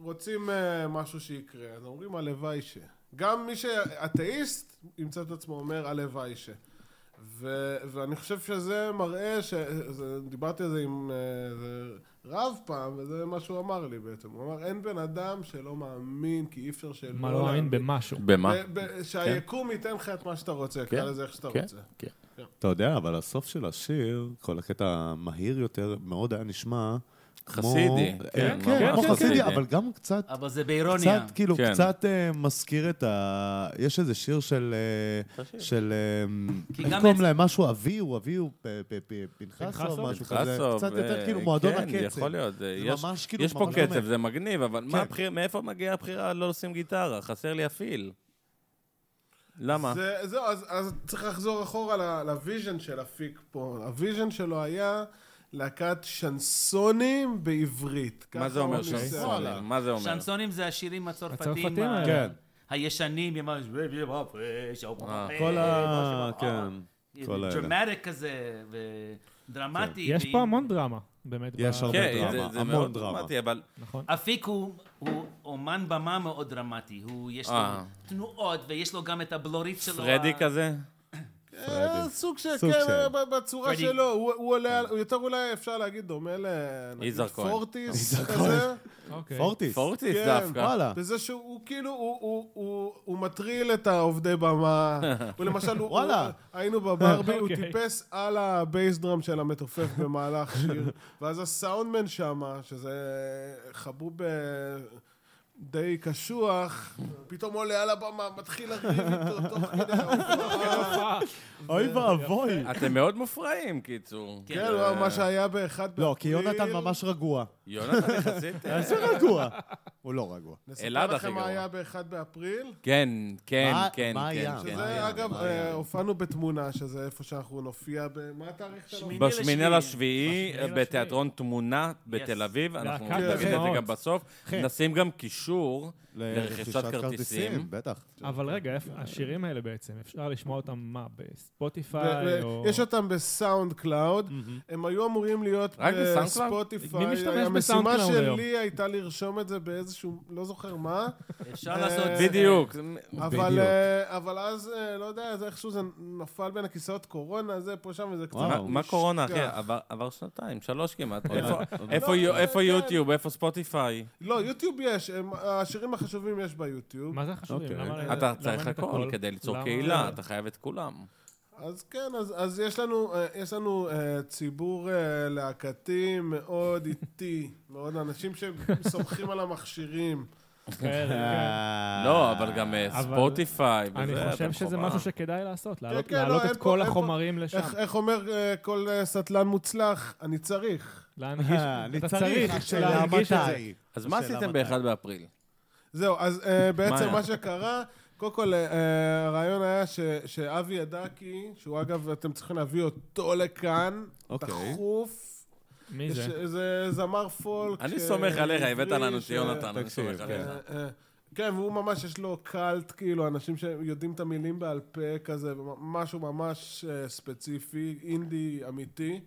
S7: רוצים אה, משהו שיקרה, אז אומרים הלוואי ש... גם מי שאתאיסט ימצא את עצמו אומר הלוואי ש... ו, ואני חושב שזה מראה ש... זה, דיברתי על זה עם אה, זה רב פעם, וזה מה שהוא אמר לי בעצם. הוא אמר, אין בן אדם שלא מאמין, כי אי אפשר שלא...
S3: מה לא מאמין
S7: להאמין."
S3: במשהו.
S2: במה?
S7: ב- ב- שהיקום ייתן לך את מה שאתה רוצה, קרא לזה איך שאתה
S2: כן,
S7: רוצה.
S2: כן.
S8: אתה יודע, אבל הסוף של השיר, כל הקטע המהיר יותר, מאוד היה נשמע... כמו-
S2: חסידי,
S8: אה,
S2: כן,
S8: כן,
S2: ממש
S8: כמו
S2: חסידי.
S8: חסידי, אבל גם קצת
S5: אבל זה באירוניה.
S8: קצת, כאילו,
S2: כן.
S8: קצת אה, מזכיר את ה... יש איזה שיר של... אה, של...
S5: כי
S8: אה,
S5: גם
S8: איך קוראים
S5: את-
S8: להם? משהו אביהו, אביהו, פ- פ- פ- פנחסוב,
S3: פנחסוב?
S8: משהו כזה.
S2: חסוב,
S8: קצת יותר
S2: אה,
S8: כאילו מועדון
S2: כן,
S8: הקצב.
S2: יכול להיות. זה
S8: זה
S2: יש-
S8: ממש כאילו...
S2: יש פה
S8: ממש
S2: קצב,
S8: דומה.
S2: זה מגניב, אבל מה
S8: כן.
S2: הבחיר- מאיפה מגיעה הבחירה לא לשים גיטרה? חסר לי הפיל. למה?
S7: זה- זהו, אז- אז צריך לחזור אחורה ל- לוויז'ן של אפיק פה. הוויז'ן שלו היה להקת שנסונים בעברית.
S2: מה זה
S7: ככה
S2: אומר
S7: הוא ניסה.
S2: שנסונים? מה זה אומר?
S5: שנסונים לא. זה השירים הצרפתיים
S3: הצרפתים
S5: ה-
S3: האלה.
S4: כן.
S5: הישנים, עם ה...
S2: אה,
S8: כל ה... כן. כל האלה.
S5: דרמטי אה, כזה, ודרמטי.
S3: כן. יש
S5: ועם-
S3: פה המון דרמה, באמת.
S8: יש
S3: ב-
S8: הרבה.
S2: כן,
S8: דרמה,
S2: זה- זה
S8: המון
S2: מאוד
S8: דרמה.
S2: דרמטי, אבל
S3: נכון.
S5: אפיק הוא, הוא אומן במה מאוד דרמטי, הוא יש לו
S2: אה.
S5: תנועות ויש לו גם את הבלורית שלו.
S2: פרדי
S5: ה-
S2: כזה?
S7: אה, סוג של,
S8: סוג
S7: כן,
S8: של.
S7: ב- בצורה
S5: פרדי.
S7: שלו. הוא- הוא עולה, על- הוא יותר אולי אפשר להגיד דומה ל... נגיד,
S2: יזהר כהן.
S7: פורטיס כזה.
S3: אוקיי.
S8: פורטיס.
S2: פורטיס
S7: כן,
S2: דווקא.
S8: וואלה.
S7: בזה שהוא כאילו, הוא, הוא, הוא, הוא מטריל את העובדי במה. הוא למשל, הוא,
S8: וואלה.
S7: הוא, היינו בברבי, הוא
S3: אוקיי.
S7: טיפס על הבייס דראם של המתופף במהלך שיר, ואז הסאונדמן שמה, שזה חבוב ב- די קשוח, פתאום עולה על הבמה, מתחיל לריב איתו תוך כדי ההופעה.
S4: אוי ואבוי.
S2: אתם מאוד מופרעים, קיצור.
S5: אה,
S7: כן, הוא אמר מה שהיה באחד
S4: לא, כי יונתן
S7: באפריל.
S4: ממש רגוע.
S2: יונתן יחסית... אה,
S4: איזה רגוע? הוא לא רגוע.
S2: אלעד
S7: נספר
S2: הכי
S7: לכם מה
S2: גרוע.
S7: היה באחד באפריל.
S2: כן, כן,
S8: מה-
S2: כן,
S8: מה
S2: כן.
S8: היה?
S2: כן.
S8: מה
S7: שזה,
S8: היה?
S7: אגב,
S8: מה היה?
S7: אה, הופענו בתמונה, שזה איפה שאנחנו נופיע ב... מה התאריך שלנו?
S5: שמיני
S2: בשמיני
S5: לשביעי.
S2: לשביעי, אה,
S3: בשמיני
S2: בתיאטרון תמונה
S5: Yes.
S2: בתל אביב, אנחנו
S3: להקת
S2: נגיד את זה
S3: הדמעות.
S2: גם בסוף. נשים גם קישור לרכישת
S7: כן,
S2: כרטיסים.
S8: בטח.
S3: אבל רגע, איפה- השירים האלה בעצם, אפשר לשמוע אותם, מה, בספוטיפיי
S7: ו-
S3: או...
S7: ו- יש אותם בסאונד קלאוד, הם היו אמורים להיות
S2: רק בסאונד קלאוד?
S3: מי
S7: בספוטיפיי.
S3: משתמש
S7: המשימה
S3: בסאונד קלאוד היום?
S7: שלי הייתה לרשום את זה באיזשהו, לא זוכר מה,
S5: אפשר לעשות...
S7: אה,
S2: בדיוק.
S7: אבל, אה, אבל אז, אה, לא יודע, זה איכשהו זה נפל בין הכיסאות קורונה, זה פה שם, וזה קצת...
S2: מה-
S7: נשכח.
S2: מה קורונה, אחי? עבר- עבר שנתיים, שלוש כמעט. איפה- איפה
S7: לא,
S2: יו-
S7: לא,
S2: איפה
S7: כן.
S2: יוטיוב? איפה ספוטיפיי?
S7: לא, יוטיוב יש, הם- השירים החשובים יש ביוטיוב.
S3: מה זה החשובים?
S8: אוקיי.
S3: למה-
S2: אתה
S3: למה
S2: צריך
S3: אין את
S2: הכל
S3: הכל?
S2: כדי ליצור
S3: למה-
S2: קהילה, אתה חייב את כולם.
S7: אז כן, אז, אז יש לנו, אה, יש לנו אה, ציבור אה, להקתי מאוד איטי, מאוד אנשים שסומכים על המכשירים.
S3: כן, כן.
S2: לא, אבל גם אה,
S3: אבל-
S2: ספוטיפיי וזה,
S3: אני
S2: אתם
S3: חושב שזה
S2: חובה.
S3: משהו שכדאי לעשות, להעלות-
S7: כן, לא,
S3: להעלות
S7: אין
S3: את
S7: פה-
S3: כל
S7: אין פה-
S3: החומרים לשם.
S7: איך, איך אומר אה, כל אה, סטלן מוצלח? אני צריך.
S3: להנגיש,
S4: אני
S3: אתה
S4: צריך,
S3: צריך
S4: השאלה
S3: להנגיש את זה.
S4: מתי.
S2: אז מה
S4: השאלה
S2: עשיתם
S4: מתי.
S2: ב-1 באפריל?
S7: זהו, אז אה, בעצם
S2: היה?
S7: מה שקרה, קודם כל, אה, אה, הרעיון היה ש, שאבי ידקי, שהוא אגב, אתם צריכים להביא אותו לכאן,
S8: אוקיי.
S7: דחוף.
S3: מי
S7: יש-
S3: זה?
S7: זה זמר פולק.
S2: אני
S7: ש-
S2: סומך עליך, הבאת
S7: עברי,
S2: לנו את
S7: ש-
S2: יונתן, אני סומך
S8: תקשיב,
S2: עליך.
S7: אה, אה. כן, והוא ממש, יש לו קאלט, כאילו, אנשים שיודעים את המילים בעל פה כזה, משהו ממש אה, ספציפי, אינדי אמיתי.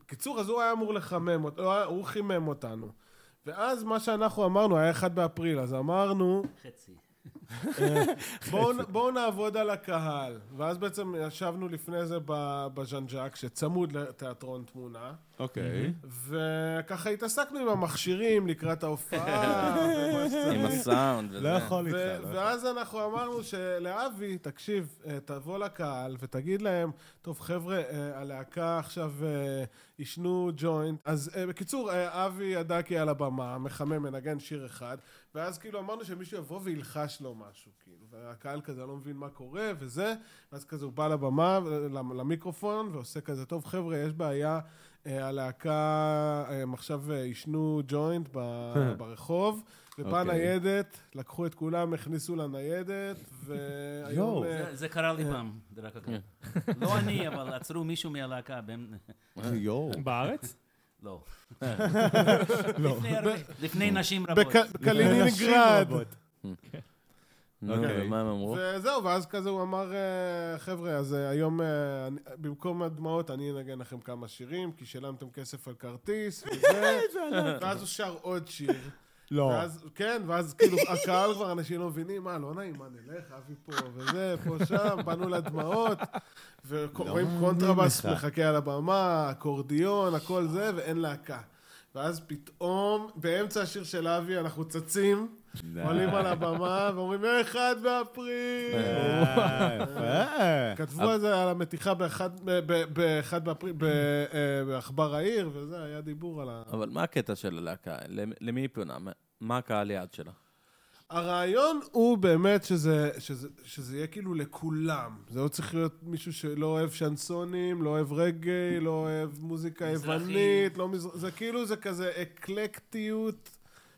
S7: בקיצור, אז הוא היה אמור לחמם אותנו, הוא חימם אותנו. ואז מה שאנחנו אמרנו, היה 1 באפריל, אז אמרנו,
S5: חצי.
S7: אה. בואו נ- בואו נעבוד על הקהל. ואז בעצם ישבנו לפני זה ב- בז'אנג'אק, שצמוד לתיאטרון תמונה.
S8: אוקיי.
S7: וככה התעסקנו עם המכשירים לקראת ההופעה. ומה שצריך.
S2: עם הסאונד וזה.
S4: לא יכול איתך.
S7: ו-
S4: לא יכול.
S7: ואז אנחנו אמרנו שלאבי, תקשיב, אה, תבוא לקהל ותגיד להם, טוב חבר'ה, אה, הלהקה עכשיו אה, עישנו ג'וינט. אז אה, בקיצור, אה, אבי הדקי על הבמה, מחמם, מנגן שיר אחד, ואז כאילו אמרנו שמישהו יבוא וילחש לו משהו, כאילו, והקהל כזה לא מבין מה קורה וזה, ואז כזה הוא בא לבמה, ל- למיקרופון, ועושה כזה, טוב חבר'ה, יש בעיה. אה, הלהקה, אה, הם עכשיו אה, עישנו ג'וינט ב- ברחוב, ובאה
S8: אוקיי.
S7: ניידת, לקחו את כולם, הכניסו לניידת, והיום...
S4: יואו.
S7: אה,
S5: זה- זה קרה לי פעם, זה רק הקרה. לא אני, אבל עצרו מישהו מהלהקה. בין-
S8: יואו.
S3: בארץ?
S5: לא.
S7: לא.
S5: לפני הרבה-
S7: אה.
S5: לפני נשים רבות. אה. כן.
S7: בק- בקלינינגרד.
S2: נו,
S8: אוקיי.
S2: ומה הם אמרו?
S7: וזהו, ואז כזה הוא אמר, אה, חבר'ה, אז אה, היום אה, אני- במקום הדמעות אני אנגן לכם כמה שירים, כי שילמתם כסף על כרטיס, וזה,
S2: לא
S7: ואז הוא שר עוד שיר.
S4: לא.
S7: ואז, כן, ואז כאילו הקהל כבר, אנשים לא מבינים, מה, לא נעים, מה, נלך, אבי פה וזה, פה שם, באנו לדמעות,
S2: לא.
S7: ורואים קונטרבאס מחכה על הבמה, אקורדיון, הכל זה, ואין להקה. ואז פתאום, באמצע השיר של אבי, אנחנו צצים, עולים על הבמה ואומרים, "אה, אחד באפריל!
S4: אה, יפה.
S7: כתבו על זה, על המתיחה באחד- ב- באחד באפריל, ב- אה, בעכבר העיר, וזה, היה דיבור על ה...
S2: אבל מה הקטע של הלהקה? למ- למי היא פונה? מה- מה הקהל יעד שלה?
S7: הרעיון הוא באמת שזה, שזה, שזה יהיה כאילו לכולם. זה לא צריך להיות מישהו שלא אוהב שנסונים, לא אוהב רגעי, לא אוהב מוזיקה
S5: מזרחי.
S7: יוונית, לא מזר... זה כאילו, זה כזה אקלקטיות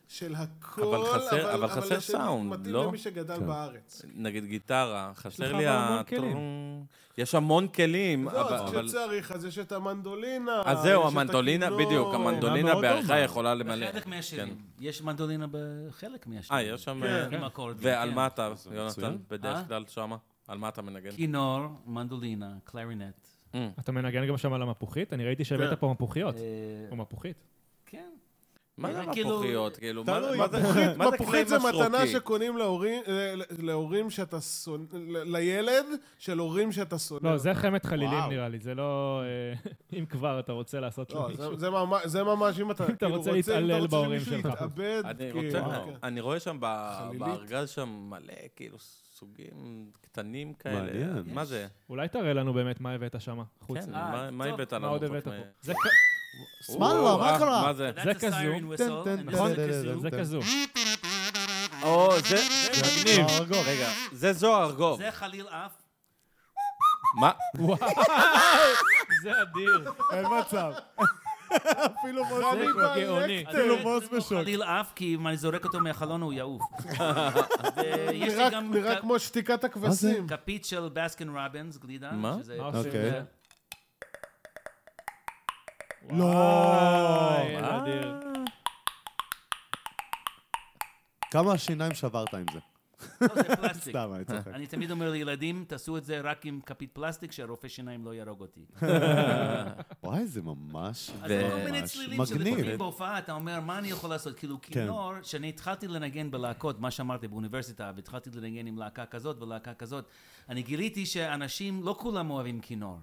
S7: של הכל,
S2: אבל חסר- אבל חסר
S7: שמתאים
S2: סאונד, לא?
S7: למי שגדל בארץ.
S2: נגיד גיטרה, חסר
S3: לך
S2: לי
S3: המון
S2: ה...
S3: כלים.
S2: טרום. יש המון כלים,
S7: לא,
S2: אבל...
S7: אז
S2: אבל-
S7: כשצריך, אז יש את המנדולינה.
S2: אז זהו,
S7: יש את
S2: המנדולינה,
S7: הכינור.
S2: בדיוק, המנדולינה
S4: מאוד
S2: בעריכה
S4: דומה.
S2: יכולה למלא. כן.
S5: בחלק מהשירים. יש מנדולינה בחלק
S2: אה,
S5: מהשירים.
S2: יש שם...
S7: כן.
S5: עם אקורדים.
S2: ועל
S5: כן.
S2: מה אתה, יונתן,
S8: מצוין.
S2: בדרך
S5: אה?
S2: כלל שמה? על מה אתה מנגן?
S5: כינור, מנדולינה, קלרינט.
S3: אתה מנגן גם שם על המפוחית? אני ראיתי
S7: כן.
S3: שהבאת פה מפוחיות.
S5: אה,
S3: או מפוחית.
S5: כן.
S2: מה זה
S5: אה, כאילו-
S2: מפוחיות? כאילו, מה
S4: תלוי.
S2: מה זה מה זה כלי
S7: מפוחית זה מתנה
S2: משרוקי?
S7: שקונים להורים, אה, ל- ל- להורים שאתה שונא, ל- לילד של הורים שאתה שונא.
S3: לא, זה חמת חלילים
S4: וואו.
S3: נראה לי, זה לא... אה, אם כבר אתה רוצה לעשות
S7: לא,
S3: למישהו.
S7: זה- זה ממש- זה ממש, אם אתה
S3: אם אתה
S7: כאילו
S3: רוצה
S7: אם אתה
S3: להתעלל
S7: רוצה
S3: בהורים
S7: שמישהו
S3: שלך.
S7: יתאבד,
S2: אני
S7: כאילו,
S2: רוצה,
S7: כן.
S2: אני רואה שם ב-
S7: חלילית.
S2: בארגז שם מלא, כאילו, סוגים קטנים כאלה.
S8: מעניין.
S2: מה זה?
S3: אולי תראה לנו באמת מה הבאת שם, חוץ.
S2: כן,
S3: מ-
S5: אה,
S2: מה- מה
S5: טוב.
S2: הבאת
S3: מה
S2: לנו?
S3: עוד
S2: חוץ
S3: הבאת
S2: מ-
S3: פה? זה כ-
S4: סמלווה,
S2: אה,
S4: מה קרה?
S2: מה זה?
S5: That's
S3: זה
S5: a
S3: כזו.
S5: siren whistle,
S8: טן,
S5: and
S8: טן,
S5: this
S3: נכון?
S5: is a kazoo.
S3: זה כזו.
S2: או, זה זה מגניב. רגע, זה זוהר גוב.
S5: זה חליל אף.
S2: מה?
S3: זה אדיר.
S4: אין מצב. אפילו מוז
S7: חמי
S4: בשוק.
S3: גאוני.
S5: אז
S4: אפילו
S5: זה-
S4: בוס
S5: זה לא
S4: בשוק.
S5: חליל אף, כי אם אני זורק אותו מהחלון הוא יעוף. אה, ויש לי
S7: נראה-
S5: גם
S7: נראה
S5: כ-
S7: כמו שתיקת הכבשים.
S5: כפית של בסקין רובינס, גלידה.
S2: מה?
S5: שזה-
S3: מה עושים?
S8: אוקיי.
S4: לא. אה,
S3: אה, אדיר.
S4: כמה שיניים שברת עם זה?
S5: לא, זה פלסטיק.
S4: סתם, אני צוחק.
S5: אני תמיד אומר לילדים, תעשו את זה רק עם כפית פלסטיק, שהרופא שיניים לא יהרוג אותי.
S4: וואי, זה ממש...
S5: אז כל מיני
S4: ממש
S5: צלילים של
S4: מגניב. כן.
S5: לפעמים בהופעה, אתה אומר, מה אני יכול לעשות? כאילו, כינור, שאני התחלתי לנגן בלהקות, מה שאמרתי, באוניברסיטה, והתחלתי לנגן עם להקה כזאת ולהקה כזאת, אני גיליתי שאנשים, לא כולם אוהבים כינור.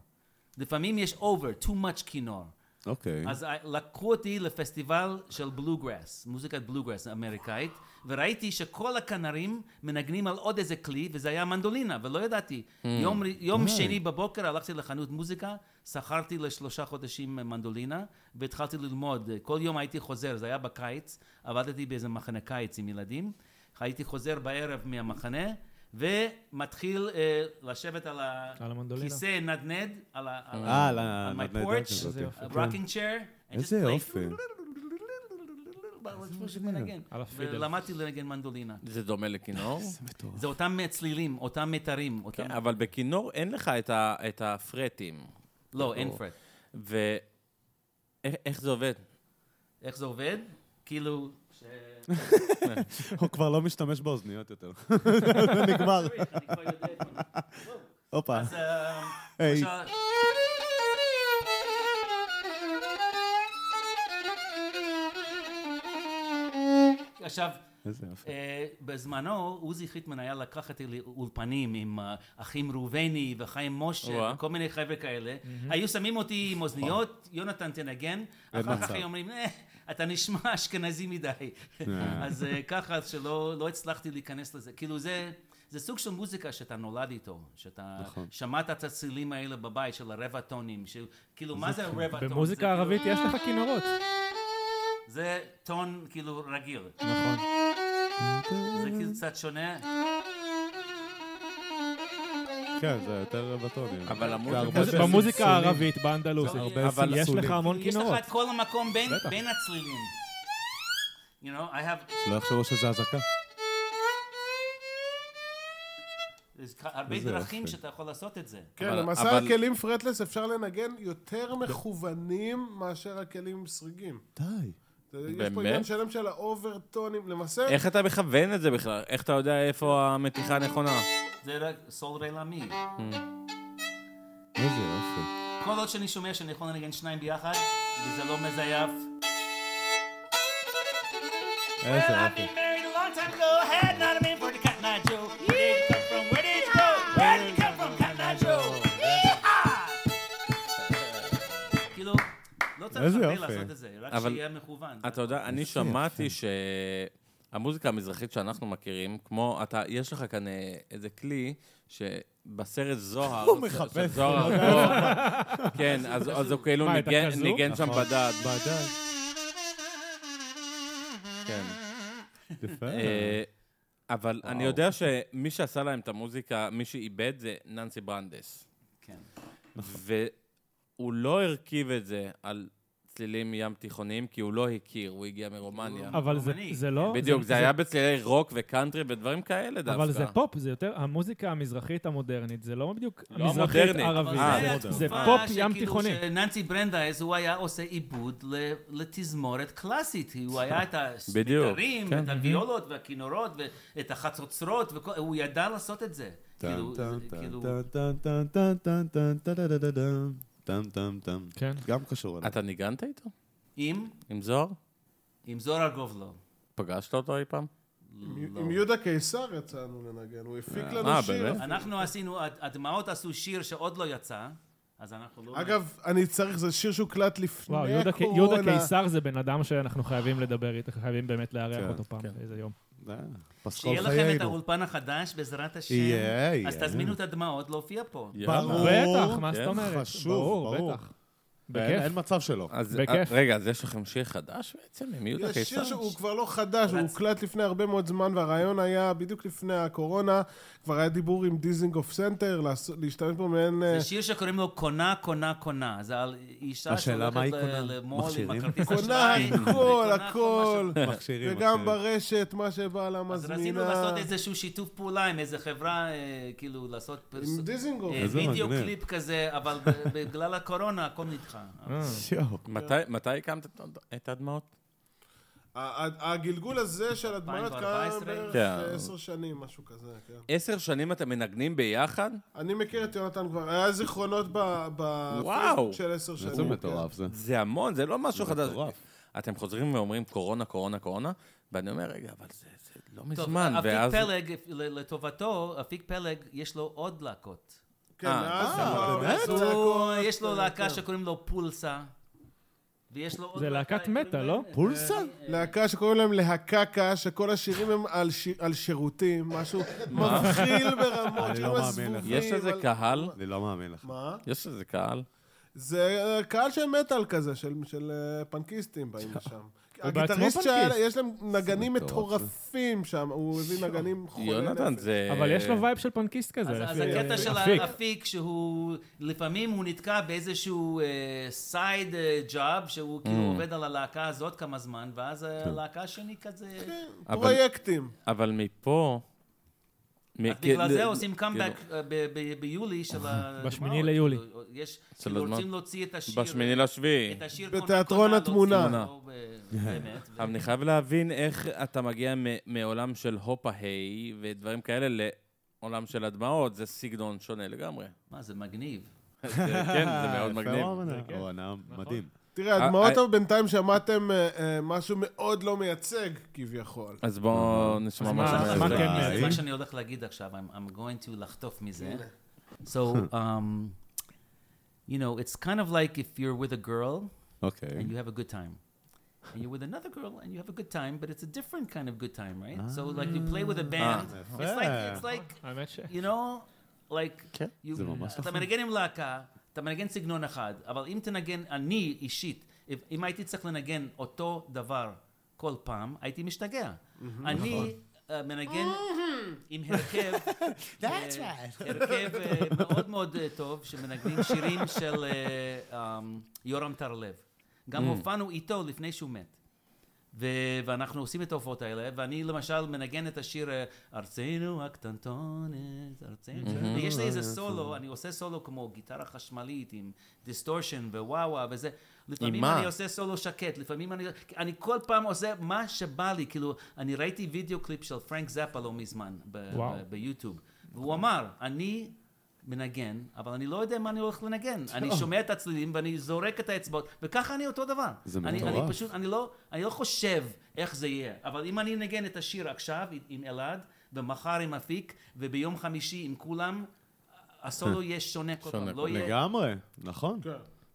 S5: לפעמים יש over, too much כינור.
S4: אוקיי.
S5: אז אה, לקחו אותי לפסטיבל של בלוגראס, מוזיקת בלוגראס אמריקאית, וראיתי שכל הכנרים מנגנים על עוד איזה כלי, וזה היה מנדולינה, ולא ידעתי. יום, ר- יום שני בבוקר הלכתי לחנות מוזיקה, שכרתי לשלושה חודשים אה, מנדולינה, והתחלתי ללמוד. אה, כל יום הייתי חוזר, זה היה בקיץ, עבדתי באיזה מחנה קיץ עם ילדים, הייתי חוזר בערב מהמחנה, ומתחיל אה, לשבת על ה...
S3: על המנדולינה.
S5: כיסא נדנד, על ה... על
S4: אה, על
S5: ה- on my
S4: הנדנדה
S5: porch.
S4: הזאת.
S3: איזה
S4: כן.
S3: יופי.
S5: a rocking chair. and just
S4: איזה
S5: play.
S4: יופי.
S5: כמו שמנגן.
S3: על הפידל.
S5: ולמדתי לנגן מנדולינה.
S2: זה דומה לכינור?
S5: זה אותם צלילים, אותם מיתרים, אותם...
S2: כן, אבל בכינור אין לך את ה- את הפרטים.
S5: לא, אין פרד.
S2: ואיך איך זה עובד?
S5: איך זה עובד? כאילו... ש-
S4: הוא כבר לא משתמש באוזניות יותר. נגמר.
S5: אני כבר יודע את זה.
S4: הופה.
S5: אז, אה,
S4: היי.
S5: למשל- עכשיו,
S4: איזה יופי.
S5: אה, בזמנו, עוזי חיטמן היה לקח אותי לאולפנים עם אה, אחים ראובני וחיים משה
S2: וואה.
S5: וכל מיני חבר'ה כאלה. היו שמים אותי עם אוזניות, יונתן תנגן, אחר כך היו אומרים, "אה, אתה נשמע אשכנזי מדי. אז אה, ככה שלא לא הצלחתי להיכנס לזה. כאילו זה... זה סוג של מוזיקה שאתה נולד איתו, שאתה
S4: נכון.
S5: שמעת את הצלילים האלה בבית של הרבע טונים, של- כאילו מה זה הרבע טון? זה
S3: במוזיקה
S5: כאילו-
S3: הערבית יש לך כינורות.
S5: זה טון כאילו רגיל.
S3: נכון.
S5: זה כאילו קצת שונה.
S8: כן, זה יותר בטונים.
S2: אבל המוזיקה...
S8: הרבה
S3: אז
S8: זה
S3: במוזיקה
S8: סלסולים.
S3: הערבית, באנדלוסית,
S5: הרבה
S2: אבל-
S3: יש לך המון
S5: יש לך
S3: כינורות.
S5: את כל המקום בין,
S3: בטח.
S5: בין הצלילים. You know, I have...
S4: לא יחשבו שזה אזעקה.
S5: there's כ- הרבה דרכים שאתה יכול לעשות את זה.
S7: כן,
S2: אבל-
S7: למעשה
S2: אבל-
S7: הכלים פרטלס אפשר לנגן יותר מכוונים מאשר הכלים סריגים.
S4: די.
S7: זה- יש
S2: באמת?
S7: פה עניין שלם של האוברטונים, למעשה...
S2: איך אתה מכוון את זה בכלל? איך אתה יודע איפה המתיחה הנכונה?
S5: זה לא- רק סול רי לה מי.
S4: איזה יופי.
S5: כל עוד שאני שומע שאני יכול לנגן שניים ביחד, וזה לא מזייף.
S2: אה,
S4: איזה
S5: Well, I've
S4: יופי.
S5: been married a long time ago, had not a man for to cut my Joe. Where did you come from? Where did you go? Where did you come from? Cut my Joe. Yee-haw! כאילו, לא צריך
S4: איזה
S5: הרבה
S4: יופי.
S5: לעשות את זה, רק
S2: אבל-
S5: שיהיה מכוון.
S2: אתה יודע, אני שמעתי שהמוזיקה המזרחית שאנחנו מכירים, כמו, אתה, יש לך כאן אה, איזה כלי שבסרט זוהר, הוא מחפש, זוהר, הרפורמה, כן, אז אז הוא כאילו
S3: מה, את
S2: ניגן-
S3: הכזו?
S2: ניגן שם בדד,
S4: נכון. בדד.
S2: כן.
S4: יפה.
S2: אה, אבל אני יודע שמי שעשה להם את המוזיקה, מי שאיבד זה ננסי ברנדס. נכון.
S5: כן.
S2: והוא לא הרכיב את זה על צלילים ים תיכוניים, כי הוא לא הכיר, הוא הגיע מרומניה.
S3: אבל זה-
S5: רומני. כן.
S3: זה לא...
S2: בדיוק, זה היה בצלילי רוק וקאנטרי ודברים כאלה דווקא.
S3: אבל זה פופ, זה יותר, המוזיקה המזרחית המודרנית, זה לא בדיוק
S2: לא
S3: מזרחית
S2: המודרנית.
S3: ערבית,
S2: אה,
S3: זה-
S5: התקופה
S3: זה פופ ים
S5: שכאילו
S3: תיכוני.
S5: שננסי ברנדייז, הוא היה עושה עיבוד ל- לתזמורת קלאסית. הוא היה את
S2: בדיוק,
S5: הסמיתרים,
S3: כן.
S5: את הוויולות והכינורות, ואת החצוצרות, וכל- הוא ידע לעשות את זה. כאילו, זה- כאילו,
S4: טם טם טם.
S3: כן.
S4: גם קשור אליי.
S2: אתה ניגנת איתו?
S5: עם,
S2: עם זוהר?
S5: עם זוהר גובלו.
S2: פגשת אותו אי פעם?
S7: עם עם יהודה קיסר יצאנו לנגן, הוא הפיק
S2: אה,
S7: לנו שיר.
S2: באמת?
S5: אנחנו עשינו, הד- הדמעות עשו שיר שעוד לא יצא, אז אנחנו לא...
S7: אגב, אני צריך, זה שיר שהוקלט לפני
S3: וואו, יהודה-
S7: הקורונה.
S3: יהודה קיסר זה בן אדם שאנחנו חייבים לדבר איתו, חייבים באמת לארח
S4: כן,
S3: אותו פעם, איזה יום.
S4: אה, פסקול
S5: שיהיה לכם את
S4: חיינו.
S5: האולפן החדש, בעזרת השם.
S4: יהיה,
S5: אז
S4: יהיה.
S5: תזמינו את הדמעות להופיע פה.
S4: ברור.
S3: בטח, מה זאת
S2: כן,
S3: אומרת?
S4: חשוב, ברור.
S3: בטח.
S4: אין
S3: בכיף.
S4: אין מצב שלא.
S2: אז
S3: בכיף.
S2: אה, רגע, אז יש לכם שיר חדש בעצם עם יהודה
S7: יש שיר
S2: קיסר?
S7: שהוא כבר לא חדש, הוא הוקלט לפני הרבה מאוד זמן, והרעיון היה בדיוק לפני הקורונה, כבר היה דיבור עם דיזינגוף סנטר, לעשות- להשתמש בו מעין... אה,
S5: זה שיר שקוראים לו קונה, קונה, קונה. זה על אישה
S4: השאלה, מה היא
S5: שהולכת
S4: קונה?
S5: ל- למול עם
S4: מכשירים?
S5: הכרטיס
S7: קונה
S5: אשראי.
S7: הכל,
S5: וקונה כל
S7: הכל,
S5: מה
S4: מכשירים.
S7: וגם
S4: מכשירים.
S7: ברשת, מה שבעלה
S5: ש- אז רצינו
S7: מזמינה.
S5: לעשות איזשהו שיתוף פעולה עם איזה חברה, אה, כאילו לעשות פרס-
S7: עם דיזינגוף.
S5: אה,
S4: איזה
S5: וידאו
S4: מגניב.
S5: קליפ כזה, אבל ב- בגלל הקורונה הכל נדחה.
S3: אה,
S4: יואו.
S2: מתי- מתי הקמת את הדמעות?
S7: ה- ה- הגלגול הזה של הדמיות קיים
S5: 2014?
S7: בערך
S2: כן.
S7: אה, עשר שנים, משהו כזה, כן.
S2: עשר שנים אתם מנגנים ביחד?
S7: אני מכיר את יונתן כבר, היה זיכרונות ב- בפייסבוק
S2: וואו.
S7: של עשר שנים.
S8: זה
S7: כן.
S8: מטורף זה.
S2: זה המון, זה לא משהו חדש.
S8: מטורף.
S2: אתם חוזרים ואומרים קורונה, קורונה, קורונה, ואני אומר, רגע, אבל זה זה לא
S5: טוב,
S2: מזמן,
S5: אפיק
S2: ואז...
S5: פלג, ל- לטובתו, אפיק פלג, יש לו עוד להקות.
S7: כן,
S2: אה,
S7: מאז
S2: אה,
S7: כבר
S5: אז
S7: עשו
S5: הוא,
S7: הכל,
S5: יש לו
S7: כן, כן.
S5: להקה שקוראים לו פולסה, ויש לו עוד...
S3: זה
S5: להקה,
S3: להקת מטא,
S5: קוראים
S3: לא?
S5: לה-
S4: פולסה?
S7: להקה שקוראים להם להקקה, שכל השירים הם על שי- על שירותים, משהו מבחיל ברמות,
S4: אני
S7: שירים
S4: לא מאמין
S7: הזבובים.
S4: לך.
S2: יש אה? איזה
S7: על-
S2: קהל?
S4: אני לא מאמין לך.
S7: מה?
S2: יש איזה קהל?
S7: זה אה, קהל של מטאל כזה, של- של אה, פנקיסטים באים לשם.
S3: בעצמו
S7: הגיטריסט שהיה,
S3: פנקיסט.
S7: יש להם נגנים
S8: מטורף,
S7: מטורפים שם, הוא הביא נגנים חולי
S2: יונתן,
S7: נפש.
S2: זה...
S3: אבל יש לו וייב של פנקיסט כזה.
S5: אז, אז
S3: לפי-
S5: הקטע
S3: אה,
S5: של
S3: אפיק.
S5: האפיק, שהוא, לפעמים הוא נתקע באיזשהו אה, סייד ג'אב, שהוא כאילו עובד על הלהקה הזאת כמה זמן, ואז הלהקה השני כזה...
S2: אבל-
S7: פרויקטים.
S2: אבל מפה... מ-
S5: אז בגלל
S2: כ-
S5: זה
S2: ל-
S5: עושים קאמבק
S2: כאילו,
S5: אה, ב- ב- ביולי של ה...
S3: בשמיני ליולי.
S5: כאילו, יש,
S2: של
S5: כאילו
S2: הזמן.
S5: רוצים להוציא את השיר. אה,
S2: בשמיני לשביעי. כן.
S5: את השיר
S7: בתיאטרון
S5: קונקונה,
S7: התמונה.
S5: להוציא אותו ב- באמת. ו-
S2: אבל אני חייב להבין איך אתה מגיע מ- מעולם של הופה היי ודברים כאלה לעולם של הדמעות, זה סגנון שונה לגמרי.
S5: מה, זה מגניב. נכון.
S2: זה- כן, זה מאוד מגניב.
S8: הוא ענה מדהים.
S7: תראה,
S2: אה,
S7: הדמעות
S2: אה,
S7: אבל בינתיים שמעתם אה, אה, משהו מאוד לא מייצג, כביכול.
S2: אז בואו נשמע
S3: אז מה-
S2: משהו.
S3: אז
S2: מעבר.
S3: מה
S5: זה-
S3: כן
S5: זה
S3: מייצג?
S5: מה שאני הולך להגיד עכשיו, I'm, I'm going to לחטוף מזה. So, um, you know, it's kind of like if you're with a girl
S8: אוקיי.
S5: and you have a good time. And you're with another girl and you have a good time, but it's a different kind of good time, right? So like you play with a band, it's like it's like
S3: האמת ש...
S5: you know, like, you,
S8: זה ממש
S5: אתה
S8: נכון.
S5: מנגן עם להקה, אתה מנגן סגנון אחד, אבל אם תנגן, אני אישית, אם- אם הייתי צריך לנגן אותו דבר כל פעם, הייתי משתגע. אני אה, מנגן עם הרכב, אה, הרכב אה, מאוד מאוד אה, טוב, שמנגנים שירים של אה, אמ, יורם טרלב. גם הופענו איתו לפני שהוא מת. ו- ואנחנו עושים את ההופעות האלה, ואני למשל מנגן את השיר אה, ארצנו הקטנטונת, ארצנו, ויש לי איזה סולו, אני עושה סולו כמו גיטרה חשמלית עם דיסטורשן ווואווה וזה. לפעמים
S2: מה?
S5: אני עושה סולו שקט, לפעמים אני... אני כל פעם עושה מה שבא לי, כאילו, אני ראיתי וידאו קליפ של פרנק זאפה לא מזמן, ב-
S3: וואו.
S5: ב- ביוטיוב, והוא אמר, אני... מנגן, אבל אני לא יודע מה אני הולך לנגן. אני שומע את הצלילים ואני זורק את האצבעות, וככה אני אותו דבר.
S8: זה
S5: אני- אני
S8: מטורף.
S5: פשוט, אני לא, אני לא חושב איך זה יהיה, אבל אם אני אנגן את השיר עכשיו עם אלעד, ומחר עם אפיק, וביום חמישי עם כולם, הסולו יהיה שונה כל פעם, לא יהיה...
S8: לגמרי, נכון.
S7: כן.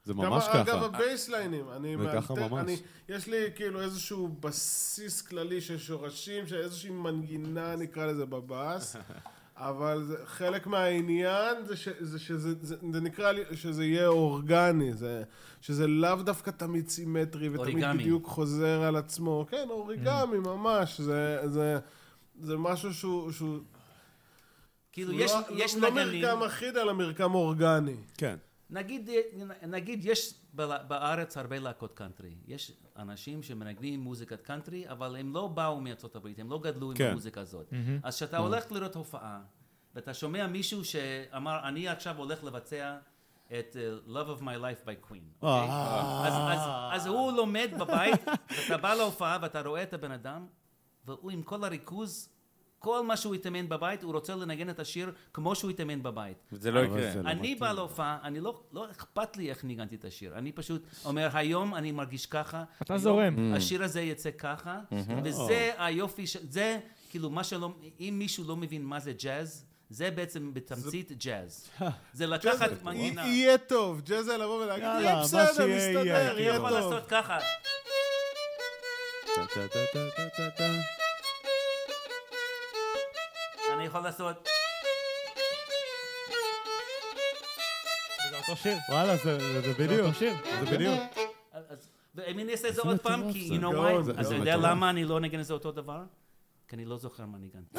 S8: זה
S7: גם,
S8: ממש
S7: אגב,
S8: ככה.
S7: הבייסליינים, אני,
S8: זה ככה
S7: מאלתר-
S8: ממש.
S7: אני, יש לי כאילו איזשהו בסיס כללי של שורשים, של איזושהי מנגינה נקרא לזה בבאס, אבל זה, חלק מהעניין זה, ש, זה שזה זה, זה נקרא לי, שזה יהיה אורגני, זה, שזה לאו דווקא תמיד סימטרי ותמיד
S5: אוריגמי.
S7: בדיוק חוזר על עצמו, כן, אוריגמי
S8: Mm.
S7: ממש, זה, זה, זה משהו שהוא, שהוא
S5: כאילו, יש,
S7: לא,
S5: יש
S7: לא
S5: נגנים,
S7: מרקם אחיד אלא מרקם אורגני.
S8: כן.
S5: נגיד, אה, נגיד יש בל- בארץ הרבה להקות קאנטרי. יש אנשים שמנגנים מוזיקת קאנטרי, אבל הם לא באו מארצות הברית, הם לא גדלו עם
S8: כן.
S5: המוזיקה הזאת. אז כשאתה הולך לראות הופעה, ואתה שומע מישהו שאמר, אני עכשיו הולך לבצע את אה, Love of My Life by Queen.
S8: אה.
S5: אוקיי? אז, אז, אז הוא לומד בבית, אתה בא להופעה ואתה רואה את הבן אדם, והוא עם כל הריכוז, כל מה שהוא התאמן בבית, הוא רוצה לנגן את השיר כמו שהוא התאמן בבית.
S2: זה לא יקרה.
S8: זה לא
S5: אני בא להופעה, אני לא, לא אכפת לי איך ניגנתי את השיר. אני פשוט אומר, היום אני מרגיש ככה.
S3: אתה
S5: היום
S3: זורם.
S5: השיר הזה יצא ככה, וזה היופי, ש- זה כאילו מה שלא, אם מישהו לא מבין מה זה ג'אז, זה בעצם בתמצית ג'אז. זה לקחת
S7: ג'אז-
S5: מנגינה.
S7: יהיה טוב, ג'אז היה לבוא ולהגיד,
S4: יאללה,
S7: יהיה
S4: מה
S7: בסדר,
S4: שיהיה, יהיה,
S7: מסתדר,
S5: אתה
S7: יהיה
S5: יכול
S7: טוב.
S5: לעשות ככה. אני יכול לעשות...
S3: זה אותו שיר.
S4: וואלה, זה זה
S3: זה
S4: בדיוק.
S3: אותו שיר.
S4: זה בדיוק.
S5: אז- ואם אני אעשה את זה עוד פעם, כי you know
S7: גאון, זה
S5: why, אז אתה
S8: גאון.
S5: יודע
S8: מטורף.
S5: למה אני לא נגן את זה אותו דבר? כי אני לא זוכר מה ניגנתי.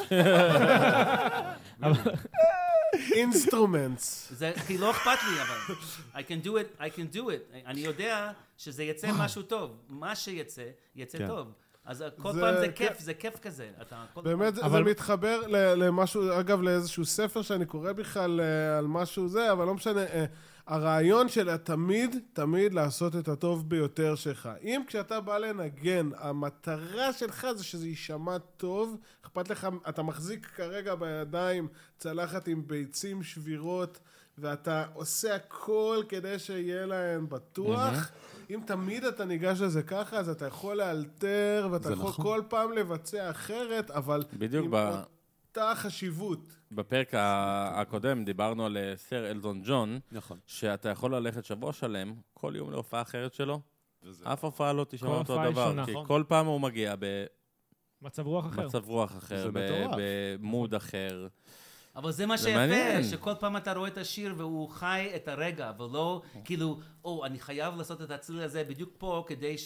S7: אינסטרומנטס.
S5: זה, כי לא אכפת לי אבל. I can do it, I can do it. אני יודע שזה יצא משהו טוב. מה שיצא, יצא
S8: כן.
S5: טוב. אז uh, כל
S7: זה-
S5: פעם זה
S7: כן.
S5: כיף, זה כיף כזה. אתה כל פעם...
S7: באמת, זה
S3: אבל-
S7: מתחבר ל- למשהו, אגב, לאיזשהו ספר שאני קורא בכלל אה, על משהו זה, אבל לא משנה. אה, הרעיון של תמיד, תמיד לעשות את הטוב ביותר שלך. אם כשאתה בא לנגן, המטרה שלך זה שזה יישמע טוב, אכפת לך, אתה מחזיק כרגע בידיים צלחת עם ביצים שבירות, ואתה עושה הכל כדי שיהיה להן בטוח. אם תמיד אתה ניגש לזה ככה, אז אתה יכול לאלתר, ואתה
S4: זה
S7: יכול
S4: נכון.
S7: כל פעם לבצע אחרת, אבל
S2: בדיוק
S7: עם
S2: ב-
S7: אותה חשיבות.
S2: בפרק ה- הקודם דיברנו על אה, סר אלזון ג'ון,
S4: נכון.
S2: שאתה יכול ללכת שבוע שלם, כל יום להופעה אחרת שלו, אף הופעה לא תשמע
S3: כל
S2: אותו
S3: הופעה היא
S2: דבר,
S3: שונה.
S2: כי
S4: נכון.
S2: כל פעם הוא מגיע
S3: מצב רוח אחר.
S2: במצב רוח אחר,
S4: זה
S2: ב-
S4: מטורף.
S2: במוד אחר.
S5: אבל זה מה
S2: זה
S5: שיפה,
S2: מעניין.
S5: שכל פעם אתה רואה את השיר והוא חי את הרגע, ולא כאילו, או, אני חייב לעשות את הצליל הזה בדיוק פה, כדי
S4: נכון.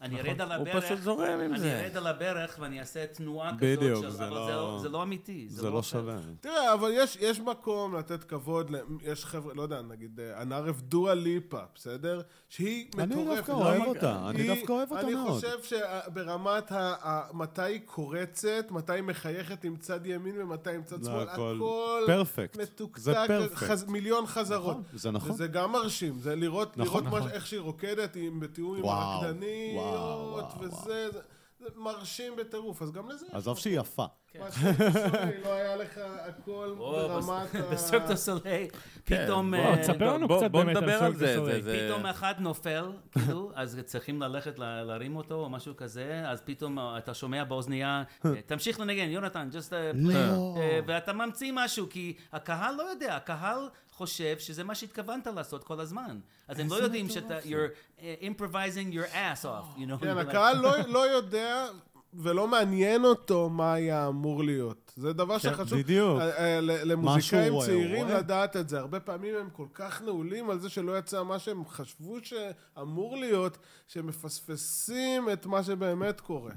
S5: שאני ארד על
S2: הוא
S5: הברך.
S2: פשוט זורם עם
S5: אני
S2: זה.
S5: ארד על הברך ואני אעשה תנועה כזאת.
S4: בדיוק,
S5: של-
S4: זה
S5: אבל
S4: לא-
S5: זה לא אמיתי.
S4: זה לא
S5: עושה.
S4: שווה.
S7: תראה, אבל יש, יש מקום לתת כבוד, ל- יש חבר'ה, לא יודע, נגיד, אה, הנערב דואה ליפה, בסדר? שהיא
S4: אני
S7: מטורפת.
S4: דווקא אוהב
S7: לא-
S4: אותה, אני
S7: היא-
S4: דווקא אוהב אותה
S7: אני
S4: מאוד.
S7: חושב שברמת ה- ה- מתי היא קורצת, מתי היא מחייכת עם צד ימין ומתי עם צד
S4: זה
S7: שמאל,
S4: לא, הכל
S7: הכל
S4: פרפקט. זה
S7: מתוקתק, אה,
S4: פרפקט.
S7: חז- מיליון חזרות.
S4: נכון, זה נכון.
S7: וזה גם מרשים, זה לראות,
S4: נכון,
S7: לראות מה-
S4: נכון.
S7: איך שהיא רוקדת, היא בתיאום עם
S4: וואו, וואו,
S7: הרקדניות,
S4: וואו,
S7: וזה, זה- זה מרשים בטירוף, אז גם לזה יש
S4: עזוב שהיא יפה.
S5: כן.
S7: משהו קיצוני, לא היה לך הכל
S5: או,
S7: ברמת ה...
S5: בסרק דו סולי,
S4: כן,
S5: פתאום...
S2: בוא,
S5: אה,
S3: כן, תספר
S2: בוא-
S3: לנו
S2: בוא-
S3: קצת
S2: בוא
S3: באמת על
S2: נדבר
S3: סרק
S2: על זה,
S3: דה סוליי.
S2: זה- זה-
S5: פתאום אחד נופל, כאילו, אז צריכים ללכת לה- להרים אותו או משהו כזה, אז פתאום אה, אתה שומע באוזנייה, אה, תמשיך לנגן, יונתן, just... אה,
S3: לא.
S5: אה, ואתה ממציא משהו, כי הקהל לא יודע, הקהל חושב שזה מה שהתכוונת לעשות כל הזמן. אז הם לא יודעים שאתה, you're אה, improvising your ass off, you know?
S7: כן, הקהל לא- לא יודע ולא מעניין אותו מה היה אמור להיות. זה דבר שחשוב.
S4: כן, בדיוק.
S7: אה, אה, ל-
S4: מה שהוא
S7: למוזיקאים
S4: רואה,
S7: צעירים
S4: הוא רואה.
S7: לדעת את זה. הרבה פעמים הם כל כך נעולים על זה שלא יצא מה שהם חשבו שאמור להיות, שהם מפספסים את מה שבאמת קורה.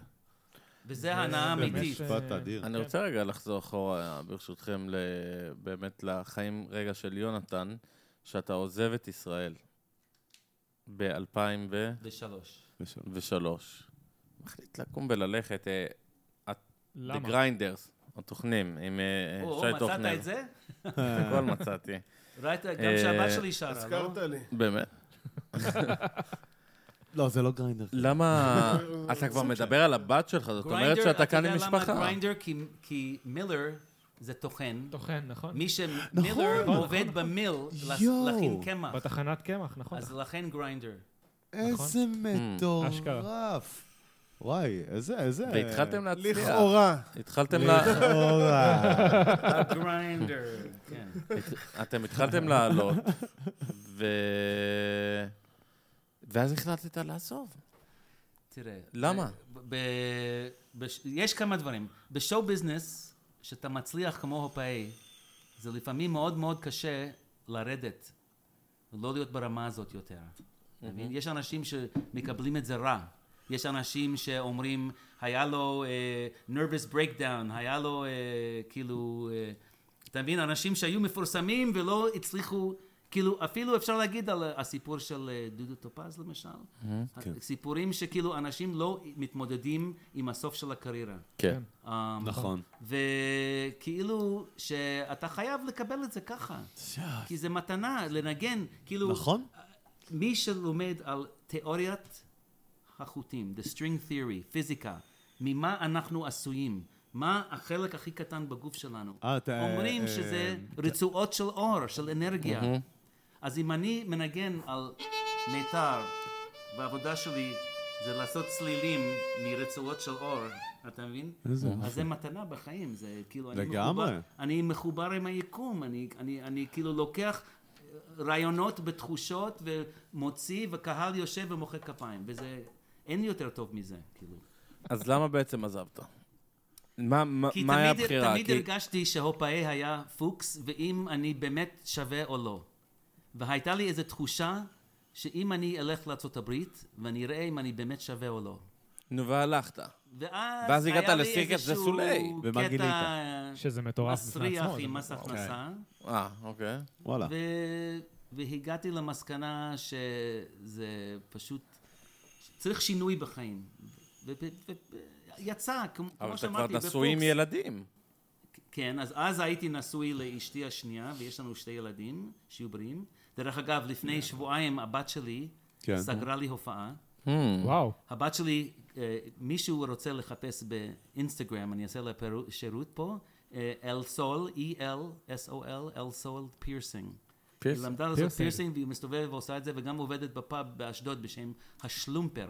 S5: וזה
S7: אה,
S5: הנאה האמיתית.
S4: משפט אדיר.
S2: אה, אני רוצה רגע לחזור אחורה, ברשותכם, ל- באמת לחיים רגע של יונתן, שאתה עוזב את ישראל ב-2003.
S5: בשלוש.
S2: מחליט לקום וללכת, אה, The
S3: למה?
S2: Grinders, התוכנים, עם אה, אה,
S5: או,
S2: שי
S5: מצאת
S2: טוכנר.
S5: את זה?
S2: הכל מצאתי.
S5: ראית, גם
S2: אה,
S5: שהבת שלי שרה, לא?
S7: הזכרת לי.
S2: באמת?
S4: לא, זה לא גריינדר.
S2: למה... אתה כבר מדבר על הבת שלך, זאת אומרת
S5: גריינדר,
S2: שאתה כאן עם
S5: אתה יודע
S2: משפחה.
S5: למה גריינדר? כי- כי מילר זה טוחן.
S3: טוחן, נכון?
S5: מי שמילר עובד במיל לס-
S4: יואו.
S5: להכין קמח.
S3: בתחנת קמח, נכון.
S5: אז לכן גריינדר.
S4: איזה
S2: נכון.
S5: Hmm.
S4: מטורף. וואי, איזה, איזה...
S2: והתחלתם להצליח.
S7: לכאורה.
S2: התחלתם לה...
S4: לכאורה.
S5: גריינדר, כן.
S2: אתם התחלתם לעלות, ו... ואז החלטת לעזוב.
S5: תראה.
S2: למה?
S5: ב- ב- בש- יש כמה דברים. בשואו ביזנס, שאתה מצליח כמו הופאי, זה לפעמים מאוד מאוד קשה לרדת, לא להיות ברמה הזאת יותר. אתה מבין? יש אנשים שמקבלים את זה רע. יש אנשים שאומרים, היה לו uh, nervous breakdown, היה לו uh, כאילו, אה, אתה מבין? אנשים שהיו מפורסמים ולא הצליחו, כאילו, אפילו אפשר להגיד על אה, הסיפור של אה, דודו טופז למשל.
S4: כן.
S5: סיפורים שכאילו אנשים לא מתמודדים עם הסוף של הקריירה.
S2: כן.
S5: אה,
S4: נכון.
S5: וכאילו שאתה חייב לקבל את זה ככה. כי זה מתנה, לנגן, כאילו...
S4: נכון?
S5: מי שלומד על תיאוריית החוטים, the string theory, פיזיקה, ממה אנחנו עשויים, מה החלק הכי קטן בגוף שלנו,
S4: אה, אתה-
S5: אומרים
S4: אה,
S5: שזה
S4: אה,
S5: רצועות של אור, של אנרגיה. אז אם אני מנגן על מיתר, והעבודה שלי זה לעשות צלילים מרצועות של אור, אתה מבין? אז זה מתנה בחיים, זה כאילו... אני
S4: לגמרי.
S5: מחובר- אני מחובר עם היקום, אני, אני, אני כאילו לוקח רעיונות בתחושות ומוציא, וקהל יושב ומוחא כפיים, וזה... אין יותר טוב מזה, כאילו.
S2: אז למה בעצם עזבת? מה, מה,
S5: כי
S2: מה היה
S5: תמיד,
S2: הבחירה?
S5: תמיד הרגשתי שהופאי היה פוקס, ואם אני באמת שווה או לא. והייתה לי איזו תחושה שאם אני אלך לארה"ב, ואני אראה אם אני באמת שווה או לא.
S2: נו, והלכת.
S5: ואז,
S2: ואז
S5: היה
S2: הגעת
S5: לי
S2: לסירקס, זה
S5: איזשהו
S2: סולי.
S4: ומה גילית?
S5: קטע
S3: שזה מטורף בפני
S5: מסריח
S3: עצמו. זה
S5: עם מס הכנסה.
S2: אה, אוקיי.
S4: וואלה.
S5: ו- והגעתי למסקנה שזה פשוט, צריך שינוי בחיים. ויצא, כמו
S2: אבל
S5: כמו
S2: אתה
S5: שאמרתי,
S2: כבר נשוי עם
S5: בפוקס.
S2: ילדים.
S5: כן, אז אז הייתי נשוי לאשתי השנייה, ויש לנו שתי ילדים, שיהיו בריאים. דרך אגב, לפני שבועיים הבת שלי
S8: כן.
S5: סגרה לי הופעה.
S3: וואו.
S5: הבת שלי, אה, מישהו רוצה לחפש באינסטגרם, אני אעשה לה פירו- שירות פה, אה, אל סול, E-L-S-O-L, אל סול פירסינג. היא
S2: פירסינג.
S5: למדה לעשות
S3: פירסינג.
S5: פירסינג והיא מסתובבת ועושה את זה, וגם עובדת בפאב באשדוד בשם השלומפר.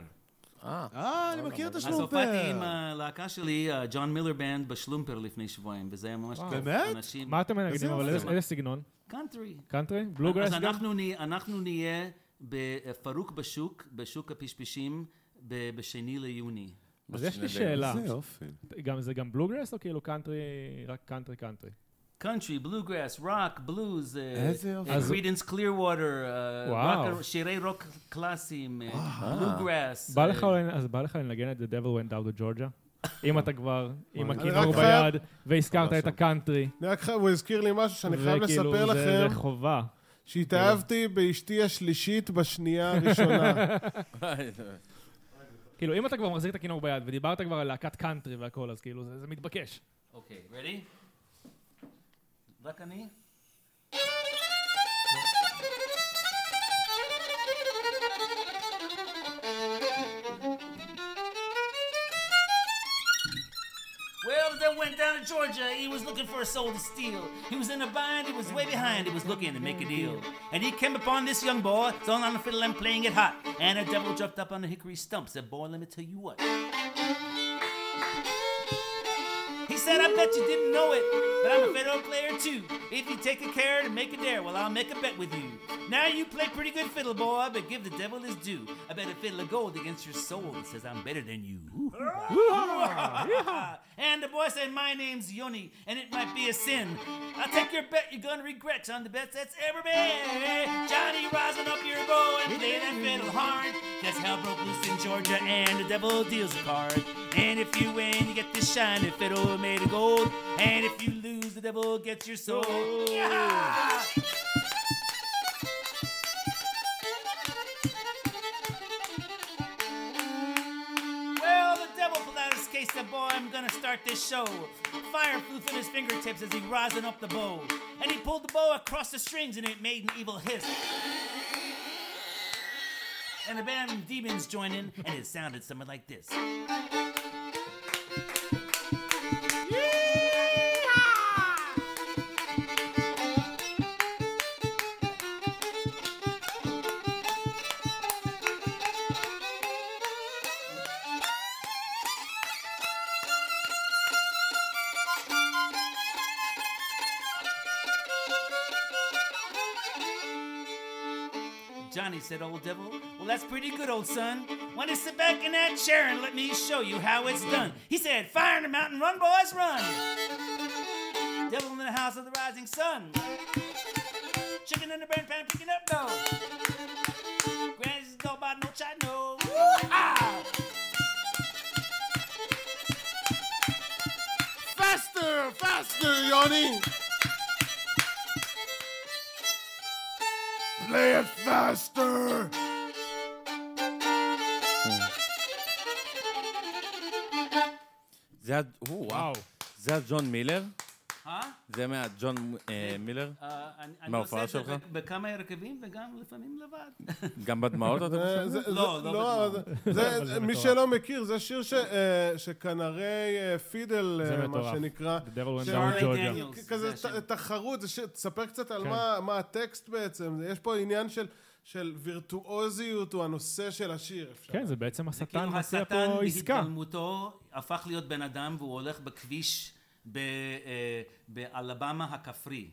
S4: אה,
S1: לא,
S4: אני מכיר את
S5: לא, אז
S4: השלומפר.
S5: הופעתי עם הלהקה שלי, ג'ון מילר בנד, בשלומפר לפני שבועיים, וזה היה ממש... כיף.
S4: באמת?
S5: אנשים-
S3: מה אתם מנגדים?
S4: איזה
S3: אבל
S4: יופי.
S3: איזה איזה סגנון?
S5: קאנטרי.
S3: קאנטרי? בלוגראס
S5: אז
S3: גם?
S5: אנחנו, נה, אנחנו נהיה בפרוק בשוק, בשוק הפשפשים, ב- בשני ליוני.
S3: אז יש לי שאלה.
S8: איזה יופי.
S3: גם- זה גם בלוגראס או כאילו קאנטרי, רק קאנטרי קאנטרי?
S5: קאנטרי, בלוגראס, רוק, בלוז,
S4: איזה
S5: אה,
S4: יופי.
S3: אז-
S5: קרידנס קליר ווטר,
S3: וואו.
S5: אה, שירי רוק קלאסיים, אה, בלוגראס.
S3: אה, בא לך אולי- אז בא לך לנגן את The Devil Went Out to Georgia? אם אתה כבר עם הכינור
S7: רק חייב-
S3: ביד, והזכרת
S2: לא.
S3: את הקאנטרי,
S7: אני רק חייב, הוא הזכיר לי משהו שאני חייב
S3: וכאילו
S7: לספר
S3: זה-
S7: לכם,
S3: זה חובה.
S7: שהתאהבתי באשתי השלישית בשנייה הראשונה.
S3: כאילו, אם אתה כבר מחזיק את הכינור ביד, ודיברת כבר על להקת קאנטרי והכל, אז כאילו, זה זה מתבקש.
S5: אוקיי, רדי? רק אני? Well, then went down to Georgia. He was looking for a soul to steal. He was in a bind. He was way behind. He was looking to make a deal. And he came upon this young boy, thrown on the fiddle and playing it hot. And a devil jumped up on the hickory stump. Said, "Boy, let me tell you what." He said, I bet you didn't know it, but I'm a fiddle player too. If you take a care to make a dare, well, I'll make a bet with you. Now you play pretty good fiddle, boy, but give the devil his due. I bet a fiddle of gold against your soul that says I'm better than you. and the boy said, My name's Yoni, and it might be a sin. I'll take your bet you're gonna regret on the bets that's ever made. Johnny, rising up your bow and play that fiddle hard. That's how broke loose in Georgia, and the devil deals a card. And if you win, you get this shiny fiddle made of gold. And if you lose, the devil gets your soul. Yeah! Well, the devil pulled out his case, said, boy, I'm gonna start this show. Fire flew from his fingertips as he rosin up the bow. And he pulled the bow across the strings and it made an evil hiss. And the band of demons joined in, and it sounded something like this. Johnny said, Old devil, well, that's pretty good, old son. Why don't you sit back in that chair and let me show you how it's done? He said, Fire in the mountain, run, boys, run. Devil in the house of the rising sun. Chicken in the burn pan, picking up dough. Granny's go by no child, no. Woo-ha!
S7: Faster, faster, יוני! Play it faster!
S2: זה ה- או, וואו. זה הג'ון מילר?
S5: Huh?
S2: זה מהג'ון אה, מילר?
S5: אה, אני- אני
S2: מההופעה
S5: עושה את זה
S2: שלך?
S5: בכמה הרכבים וגם לפעמים לבד.
S2: גם בדמעות אתה
S7: אה,
S2: חושב?
S7: זה- זה-
S5: לא, לא
S7: לא,
S5: בטוח.
S7: זה- זה- זה- מי שלא מכיר, זה שיר ש- אה, שכנרי אה, פידל,
S3: זה
S7: אה, מה
S3: מטורף.
S7: שנקרא.
S3: The Devil Went
S7: ש-
S3: Down
S5: Charlie
S3: to Georgia.
S5: Daniels.
S7: כ- כזה
S5: זה השם.
S7: ת- תחרות, זה ש- תספר קצת על
S3: כן.
S7: מה- מה הטקסט בעצם. יש פה עניין של- של וירטואוזיות, הוא הנושא של השיר. אפשר.
S3: כן, זה בעצם השטן
S5: כאילו
S3: מציע
S5: השטן
S3: פה עסקה.
S5: בהתגלמותו הפך להיות בן אדם והוא הולך בכביש ב- אה, באלבמה הכפרי.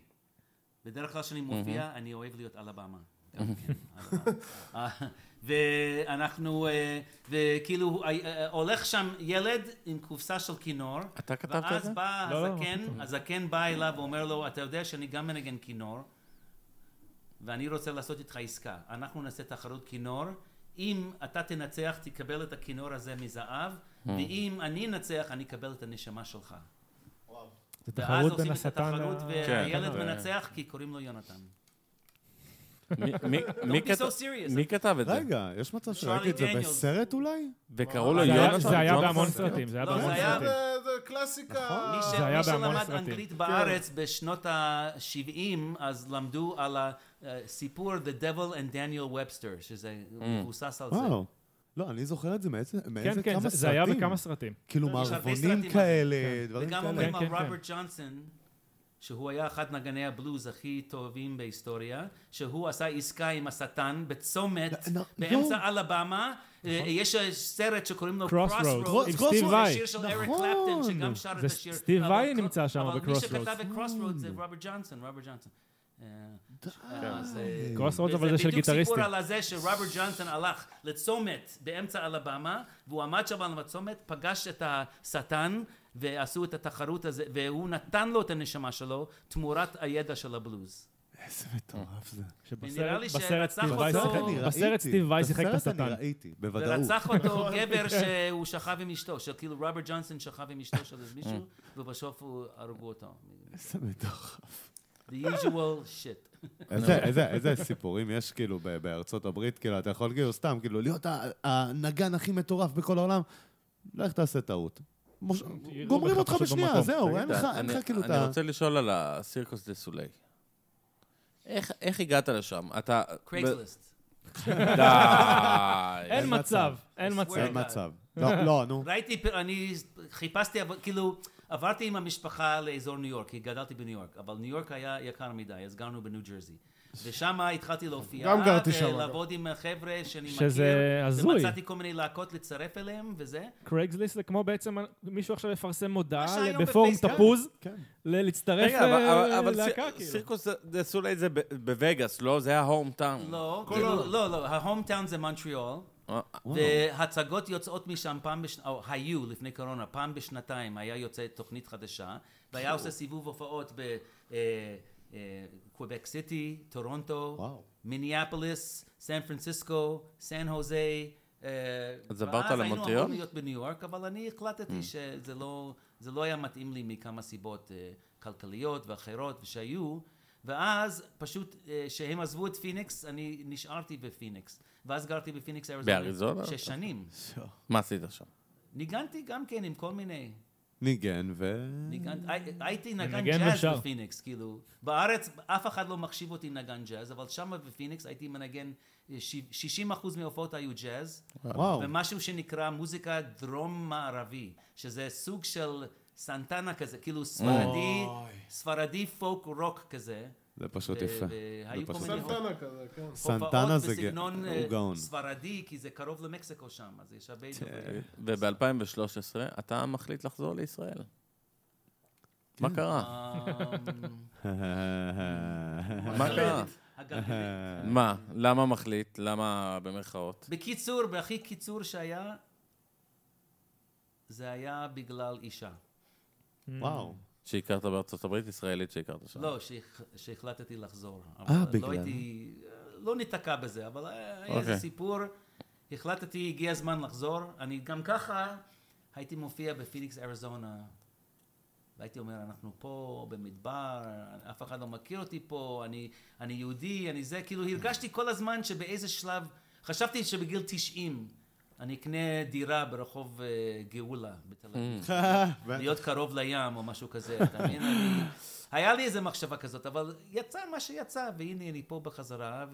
S5: בדרך כלל כשאני מופיע, אני אוהב להיות אלבמה. גם כן, אלבמה. אה, ואנחנו, אה, וכאילו, אה, אה, הולך שם ילד עם קופסה של כינור.
S2: אתה כתבת את
S5: ואז
S2: זה?
S5: בא
S3: לא, לא,
S5: הזקן, הזקן בא אליו ואומר לו, אתה יודע שאני גם מנגן כינור, ואני רוצה לעשות איתך עסקה. אנחנו נעשה תחרות כינור, אם אתה תנצח, תקבל את הכינור הזה מזהב,
S2: Hmm.
S5: ואם אני אנצח, אני אקבל את הנשמה שלך.
S3: זה
S5: ואז
S3: תחרות בין
S5: עושים את
S3: השטן
S5: התחרות,
S3: ל...
S2: כן,
S5: והילד
S2: כן.
S5: מנצח כי קוראים לו יונתן.
S2: מי- מי- מי
S5: Don't be
S2: כת-
S5: so serious.
S2: מי כתב את זה?
S4: רגע, יש מצב
S5: Charlie
S4: שראיתי את זה
S5: Daniels.
S4: בסרט אולי?
S2: וקראו לו
S3: זה היה-
S2: יונתן
S3: זה היה בהמון
S2: ג'ונסון?
S3: סרטים, זה היה
S5: לא,
S3: בהמון
S5: זה היה-
S3: סרטים.
S7: זה זה
S4: נכון.
S7: קלאסיקה.
S5: מי ש-
S3: נכון. זה היה
S5: מי
S3: בהמון
S5: שלמד
S3: סרטים.
S5: אנגלית בארץ בשנות ה-70, אז למדו על הסיפור The Devil and Daniel Webster, שזה
S2: Hmm.
S5: מבוסס על זה.
S4: וואו. לא, אני זוכר את זה מאיזה מאיזה כמה
S3: כן,
S4: סרטים.
S3: כן, זה- זה היה בכמה סרטים.
S4: כאילו
S5: יש הרבה
S4: מערבונים
S5: סרטים.
S4: כאלה, דברים
S5: וגם
S4: כאלה.
S5: אומרים על
S3: כן, כן.
S5: רוברט ג'ונסון, שהוא היה אחד נגני הבלוז הכי טובים בהיסטוריה, שהוא עשה עסקה עם השטן בצומת,
S4: לא, לא,
S5: באמצע אלבמה. אה, יש אה, סרט שקוראים לו
S3: נכון. Crossroads,
S5: Crossroads,
S3: עם סטיב
S5: זה
S3: ואי.
S5: שיר של אריק
S4: נכון.
S5: קלפטן,
S2: כן.
S5: שגם שר את השיר.
S3: וסטיב
S5: אבל
S3: ואי
S5: קר-
S3: נמצא שם
S5: אבל מי
S3: ב-Crossroads.
S5: שכתב את Crossroads זה רוברט ג'ונסון, רוברט ג'ונסון. אה, אז, אה,
S3: קרוס רודס, אבל
S5: וזה
S3: זה של
S5: בדיוק סיפור
S3: גיטריסטים.
S5: על הזה שרוברט ג'ונסון הלך לצומת באמצע אלבמה, והוא עמד שם על הצומת, פגש את השטן, ועשו את התחרות הזו, והוא נתן לו את הנשמה שלו תמורת הידע של הבלוז.
S4: איזה מטורף זה.
S5: נראה
S3: שבסרט
S5: לי
S3: בסרט
S5: שרצח
S3: סטיב וייס
S5: אותו-
S3: שיחק-
S5: בסרט אני
S3: בסרט סטיב וייס שיחק את
S4: בסרט אני
S3: השטן.
S4: ראיתי, בוודאות.
S5: ורצח אותו גבר שהוא שכב עם אשתו, שכאילו רוברט ג'ונסון שכב עם אשתו של איזה מישהו,
S3: אה.
S5: ובסוף הוא הרגו אותו.
S4: איזה מטורף.
S5: The usual shit.
S4: איזה- איזה- איזה סיפורים יש כאילו ב- בארצות הברית, כאילו, אתה יכול כאילו סתם, כאילו, להיות ה- הנגן הכי מטורף בכל העולם, לך תעשה טעות. מוש-
S3: יראו
S4: גומרים
S3: בך
S4: אותך
S3: פשוט
S4: בשנייה,
S3: במקום.
S4: זהו, אין
S2: תגיד,
S4: לך אין
S2: אני-
S4: לך כאילו את
S2: אני
S4: ה...
S2: רוצה לשאול על הסירקוס דה סולי. איך איך הגעת לשם? אתה...
S5: קרייגסליסט.
S2: די.
S3: אין מצב, אין מצב.
S4: אין מצב. לא, לא, נו.
S5: ראיתי, פ- אני חיפשתי, אבל כאילו, עברתי עם המשפחה לאזור ניו יורק, כי גדלתי בניו יורק, אבל ניו יורק היה יקר מדי, אז גרנו בניו ג'רזי. ושם התחלתי להופיע,
S7: גם גרתי שמה,
S5: ולעבוד עם חבר'ה שאני מכיר,
S3: שזה הזוי.
S5: ומצאתי כל מיני להקות לצרף אליהם, וזה.
S3: קרייגסליסט זה כמו בעצם מישהו עכשיו יפרסם
S5: מה
S3: מודעה
S5: שהיום
S3: בפורום
S5: בפייסבוק.
S3: תפוז,
S4: כן.
S3: ל- להצטרף
S2: רגע, אבל- אבל- אבל
S3: ללהקה
S2: סיר-
S3: כאילו.
S2: סירקוס דה- דה סולי זה ב- בווגאס, לא? זה היה הום טאון.
S5: לא, כאילו, לא, לא, ההום טאון זה מונטריאול, והצגות יוצאות משם פעם, בש... או, היו לפני קורונה, פעם בשנתיים היה יוצא תוכנית חדשה, והיה עושה סיבוב הופעות אה, בקוויבק סיטי, טורונטו,
S4: וואו.
S5: מיניאפוליס, סן פרנסיסקו, סן הוזה. אה,
S2: אז עברת
S5: ואז
S2: למונטריאול? Mm.
S5: היינו אמורים להיות בניו יורק, אבל אני החלטתי שזה לא, זה לא היה מתאים לי מכמה סיבות אה, כלכליות ואחרות שהיו, ואז פשוט אה, שהם עזבו את פיניקס, אני נשארתי בפיניקס. ואז גרתי בפיניקס, אריזונה.
S2: באריזונה?
S5: שש שנים.
S2: מה עשית שם?
S5: ניגנתי גם כן עם כל מיני.
S4: ניגן ו...
S5: ניגנ- הי- הייתי נגן
S3: מנגן
S5: ג'אז
S3: ושר.
S5: בפיניקס, כאילו. בארץ אף אחד לא מחשיב אותי נגן ג'אז, אבל שם בפיניקס הייתי מנגן, אה, ש- 60% מההופעות היו ג'אז,
S4: וואו.
S5: ומשהו שנקרא מוזיקה דרום-מערבי, שזה סוג של סנטנה כזה, כאילו ספרדי, ספרדי פוק רוק כזה.
S4: זה פשוט
S5: ו-
S4: יפה.
S5: והיו
S4: זה
S5: כל
S4: פשוט
S5: מיני
S4: יפה.
S7: סנטנה כזה, כן.
S4: סנטנה זה
S5: הופעות בסגנון
S4: ג-
S5: אה,
S4: הוא גאון. כן.
S5: ספרדי, כי זה קרוב למקסיקו שם, אז יש הרבה
S2: אה,
S5: דברים.
S2: וב-2013 אתה מחליט לחזור לישראל.
S4: כן.
S2: מה קרה?
S5: אמ,
S2: מה קרה?
S5: הגלגלים.
S2: מה? למה מחליט? למה במרכאות?
S5: בקיצור, בהכי קיצור שהיה, זה היה בגלל אישה.
S4: וואו.
S2: שהכרת בארצות הברית, ישראלית שהכרת שם.
S5: לא, שהח- שהחלטתי לחזור.
S4: אה,
S5: אבל
S4: בגלל.
S5: לא הייתי, לא ניתקע בזה, אבל אה, היה היה
S2: אוקיי.
S5: איזה סיפור. החלטתי, הגיע הזמן לחזור. אני גם ככה הייתי מופיע בפיניקס, אריזונה. והייתי אומר, אנחנו פה במדבר, אף אחד לא מכיר אותי פה, אני, אני יהודי, אני זה, כאילו הרגשתי כל הזמן שבאיזה שלב, חשבתי שבגיל 90 אני אקנה דירה ברחוב אה, גאולה בתל אביב. להיות קרוב לים או משהו כזה, אתה מבין? אני- היה לי איזה מחשבה כזאת, אבל יצא מה שיצא, והנה אני פה בחזרה,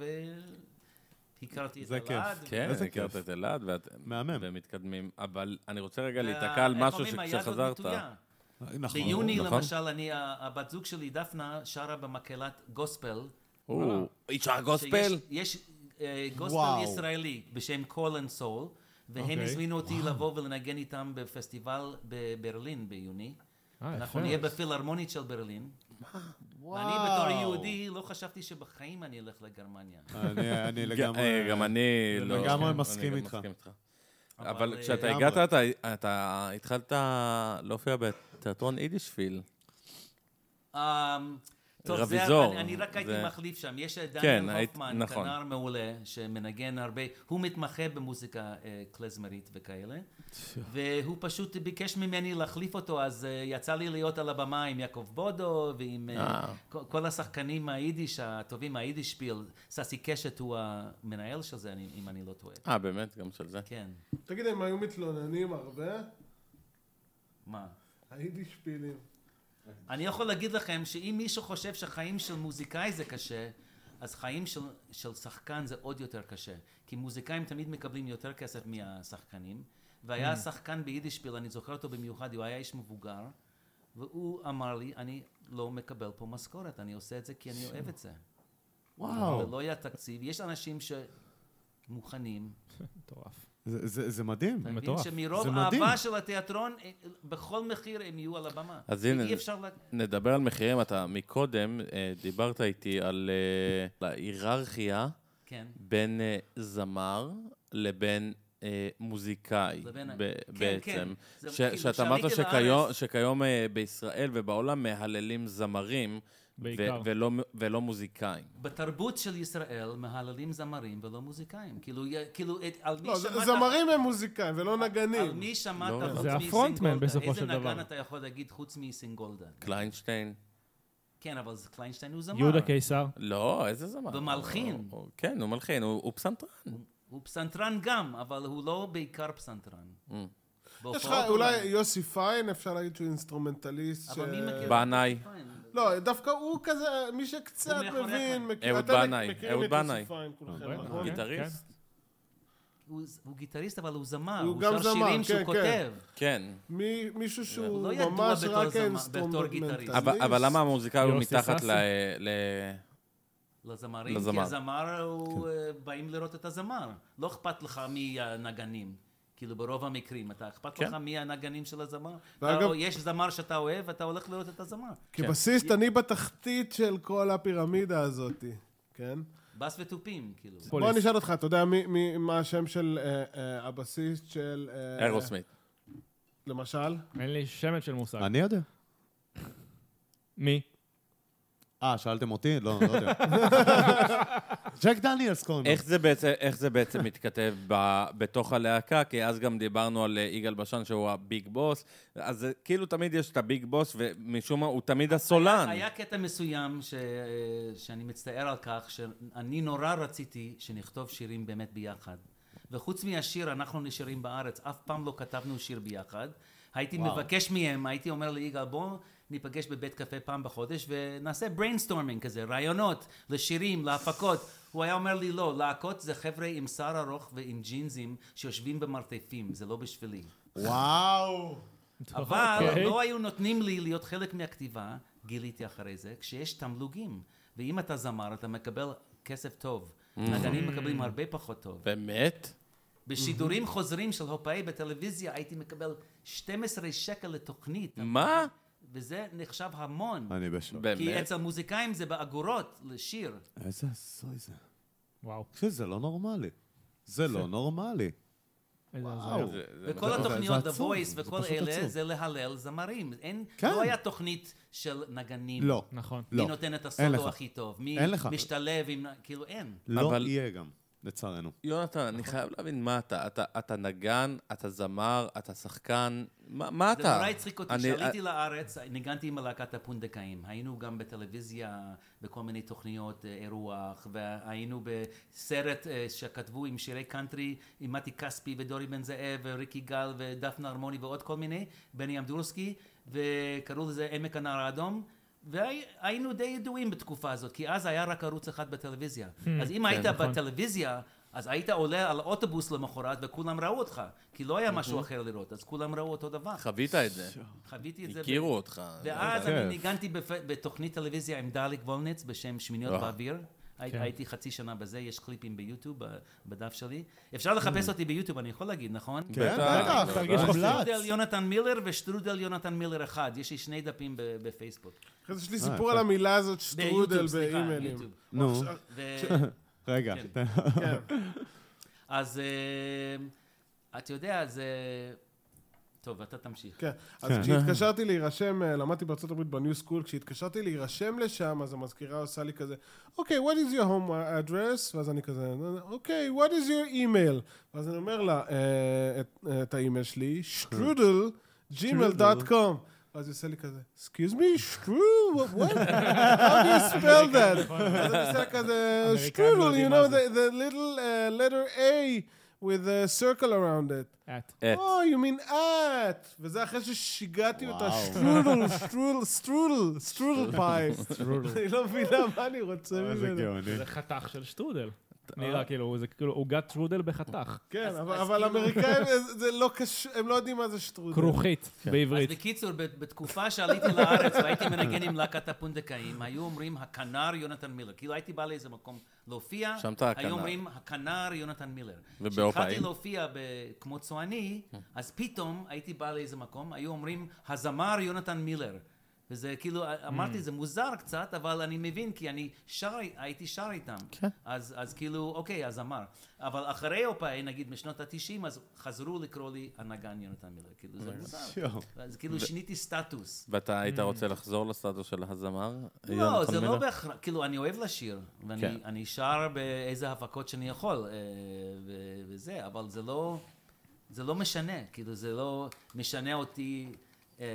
S5: והכרתי את
S4: זה כיף.
S5: אלעד.
S2: כן,
S4: איזה
S2: הכרת
S4: כיף.
S2: את אלעד, ואת-
S4: מהמם.
S2: ומתקדמים. אבל אני רוצה רגע להיתקע
S5: וה-
S2: על
S5: איך
S2: משהו
S5: אומרים, היד עוד
S2: שכשחזרת...
S5: נטויה.
S4: נכון.
S5: ביוני,
S2: נכון.
S5: למשל, אני, ה- הבת זוג שלי, דפנה, שרה במקהלת גוספל.
S2: או, אישה גוספל?
S5: שיש- יש אה, גוספל
S4: וואו.
S5: ישראלי בשם קול אנד סול, והם
S3: אוקיי.
S5: הזמינו אותי לבוא ולנגן איתם בפסטיבל בברלין ביוני.
S3: אה,
S5: אנחנו
S3: יפה.
S5: נהיה בפילהרמונית של ברלין. ואני בתור יהודי לא חשבתי שבחיים אני אלך לגרמניה.
S2: Oh,
S4: אני אני
S2: ג- אה,
S4: לגמרי...
S2: גם אני
S4: אני
S2: לא...
S4: לגמרי
S2: כן,
S4: מסכים
S2: אני גם
S4: איתך.
S2: אבל
S5: אה,
S2: כשאתה
S4: לגמרי.
S2: הגעת, אתה- אתה התחלת להופיע בתיאטרון יידישפיל.
S5: אמ, טוב, זה-
S2: רביזור.
S5: אני- אני רק הייתי
S2: זה-
S5: מחליף שם. יש את
S2: כן,
S5: דניאל
S2: היית-
S5: הופמן,
S2: נכון.
S5: כנר מעולה, שמנגן הרבה. הוא מתמחה במוזיקה אה, קלזמרית וכאלה. והוא פשוט ביקש ממני להחליף אותו, אז אה, יצא לי להיות על הבמה עם יעקב בודו ועם אה, כל- כל השחקנים היידיש הטובים, היידישפיל. ססי קשת הוא המנהל של זה, אני- אם אני לא טועה.
S2: אה, באמת? גם של זה?
S5: כן,
S3: נכון.
S7: תגיד, הם היו מתלוננים הרבה?
S5: מה?
S7: היידיש פילים.
S5: אני יכול להגיד לכם שאם מישהו חושב שחיים של מוזיקאי זה קשה, אז חיים של, של שחקן זה עוד יותר קשה. כי מוזיקאים תמיד מקבלים יותר כסף מהשחקנים. והיה שחקן ביידישפיל, אני זוכר אותו במיוחד, הוא היה איש מבוגר, והוא אמר לי, אני לא מקבל פה משכורת, אני עושה את זה כי אני אוהב את זה.
S8: וואו.
S5: ולא היה תקציב, יש אנשים שמוכנים
S3: מטורף.
S4: זה- זה זה מדהים.
S5: אתה מבין
S3: מטורף.
S5: שמרוב
S4: זה מדהים.
S5: אהבה של התיאטרון, אה, בכל מחיר הם יהיו על הבמה.
S2: אז הנה,
S5: אי אפשר לה...
S2: נדבר על מחירים. אתה מקודם אה, דיברת איתי על אה, על ההיררכיה
S5: כן.
S2: בין אה, זמר לבין אה, מוזיקאי
S5: לבין ה-
S2: ב-
S5: כן, כן.
S2: בעצם.
S5: זה
S2: ש-
S5: כאילו,
S2: שאתה
S5: כשעליתי
S2: אמרת שכיום-
S5: לארץ-
S2: שכיום אה, בישראל ובעולם מהללים זמרים ו-
S3: בעיקר.
S2: ולא מ- ולא מוזיקאים.
S5: בתרבות של ישראל מהללים זמרים ולא מוזיקאים. כאילו, י- כאילו, את, על מי
S7: לא,
S5: שמעת...
S7: ז- זמרים הם מוזיקאים ולא
S5: על
S7: נגנים.
S5: מי שמעת
S2: לא,
S5: חוץ
S3: זה
S5: מסינגולדה?
S3: הפרונטמן בסופו של
S5: איזה נגן
S3: דבר.
S5: אתה יכול להגיד חוץ מסינגולדה?
S2: קליינשטיין?
S5: כן, אבל זה- קליינשטיין הוא זמר.
S3: יהודה קיסר,
S2: לא, איזה זמר.
S5: ומלחין.
S2: הוא- הוא- כן, הוא מלחין, הוא הוא פסנתרן.
S5: הוא פסנתרן גם, אבל הוא לא בעיקר פסנתרן.
S2: Mm.
S7: יש לך
S5: בהופעות
S7: אולי יוסי פיין, אפשר להגיד שהוא אינסטרומנטליסט.
S5: אבל מי
S7: ש-
S5: מכיר?
S2: בנאי.
S7: לא, דווקא הוא כזה, מי שקצת
S5: הוא מאחוריך.
S7: מבין, מכיר...
S2: אהוד
S7: אתם
S2: בנאי,
S7: מכירים
S2: אהוד
S7: את יוסי
S2: בנאי.
S7: פיין כולכם,
S3: בנאי.
S7: נכון?
S3: כן,
S2: גיטריסט?
S5: הוא הוא גיטריסט, אבל הוא זמר.
S7: הוא
S5: הוא
S7: גם
S5: שר
S7: זמר,
S5: שירים
S7: כן,
S5: שהוא
S7: כן.
S5: כותב.
S2: כן.
S7: מי- מישהו שהוא
S5: לא ידוע
S7: ממש
S5: בתור
S7: רק
S5: זמר- בתור
S7: אינסטרומנטליסט.
S5: גיטריסט.
S2: אבל אבל למה המוזיקאי הוא
S3: כן. יוסי
S2: מתחת
S3: סאסי?
S2: ל- ל-
S5: לזמרים,
S2: לזמר. כן.
S5: כי הזמר הוא, אה, באים לראות את הזמר. לא אכפת לך מי הנגנים. כאילו ברוב המקרים, אתה אכפת
S2: כן.
S5: לך מי הנגנים של הזמר?
S7: ואגב- כן.
S5: אתה- יש זמר שאתה אוהב, אתה הולך לראות את הזמר. כן.
S7: כבסיסט, אני בתחתית של כל הפירמידה הזאת, כן?
S5: בס ותופים, כאילו.
S7: בוא
S3: פוליס.
S7: אני אשאל אותך, אתה יודע מי- מי- מה השם של אה, אה, הבסיסט של... אה,
S2: אירוסמית?
S7: למשל?
S3: אין לי שמץ של מושג.
S4: אני יודע.
S3: מי?
S4: אה, שאלתם אותי? לא, לא יודע. ג'ק דניאלס קוראים לו.
S2: איך זה בעצם, איך זה בעצם מתכתב ב, בתוך הלהקה? כי אז גם דיברנו על אה, יגאל בשן שהוא הביג בוס, אז זה כאילו תמיד יש את הביג בוס, ומשום מה הוא תמיד הסולן.
S5: היה קטע מסוים ש... שאני מצטער על כך, שאני נורא רציתי שנכתוב שירים באמת ביחד. וחוץ מהשיר, אנחנו נשארים בארץ, אף פעם לא כתבנו שיר ביחד. הייתי וואו. מבקש מהם, הייתי אומר ליגאל, בואו ניפגש בבית קפה פעם בחודש ונעשה בריינסטורמינג כזה, רעיונות לשירים, להפקות. הוא היה אומר לי, לא, להקות זה חבר'ה עם שיער ארוך ועם ג'ינזים שיושבים במרתפים, זה לא בשבילי.
S4: וואו.
S5: אבל
S3: אוקיי.
S5: לא היו נותנים לי להיות חלק מהכתיבה, גיליתי אחרי זה, כשיש תמלוגים. ואם אתה זמר, אתה מקבל כסף טוב. נגנים מקבלים הרבה פחות טוב.
S2: Mm-hmm. באמת? Mm-hmm.
S5: בשידורים חוזרים של הופאי בטלוויזיה הייתי מקבל 12 שקל לתוכנית.
S2: מה?
S5: וזה נחשב המון.
S4: אני בשוק.
S5: כי
S2: באמת?
S5: אצל מוזיקאים זה באגורות לשיר.
S4: איזה עשוי זה.
S3: וואו,
S4: תקשיב, זה לא נורמלי. זה לא נורמלי.
S3: איזה
S4: וואו.
S3: הזוי.
S2: זה-
S5: וכל
S4: זה- זה
S5: התוכניות, The
S4: עצוב,
S5: Voice
S4: זה
S5: וכל
S4: פשוט
S5: אלה,
S4: עצוב.
S5: זה להלל זמרים. אין,
S4: כן.
S5: לא היה תוכנית של נגנים.
S4: לא.
S3: נכון.
S5: מי
S4: לא.
S5: נותן את
S4: אין לך.
S5: הסודו הכי טוב. מי
S4: אין לך.
S5: משתלב עם... כאילו, אין.
S4: לא
S2: אבל-
S4: יהיה גם, לצערנו. נכון.
S2: יונתן, אני חייב להבין מה אתה. אתה, אתה נגן, אתה זמר, אתה שחקן, מה, מה אתה?
S5: זה נורא הצחיק אותי,
S2: אני- אה,
S5: כשעליתי לארץ, ניגנתי עם להקת הפונדקאים. היינו גם בטלוויזיה, בכל מיני תוכניות אה, אירוח, והיינו בסרט אה, שכתבו עם שירי קאנטרי, עם מתי כספי ודורי בן זאב, וריקי גל ודפנה ארמוני ועוד כל מיני, בני אמדורסקי, וקראו לזה עמק הנער האדום. והיינו די ידועים בתקופה הזאת, כי אז היה רק ערוץ אחד בטלוויזיה. אז אם היית
S3: נכון.
S5: בטלוויזיה, אז היית עולה על אוטובוס למחרת וכולם ראו אותך, כי
S2: Mhm.
S5: לא היה משהו אחר לראות, אז כולם ראו אותו דבר.
S2: חווית את זה,
S5: חוויתי את זה.
S2: הכירו אותך.
S5: ואז
S4: זה
S5: אני
S4: כיף.
S5: ניגנתי בפ- בתוכנית טלוויזיה עם דליק וולנץ בשם שמיניות
S4: אה.
S2: וואו.
S5: באוויר. הי-
S3: כן.
S5: הייתי חצי שנה בזה, יש קליפים ביוטיוב, ב- בדף שלי. אפשר לחפש אותי ביוטיוב, אני יכול להגיד, נכון?
S2: בטח.
S4: Mm. כן, בטח, תרגיש מומלץ.
S5: שטרודל יונתן מילר ושטרודל יונתן מילר אחד, יש לי שני דפים ב- בפייסבוק.
S7: אחרי זה
S4: אה,
S7: יש לי סיפור על המילה הזאת, שטרודל
S5: ביוטיוב, סליחה,
S7: באימיילים.
S5: יוטיוב.
S4: נו,
S5: ו-
S4: רגע.
S5: כן.
S4: תן-
S7: כן.
S5: אז אה, אתה יודע, זה... טוב, אתה תמשיך.
S7: כן. אז כשהתקשרתי להירשם, אה, למדתי בארצות הברית בניו סקול, כשהתקשרתי להירשם לשם, אז המזכירה עושה לי כזה, אוקיי, what is your home address? ואז אני כזה, אוקיי, what is your email? ואז אני אומר לה אה, את- אה, את האימייל שלי, שטרודל, gmail.com. ואז היא עושה לי כזה, excuse me, שטרו, what? what? How do you spell that? אז אני עושה כזה,
S3: נכון. אמריקאים לא
S7: שטרודל,
S3: יודעים
S7: you
S3: מה
S7: know,
S3: זה."
S7: the, the little uh, letter A with a circle around it.
S3: את.
S2: את.
S7: או, you mean את. וזה אחרי ששיגעתי אותה, שטרודל, שטרודל, סטרודל, סטרודל פאי. היא לא מבינה מה אני רוצה
S8: איזה
S7: ממנו.
S8: גאוני.
S3: אה, זה חתך של שטרודל.
S4: אה?
S3: נראה כאילו, זה כאילו עוגת שטרודל בחתך.
S7: כן,
S5: אז-
S7: אבל-
S5: אז
S7: אבל
S5: כאילו-
S7: אמריקאים, זה- זה לא קשור, הם לא יודעים מה זה שטרודל.
S3: כרוכית,
S5: אז
S3: בעברית.
S5: בקיצור, ב- בתקופה שעליתי לארץ והייתי מנגן עם להקת הפונדקאים, היו אומרים הכנר יונתן מילר. כאילו הייתי בא לאיזה מקום להופיע,
S2: שם אתה הכנר.
S5: היו אומרים הכנר יונתן מילר.
S2: ובהופעה
S5: כשהתחלתי
S2: אין?
S5: להופיע ב- כמו צועני,
S2: כן.
S5: אז פתאום הייתי בא לאיזה מקום, היו אומרים הזמר יונתן מילר. וזה כאילו,
S2: Mm.
S5: אמרתי, זה מוזר קצת, אבל אני מבין, כי אני שר, הייתי שר איתם. כן. אז, אז כאילו, אוקיי, הזמר. אבל אחרי אופאי, נגיד משנות ה-90, אז חזרו לקרוא לי הנגן יונתן מילר. כאילו, זה מוזר.
S8: יואו.
S5: אז כאילו שיניתי סטטוס.
S2: אה, ואתה
S4: Mm.
S2: היית רוצה לחזור לסטטוס של הזמר?
S5: לא,
S2: יונתן
S5: זה לא
S2: מילר?
S5: בהכרח, כאילו, אני אוהב לשיר,
S2: כן.
S5: ואני אני שר באיזה הפקות שאני יכול, אה, ו- וזה, אבל זה לא, זה לא משנה, כאילו, זה לא משנה אותי, אה,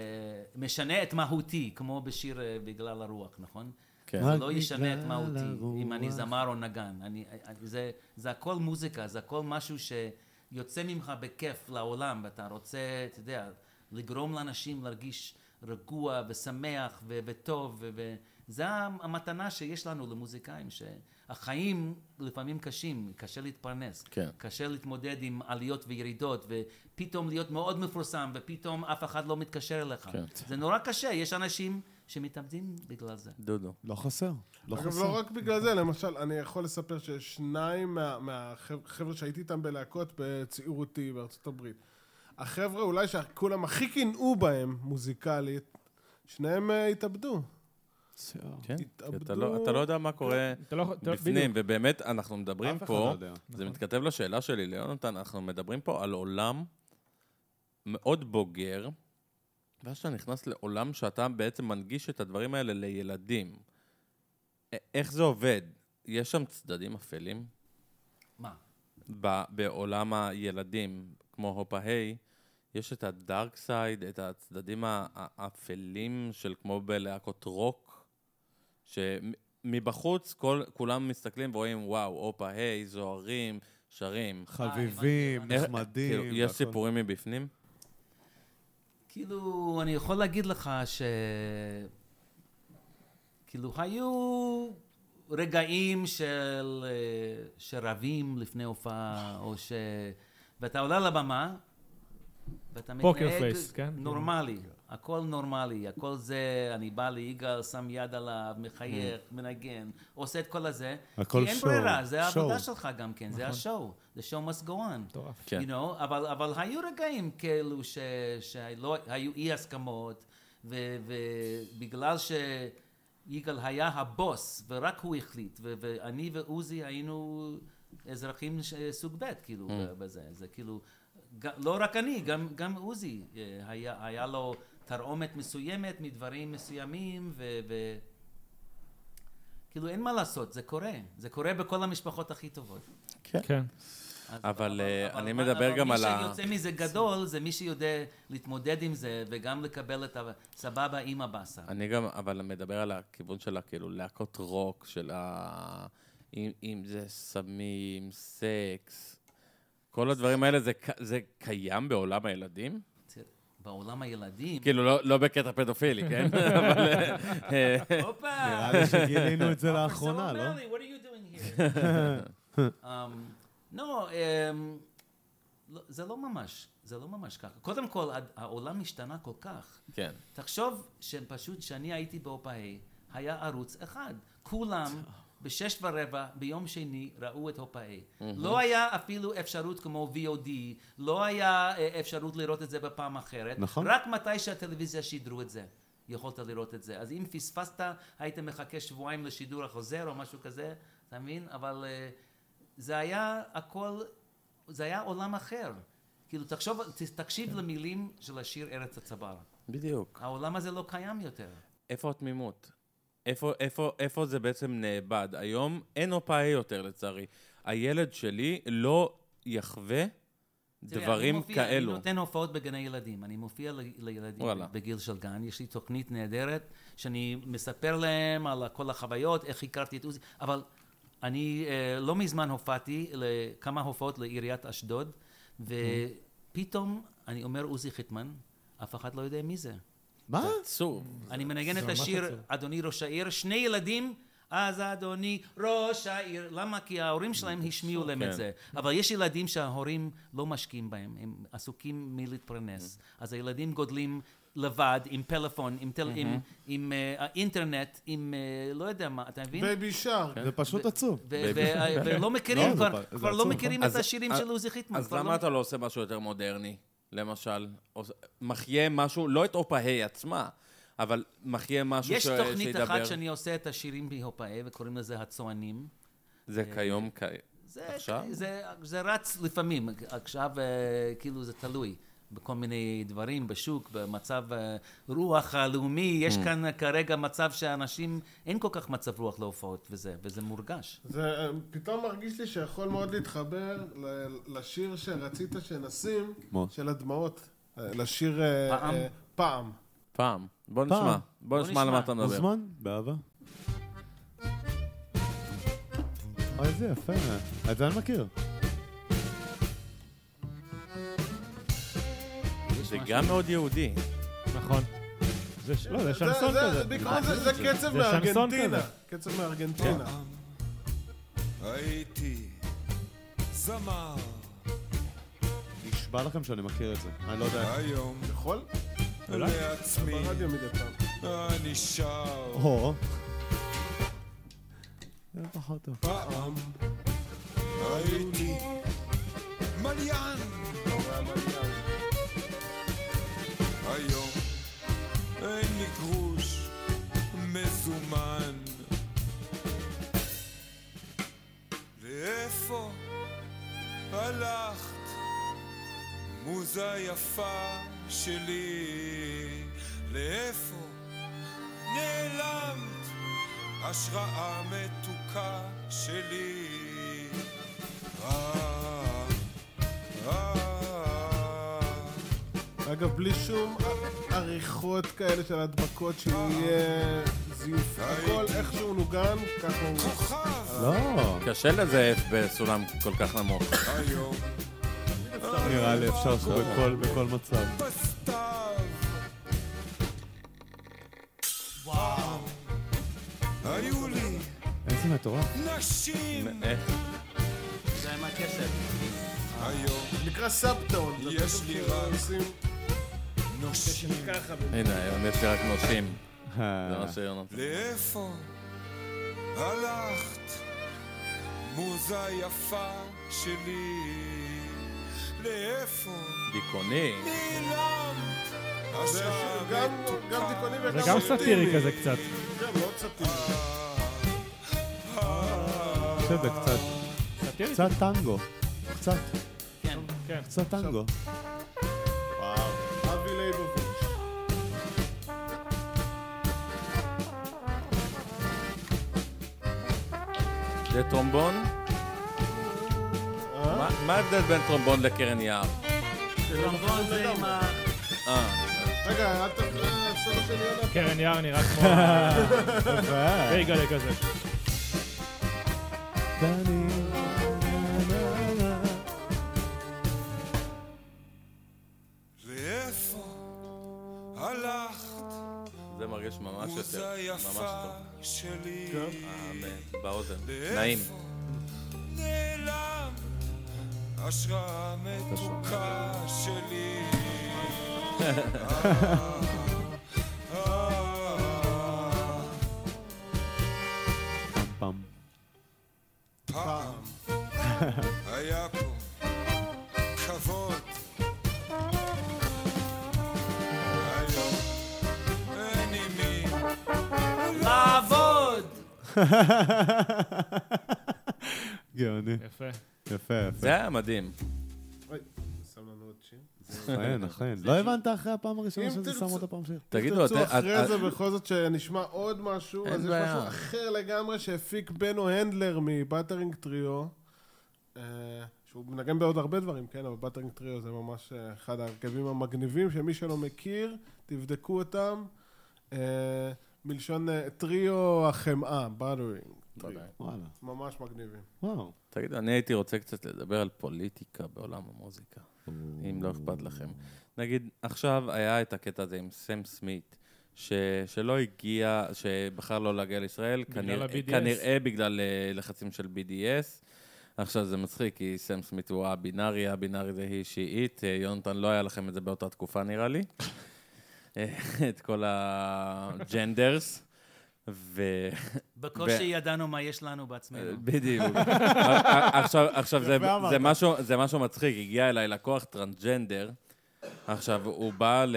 S5: משנה את מהותי, כמו בשיר אה, בגלל הרוח, נכון?
S2: כן.
S5: זה לא ישנה את מהותי, אם אני זמר או נגן. אני, אני- זה, זה הכל מוזיקה, זה הכל משהו שיוצא ממך בכיף לעולם, ואתה רוצה, אתה יודע, לגרום לאנשים להרגיש רגוע ושמח ו- וטוב, ו- וזה המתנה שיש לנו למוזיקאים, שהחיים לפעמים קשים, קשה להתפרנס.
S2: כן.
S5: קשה להתמודד עם עליות וירידות, ופתאום להיות מאוד מפורסם, ופתאום אף אחד לא מתקשר אליך.
S2: כן.
S5: זה נורא קשה, יש אנשים שמתאבדים בגלל זה.
S2: דודו.
S4: לא חסר. לא
S7: אגב,
S4: חסר.
S7: לא רק בגלל זה, למשל, אני יכול לספר ששניים מה- מהחבר'ה שהייתי איתם בלהקות בצעירותי בארצות הברית, החבר'ה אולי שכולם הכי קינאו בהם מוזיקלית, שניהם אה, התאבדו.
S2: כן. כי אתה
S7: התאבדו.
S2: לא- אתה לא יודע מה קורה
S3: אתה לא יכול... אתה לא-
S2: בפנים,
S3: בדיוק.
S2: ובאמת, אנחנו מדברים
S8: אף אחד לא
S2: פה,
S8: יודע.
S3: נכון.
S2: זה מתכתב לשאלה שלי ליונתן, אנחנו מדברים פה על עולם מאוד בוגר, ואז שאתה נכנס לעולם שאתה בעצם מנגיש את הדברים האלה לילדים. א- איך זה עובד? יש שם צדדים אפלים?
S5: מה?
S2: ב- בעולם הילדים, כמו הופה היי, יש את הדארק סייד, את הצדדים ה- האפלים של כמו בלהקות רוק, שמבחוץ כל, כולם מסתכלים ורואים, וואו, הופה היי, זוהרים, שרים.
S5: אה,
S4: חביבים,
S2: איך-
S4: נחמדים.
S2: כאילו, יש
S4: והכל.
S2: סיפורים מבפנים?
S5: כאילו, אני יכול להגיד לך ש... כאילו, היו רגעים של... אה, שרבים לפני הופעה, או ש... ואתה עולה לבמה, ואתה
S3: פוקר
S5: מתנהג
S3: פייס, כן?
S5: נורמלי, הכל נורמלי, הכל זה, אני בא ליגאל, שם יד עליו, מחייך, מנגן, עושה את כל הזה.
S8: הכל
S5: כי אין
S8: show,
S5: ברירה, זה
S8: show.
S5: העבודה שלך גם כן,
S8: נכון.
S5: זה השואו, the show must go on.
S3: מטורף.
S2: כן.
S5: You know, אבל, אבל היו רגעים כאלו ש, שלא, היו אי הסכמות, ו, ובגלל שיגאל היה הבוס, ורק הוא החליט, ו, ואני ועוזי היינו אזרחים ש, סוג ב', כאילו, mm. בזה, זה כאילו, ג- לא רק אני, גם, גם עוזי, אה, היה, היה לו תרעומת מסוימת מדברים מסוימים, ו... ו כאילו אין מה לעשות, זה קורה, זה קורה בכל המשפחות הכי טובות.
S3: כן.
S5: אז-
S2: אבל, אה, אני
S5: אבל-
S2: מדבר
S5: אבל
S2: גם על ה-
S5: מי שיוצא מזה גדול, זה מי שיודע להתמודד עם זה, וגם לקבל את הסבבה עם הבאסה.
S2: אני גם, אבל מדבר על הכיוון של הכאילו להקות רוק, של ה... אם, אם זה סמים, סקס, כל הדברים האלה, זה, ק- זה קיים בעולם הילדים?
S5: תראה, בעולם הילדים...
S2: כאילו, לא, לא בקטע פדופילי, כן? אבל... אה, אה,
S5: הופה!
S4: נראה לי שגילינו את זה
S5: Officer
S4: לאחרונה, לא?
S5: O'Malley, what are you doing here? Um, no, um, לא, זה לא ממש, זה לא ממש ככה. קודם כל, הד- העולם השתנה כל כך.
S2: כן.
S5: תחשוב שפשוט כשאני הייתי בהופעה, היה ערוץ אחד. כולם בשש ורבע ביום שני ראו את הופעה. לא היה אפילו אפשרות כמו VOD, לא היה אה, אפשרות לראות את זה בפעם אחרת.
S8: נכון.
S5: רק מתי שהטלוויזיה שידרו את זה. יכולת לראות את זה. אז אם פספסת, היית מחכה שבועיים לשידור החוזר או משהו כזה, אתה מבין? אבל אה, זה היה הכל, זה היה עולם אחר. כאילו, תחשוב, ת- תקשיב למילים של השיר ארץ הצבר.
S2: בדיוק.
S5: העולם הזה לא קיים יותר.
S2: איפה התמימות? איפה, איפה, איפה זה בעצם נאבד? היום אין הופעה יותר, לצערי. הילד שלי לא יחווה
S5: תראה,
S2: דברים
S5: אני מופיע,
S2: כאלו.
S5: אני נותן הופעות בגני ילדים. אני מופיע ל- לילדים
S2: וואלה.
S5: בגיל של גן. יש לי תוכנית נהדרת, שאני מספר להם על כל החוויות, איך הכרתי את עוזי, אבל אני אה, לא מזמן הופעתי לכמה הופעות לעיריית אשדוד, ופתאום אני אומר עוזי חיטמן, אף אחד לא יודע מי זה.
S4: מה?
S2: עצוב.
S5: אני מנגן את השיר, אדוני ראש העיר, שני ילדים, אז אדוני ראש העיר. למה? כי ההורים שלהם השמיעו להם
S2: כן.
S5: את זה. אבל יש ילדים שההורים לא משקיעים בהם, הם עסוקים מלהתפרנס.
S2: Mm-hmm.
S5: אז הילדים גודלים לבד, עם פלאפון, עם טל- עם-
S2: Mm-hmm.
S5: עם אה, האינטרנט, עם אה, לא יודע מה, אתה מבין?
S7: בייבי שער.
S2: כן.
S5: כן.
S4: זה פשוט עצוב.
S5: ו- ו- אה, ולא מכירים,
S4: לא,
S5: כבר-
S4: זה פ- זה
S5: כבר לא
S4: עצוב.
S5: מכירים
S2: אז-
S5: את השירים
S2: אז-
S5: של עוזי חיטמן.
S2: אז
S5: כבר לא
S2: למה אתה לא עושה משהו יותר מודרני? למשל, עוש- מחיה משהו, לא את אופהי עצמה, אבל מחיה משהו
S5: יש
S2: ש-
S5: תוכנית
S2: שידבר.
S5: אחת שאני עושה את השירים בהופעה, וקוראים לזה הצוענים. אה,
S2: זה כיום כ...
S5: זה,
S2: עכשיו?
S5: אה, זה, זה רץ לפעמים, עכשיו אה, כאילו זה תלוי בכל מיני דברים, בשוק, במצב אה, רוח הלאומי, יש כאן כרגע מצב שאנשים, אין כל כך מצב רוח להופעות וזה, וזה
S2: כן.
S5: מורגש.
S7: זה אה, פתאום מרגיש לי שיכול מאוד להתחבר ל- לשיר שרצית שנשים,
S8: מה?
S7: של הדמעות. אה, לשיר... אה,
S5: פעם?
S7: אה, פעם.
S2: פעם. בוא
S4: פעם.
S2: נשמע. בוא
S5: בוא
S2: נשמע על מה
S5: נשמע.
S2: אתה מדבר.
S4: מוזמן, באהבה. אוי, איזה יפה. אה. את זה אני מכיר.
S2: זה גם מאוד יהודי.
S3: נכון. זה ש- לא, זה
S7: זה-
S3: שנסון
S7: זה-
S3: כזה.
S7: בעיקרון זה- זה קצב
S3: זה שנסון
S7: מארגנטינה.
S3: כזה.
S7: קצב מארגנטינה.
S8: אה.
S9: הייתי זמר
S4: נשבע לכם שאני מכיר את זה. אני לא יודע.
S9: היום
S7: יכול?
S9: לעצמי
S7: ברדיו מדי פעם.
S9: אני שר
S4: או. זה פחות טוב.
S9: פעם הייתי מליין
S7: לא,
S9: היום אין לי גרוש מזומן לאיפה הלכת מוזה יפה שלי לאיפה נעלמת השראה מתוקה שלי. אה, אה,
S7: אגב, בלי שום עריכות כאלה של הדבקות שיהיה זיוף. הכל איכשהו נוגן, ככה הוא...
S9: כוכב
S4: לא.
S2: קשה לזייף בסולם כל כך נמוך.
S9: היום
S4: נראה לי אפשר
S7: אה,
S4: שבכל בכל מצב.
S9: בסתיו. וואו. היו לי
S4: איזה מטורף.
S9: נשים
S2: איך?
S5: זה עם הכסף.
S9: היום
S7: נקרא סאבטאון. זה
S9: יש
S7: פשוט
S9: לי רק
S7: עושים
S9: נושים
S7: ככה.
S2: הנה, היום יש לי רק נושים. זה
S4: אה,
S2: מה שיונה.
S9: לאיפה הלכת, מוזה יפה שלי? לאיפה
S2: דיכאוני.
S9: נעלמת?
S7: זה
S9: השעה
S7: גם- גם
S9: מתוקה.
S7: דיכאוני וגם...
S3: זה גם
S7: אופטימי.
S3: סאטירי כזה קצת.
S7: גם כן, לא מאוד סאטירי.
S4: שזה קצת...
S3: סאטירי?
S4: קצת טנגו. קצת.
S5: כן.
S3: כן.
S4: קצת טנגו.
S7: אבי לייבוביץ'.
S2: זה טרומבון?
S3: אה?
S2: מה- מה ההבדל בין טרומבון לקרן יער?
S5: טרומבון נכון, זה עם ה...
S2: אה,
S7: רגע, אל תפריע לסוף של יונה.
S3: קרן יער נראה כמו
S7: אה,
S3: בייגלה כזה.
S9: לאיפה הלכת,
S2: זה מרגיש ממש
S9: מוזה
S2: יותר. ממש
S9: יפה
S2: טוב.
S9: שלי?
S3: כן.
S7: כן.
S2: אמן. באוזן. נעים.
S9: לאיפה נעלם השראה מתוקה שלי? אה, אה,
S4: פעם.
S9: פעם היה פה כבוד. היום אין עם מי
S5: לעבוד!
S4: גאוני.
S3: יפה.
S4: יפה, יפה.
S2: זה היה מדהים.
S7: שם לנו עוד שיר?
S4: נכון,
S8: אכן, אכן. לא הבנת אחרי הפעם הראשונה
S7: אם
S8: שזה שם
S7: תרצו-
S8: עוד פעם שיר?
S2: תגידו,
S7: תרצו
S2: את- את-
S7: אחרי זה
S2: את-
S7: בכל זאת שנשמע עוד משהו,
S2: אין
S7: אז יש
S2: בעיה.
S7: משהו אחר לגמרי שהפיק בנו הנדלר מבטרינג טריו, אה, שהוא מנגן בעוד הרבה דברים, כן, אבל בטרינג טריו זה ממש אה, אחד ההרכבים המגניבים, שמי שלא מכיר, תבדקו אותם, אה, מלשון אה, טריו החמאה, בטרינג טריו,
S2: אוקיי,
S8: וואלה.
S7: ממש מגניבים.
S8: וואו.
S2: תגידו, אני הייתי רוצה קצת לדבר על פוליטיקה בעולם המוזיקה, אם לא אכפת לכם. נגיד, עכשיו היה את הקטע הזה עם סם סמית, ש... שלא הגיע, שבחר לא להגיע לישראל,
S3: בגלל
S2: כנראה,
S3: ה-BDS.
S2: כנראה בגלל אה, לחצים של BDS. עכשיו זה מצחיק, כי סם סמית הוא הבינארי, הבינארי זה היא שיעית. אה, יונתן, לא היה לכם את זה באותה תקופה, נראה לי. אה, את כל הג'נדרס. ו...
S5: בקושי
S2: ב-
S5: ידענו מה יש לנו בעצמנו.
S2: בדיוק. עכשיו, עכשיו זה, זה, משהו, זה משהו מצחיק, הגיע אליי לקוח טרנסג'נדר, עכשיו הוא בא ל-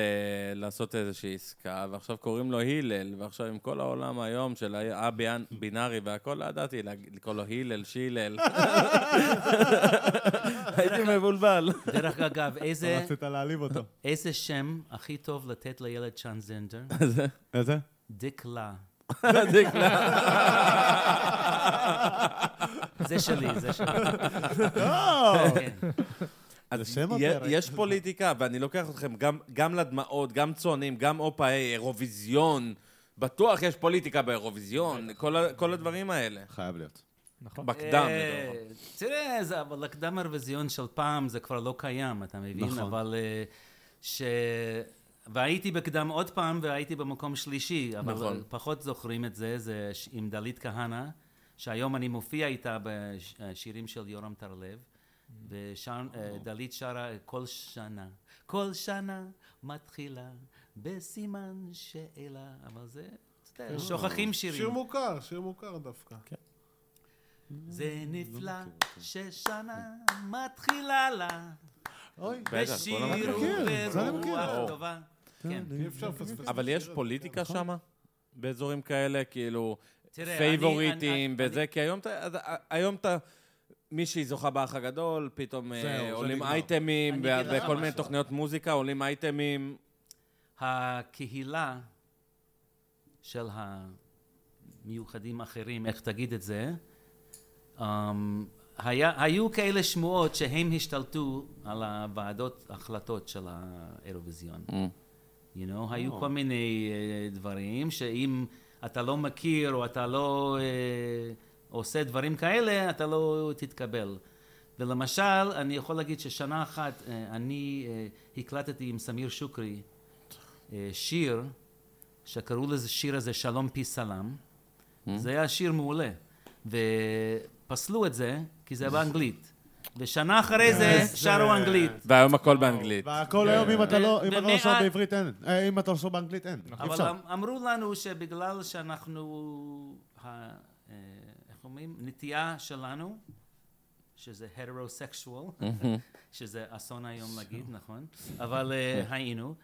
S2: לעשות איזושהי עסקה, ועכשיו קוראים לו הלל, ועכשיו עם כל העולם היום של הבינארי והכל, לא ידעתי להג- לקרוא לו הלל, שילל. הייתי מבולבל.
S5: דרך אגב, איזה-
S4: רצית להעליב אותו.
S5: איזה שם הכי טוב לתת לילד טרנסג'נדר?
S4: איזה?
S5: דקלה.
S2: זה קלאס.
S5: זה שלי, זה שלי. כן.
S2: אז
S4: אה, שם
S2: יה-
S4: הפרק.
S2: יש פוליטיקה, ואני לוקח אתכם גם, גם לדמעות, גם צוענים, גם אופאי, אירוויזיון. בטוח יש פוליטיקה באירוויזיון, כל, ה- כל הדברים האלה.
S8: חייב להיות.
S3: נכון.
S2: בקדם.
S5: אה, תראה, זה- אבל הקדם הרוויזיון של פעם זה כבר לא קיים, אתה מבין?
S8: נכון.
S5: אבל אה, ש... והייתי בקדם עוד פעם והייתי במקום שלישי, אבל
S2: נכון.
S5: פחות זוכרים את זה, זה ש- עם דלית כהנא, שהיום אני מופיע איתה בשירים של יורם טרלב, ודלית שרה כל שנה, כל שנה מתחילה בסימן שאלה, אבל זה, אתה יודע, כן, שוכחים שירים.
S7: שיר מוכר, שיר מוכר דווקא.
S2: כן.
S5: זה נפלא ששנה מתחילה לה
S4: אוי.
S2: בטח, כל
S5: בשיר
S2: המקום.
S8: זה אני מכיר.
S5: וברוח
S2: ברור.
S5: טובה. כן.
S7: אי אפשר לפספס.
S2: אבל יש פוליטיקה
S4: נכון.
S2: שם? באזורים כאלה, כאילו,
S5: תראה, אני-
S2: פייבוריטים
S5: אני-
S2: וזה, כי היום אתה, אז, ה- היום אתה, מישהי זוכה באח הגדול, פתאום אה,
S4: זהו, זה
S2: עולים
S4: נגמר.
S2: אייטמים,
S5: אני
S2: ו-
S5: אגיד לך
S2: וכל מיני
S5: משהו.
S2: תוכניות מוזיקה, עולים אייטמים.
S5: הקהילה של המיוחדים האחרים, איך תגיד את זה, אמ, היה, היו כאלה שמועות שהם השתלטו על הוועדות החלטות של האירוויזיון. you know,
S2: Oh.
S5: היו כל מיני אה, דברים שאם אתה לא מכיר או אתה לא אה, עושה דברים כאלה, אתה לא תתקבל. ולמשל, אני יכול להגיד ששנה אחת אה, אני אה, הקלטתי עם סמיר שוקרי אה, שיר שקראו לזה שיר הזה שלום פי סלאם.
S2: Mm-hmm.
S5: זה היה שיר מעולה. ופסלו את זה כי זה באנגלית. ושנה אחרי זה שרו אנגלית.
S2: כן. והיום הכל באנגלית. כן.
S4: והכל היום, אם אתה לא אם אתה לא
S5: ומעט-
S4: רשום בעברית, אין. אה, אם אתה לא רשום באנגלית, אין. אי
S5: אבל
S4: אפשר.
S5: אמ- אמרו לנו שבגלל שאנחנו, ה- אה, איך אומרים? נטייה שלנו, שזה heterosexual, שזה אסון היום להגיד, נכון? אבל אה,
S2: כן.
S5: היינו.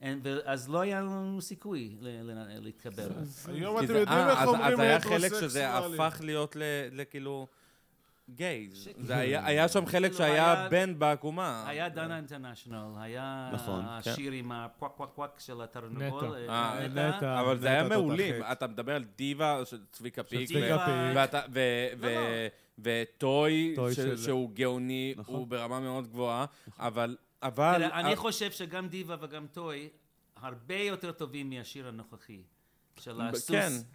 S5: אין- ו- אז לא היה לנו סיכוי ל- ל- להתקבל.
S7: היום
S2: כי
S7: אתם
S2: זה-
S7: יודעים
S2: אה,
S7: איך
S2: אז-
S7: אומרים
S2: אז היה חלק שזה
S7: הטרוסקסואלים.
S2: הפך להיות ל- לכאילו גייז.
S5: שכאילו-
S2: זה היה- היה שם חלק
S5: כאילו
S2: שהיה
S5: היה-
S2: בן בעקומה.
S5: היה דנה אינטרנשיונל, היה
S8: נכון,
S5: השיר עם הקוואק קוואק קוואק של
S3: נטע.
S5: התרנגול.
S2: אה,
S5: נטע.
S4: נטע,
S2: אבל זה היה
S4: נטע
S2: מעולים.
S4: תותחית.
S2: אתה מדבר על דיווה, של צביקה פיק,
S5: צביקה
S2: ו-
S5: פיק.
S2: ואתה- ו-
S5: לא,
S2: ו- וטוי,
S4: טוי
S2: ש-
S4: של-
S2: שהוא גאוני,
S8: נכון.
S2: הוא ברמה מאוד גבוהה, אבל...
S5: נכון. תראה,
S2: אבל... אה,
S5: אני חושב שגם דיווה וגם טוי הרבה יותר טובים מהשיר הנוכחי. של
S2: כן,
S5: הסוס,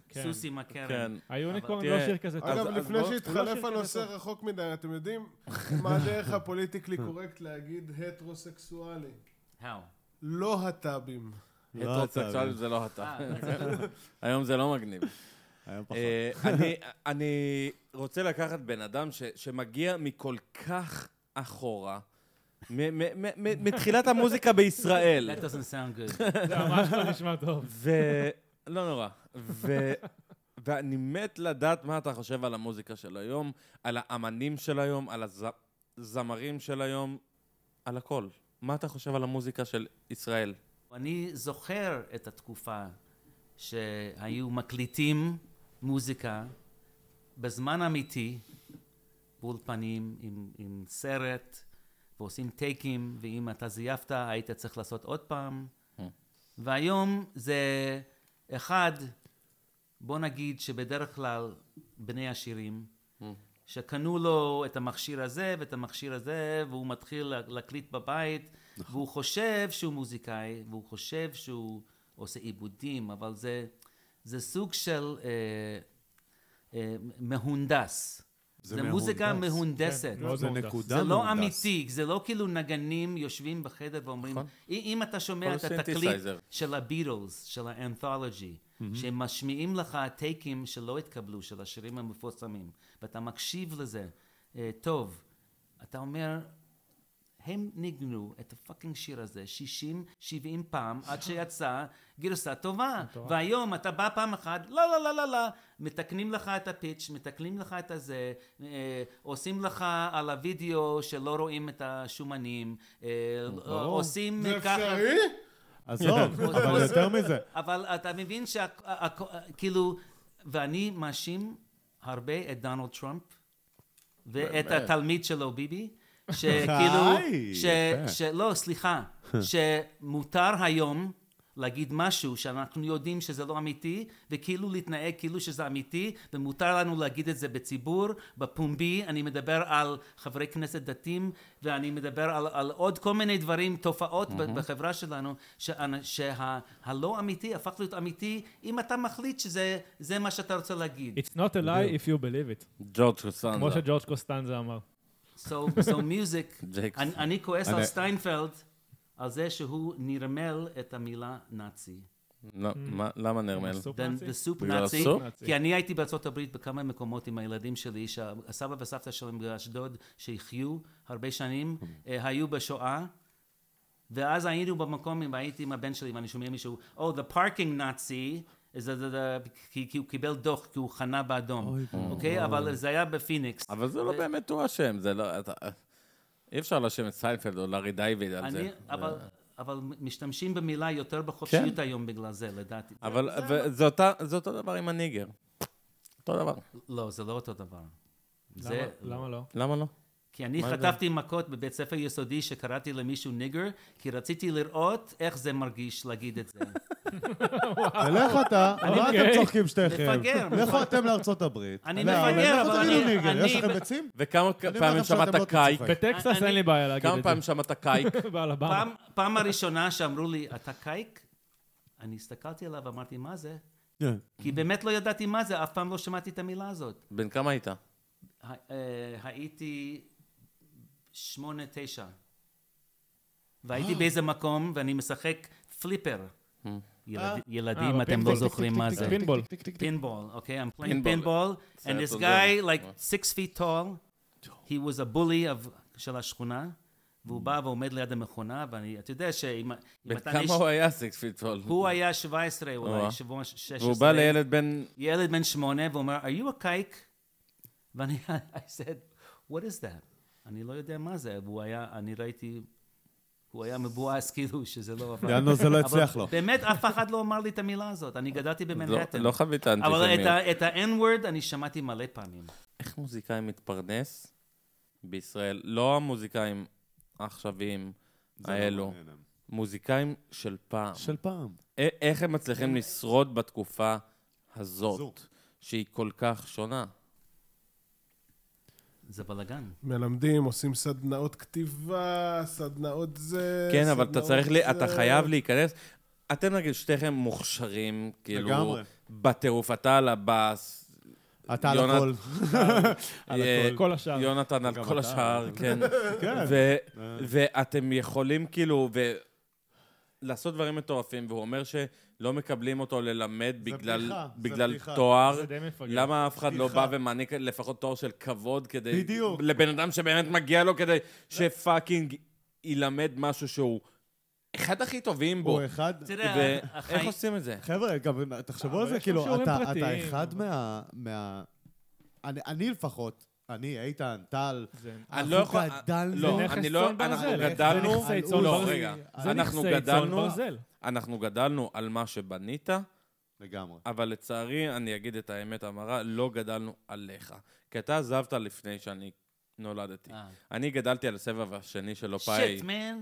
S3: כן.
S5: סוס עם הקרן.
S2: כן.
S3: היוניקורן
S2: אבל
S3: לא
S2: תראה,
S3: שיר כזה טוב.
S2: אז-
S7: אגב,
S2: אז
S7: לפני
S2: בוא-
S3: לא
S7: שהתחלף
S3: שיר
S7: הנושא
S3: כזה
S7: רחוק מדי, אתם יודעים מה הדרך הפוליטיקלי קורקט להגיד הטרוסקסואלי?
S5: האו.
S7: לא הטאבים.
S4: לא
S2: הטרוסקסואליות זה לא
S5: אה,
S2: אתה. היום זה לא מגניב.
S8: היום פחות.
S2: אה, אני- אני רוצה לקחת בן אדם ש- שמגיע מכל כך אחורה, מ- מ- מ- מ- מתחילת המוזיקה בישראל.
S5: That doesn't sound good.
S3: זה ממש לא נשמע טוב.
S2: ו... לא נורא. ו... ואני מת לדעת מה אתה חושב על המוזיקה של היום, על האמנים של היום, על הזמרים של היום, על הכל. מה אתה חושב על המוזיקה של ישראל?
S5: אני זוכר את התקופה שהיו מקליטים מוזיקה בזמן אמיתי, באולפנים, עם, עם סרט, ועושים טייקים, ואם אתה זייפת, היית צריך לעשות עוד פעם. והיום זה אחד, בוא נגיד שבדרך כלל בני עשירים, שקנו לו את המכשיר הזה ואת המכשיר הזה, והוא מתחיל לה- להקליט בבית,
S4: נכון.
S5: והוא חושב שהוא מוזיקאי, והוא חושב שהוא עושה עיבודים, אבל זה, זה סוג של אה, אה, מהונדס. זה, זה מוזיקה מהונדסת.
S3: כן, מאוד
S4: זה
S3: מהונדס.
S4: נקודה
S5: זה לא
S4: מהונדס.
S5: אמיתי, זה לא כאילו נגנים יושבים בחדר ואומרים, אם אם אתה שומע
S2: כל
S5: את התקליט
S2: סינתסייזר.
S5: של הביטלס, של האנתולוגי, שהם משמיעים לך טייקים שלא התקבלו, של השירים המפורסמים, ואתה מקשיב לזה אה, טוב, אתה אומר, הם ניגנו את הפאקינג שיר הזה 60-70 פעם עד שיצא גרסה טובה. והיום אתה בא פעם אחת, לא, לא, לא, לא, לא, מתקנים לך את הפיץ', מתקנים לך את הזה, אה, עושים לך על הוידאו שלא רואים את השומנים, אה, עושים
S7: זה
S5: ככה...
S7: אפשרי?
S4: עזוב, אבל יותר מזה.
S5: אבל אתה מבין שה... ה- ה- כאילו, ואני מאשים הרבה את דונלד טראמפ ואת התלמיד שלו, ביבי, שכאילו...
S4: היי,
S5: ש...
S4: יפה.
S5: ש... לא, סליחה, שמותר היום להגיד משהו שאנחנו יודעים שזה לא אמיתי, וכאילו להתנהג כאילו שזה אמיתי, ומותר לנו להגיד את זה בציבור, בפומבי, אני מדבר על חברי כנסת דתיים, ואני מדבר על, על עוד כל מיני דברים, תופעות mm-hmm. בחברה שלנו, שהלא שה, הלא אמיתי הפך להיות אמיתי, אם אתה מחליט שזה זה מה שאתה רוצה להגיד.
S3: It's not a lie if you believe it.
S2: ג'ורג' חסן.
S3: כמו שג'ורג' קוסטנזה אמר.
S5: So, so music,
S2: ג'קס.
S5: אני, אני כועס על
S4: אני-
S5: סטיינפלד על זה שהוא נרמל את המילה נאצי.
S3: Mm.
S2: למה נרמל?
S3: סופר
S5: the,
S3: נאצי?
S5: the soup
S2: לא. בגלל
S5: נאצי,
S2: הסופ?
S5: כי אני הייתי בארצות הברית בכמה מקומות עם הילדים שלי, שהסבא וסבתא שלהם באשדוד, שהחיו הרבה שנים, אה, היו בשואה, ואז היינו במקום, והייתי עם הבן שלי, ואני שומע מישהו, Oh, the parking Nazi, זה- זה- זה- כי כי הוא קיבל דוח, כי הוא חנה באדום, אוקיי? אבל זה היה בפיניקס.
S2: אבל זה לא
S3: אה.
S5: ו-
S2: באמת הוא אשם, זה לא... אתה- אי אפשר להאשים את סיינפלד או לארי דיוויד על זה.
S5: אני, אבל, אבל משתמשים במילה יותר בחופשיות היום בגלל זה, לדעתי.
S2: כן. אבל ו- זה אותה- זה אותו דבר עם הניגר. אותו דבר.
S5: לא, זה לא אותו דבר.
S3: למה-
S5: זה,
S3: למה לא?
S2: למה לא?
S5: כי אני חטפתי מכות בבית ספר יסודי שקראתי למישהו ניגר, כי רציתי לראות איך זה מרגיש להגיד את זה.
S4: ולך אתה, מה אתם צוחקים שתיכם?
S5: מפגר,
S4: לכו
S5: מפגר.
S4: אתם לארצות הברית.
S5: אני
S4: לא, נכון. אבל
S5: מפגר,
S4: לכו
S5: אבל
S4: תגידו
S5: אני-
S4: ניגר,
S5: אני-
S4: יש לכם ביצים?
S2: וכמה
S4: אני אומר
S2: פעמים
S4: לך שאתם לא
S2: שמעת קייק?
S4: תצחקו.
S3: בטקסס
S5: אני-
S3: אין לי בעיה להגיד
S2: כמה
S3: את
S2: פעמים שמעת קייק?
S3: זה. באלבמה.
S5: פעם, פעם הראשונה שאמרו לי, אתה קייק? אני הסתכלתי עליו ואמרתי, מה זה?
S4: כן.
S5: כי באמת לא ידעתי מה זה, אף פעם לא שמעתי את המילה הזאת.
S2: בן כמה היית?
S5: ה- אה, הייתי שמונה, תשע. והייתי באיזה מקום, ואני משחק פליפר. ילד- ילדים,
S3: אה,
S5: אתם לא
S3: בפינבול.
S5: זוכרים מה זה.
S3: פינבול.
S5: pinball. Okay, I'm playing
S2: Pinball.
S5: pinball, and this
S2: Santos
S5: guy,
S2: Zero.
S5: like
S2: Wow.
S5: six feet tall, he was a bully of של השכונה, והוא בא ועומד ליד המכונה, ואני, אתה יודע שאם אם
S2: Mm. בן
S5: אתה...
S2: כמה
S5: נש-
S2: הוא היה סיקס פיט טול?
S5: הוא היה 17
S2: או-אה.
S5: אולי, שבוע 16.
S2: והוא בא לילד בן...
S5: ילד בן שמונה, והוא אומר, are you a kike? ואני, I said, what is that? אני לא יודע מה זה, והוא היה, אני ראיתי, הוא היה מבואס כאילו שזה לא עבד.
S4: יאנו, זה לא
S5: אבל
S4: הצליח לו.
S5: באמת, אף אחד לא אמר לי את המילה הזאת, אני גדלתי
S2: לא-
S5: במנהטן.
S2: לא חווית
S5: אבל את
S2: אנטישמיות.
S5: ה- את ה-N-word אני שמעתי מלא פעמים.
S2: איך מוזיקאי מתפרנס בישראל? לא המוזיקאים העכשוויים האלו, מוזיקאים של פעם.
S4: לא של פעם. כן.
S2: א- איך הם מצליחים לשרוד בתקופה
S4: זו.
S2: הזאת, שהיא כל כך שונה?
S5: זה בלאגן.
S7: מלמדים, עושים סדנאות כתיבה, סדנאות זה,
S2: כן, אבל אתה
S7: סדנאות
S2: צריך, לי-
S7: זה.
S2: אתה חייב להיכנס. אתם נגיד שתיכם מוכשרים, כאילו,
S4: לגמרי.
S2: בטירוף, אתה על הבאס,
S4: אתה על
S2: יונת-
S4: הכל. על
S2: אה,
S4: הכל.
S3: כל השאר.
S2: יונתן על
S4: גם
S2: כל
S4: אתה.
S2: השאר, כן.
S4: כן.
S2: ו- ואתם יכולים כאילו, ו... לעשות דברים מטורפים, והוא אומר שלא מקבלים אותו ללמד בגלל,
S4: בדיחה, זה
S2: בגלל
S4: בדיחה.
S2: תואר.
S3: זה די מפגר.
S2: למה אף אחד לא
S4: בדיחה.
S2: בא ומעניק לפחות תואר של כבוד כדי...
S4: בדיוק.
S2: לבן אדם שבאמת מגיע לו כדי שפאקינג ילמד משהו שהוא אחד הכי טובים בו.
S4: הוא אחד...
S5: תראה,
S2: ואיך
S5: החיים-
S2: עושים את זה?
S4: חבר'ה, גם תחשבו על
S3: אבל
S4: זה,
S3: יש גם
S4: כאילו,
S3: שיעורים
S4: אתה
S3: פרטיים,
S4: אתה אחד
S3: אבל-
S4: מה... מה- אני- אני לפחות, אני, איתן, טל,
S3: זה-
S2: אני
S5: כן.
S4: אנחנו
S2: לא יכול-
S4: גדלנו-
S2: לא,
S3: זה נכס
S2: אני לא...
S3: צאן ברזל.
S2: אנחנו
S3: זה
S2: גדלנו...
S3: נכסי
S4: צאן
S2: לא,
S4: ברזל.
S2: רגע.
S3: זה
S2: אנחנו
S3: נכסי צאן
S2: גדלנו...
S3: ברזל.
S2: אנחנו גדלנו על מה שבנית,
S4: לגמרי.
S2: אבל לצערי, אני אגיד את האמת המרה, לא גדלנו עליך. כי אתה עזבת לפני שאני נולדתי.
S5: אה.
S2: אני גדלתי על הסבב השני של לופאי.
S5: שיט, מן.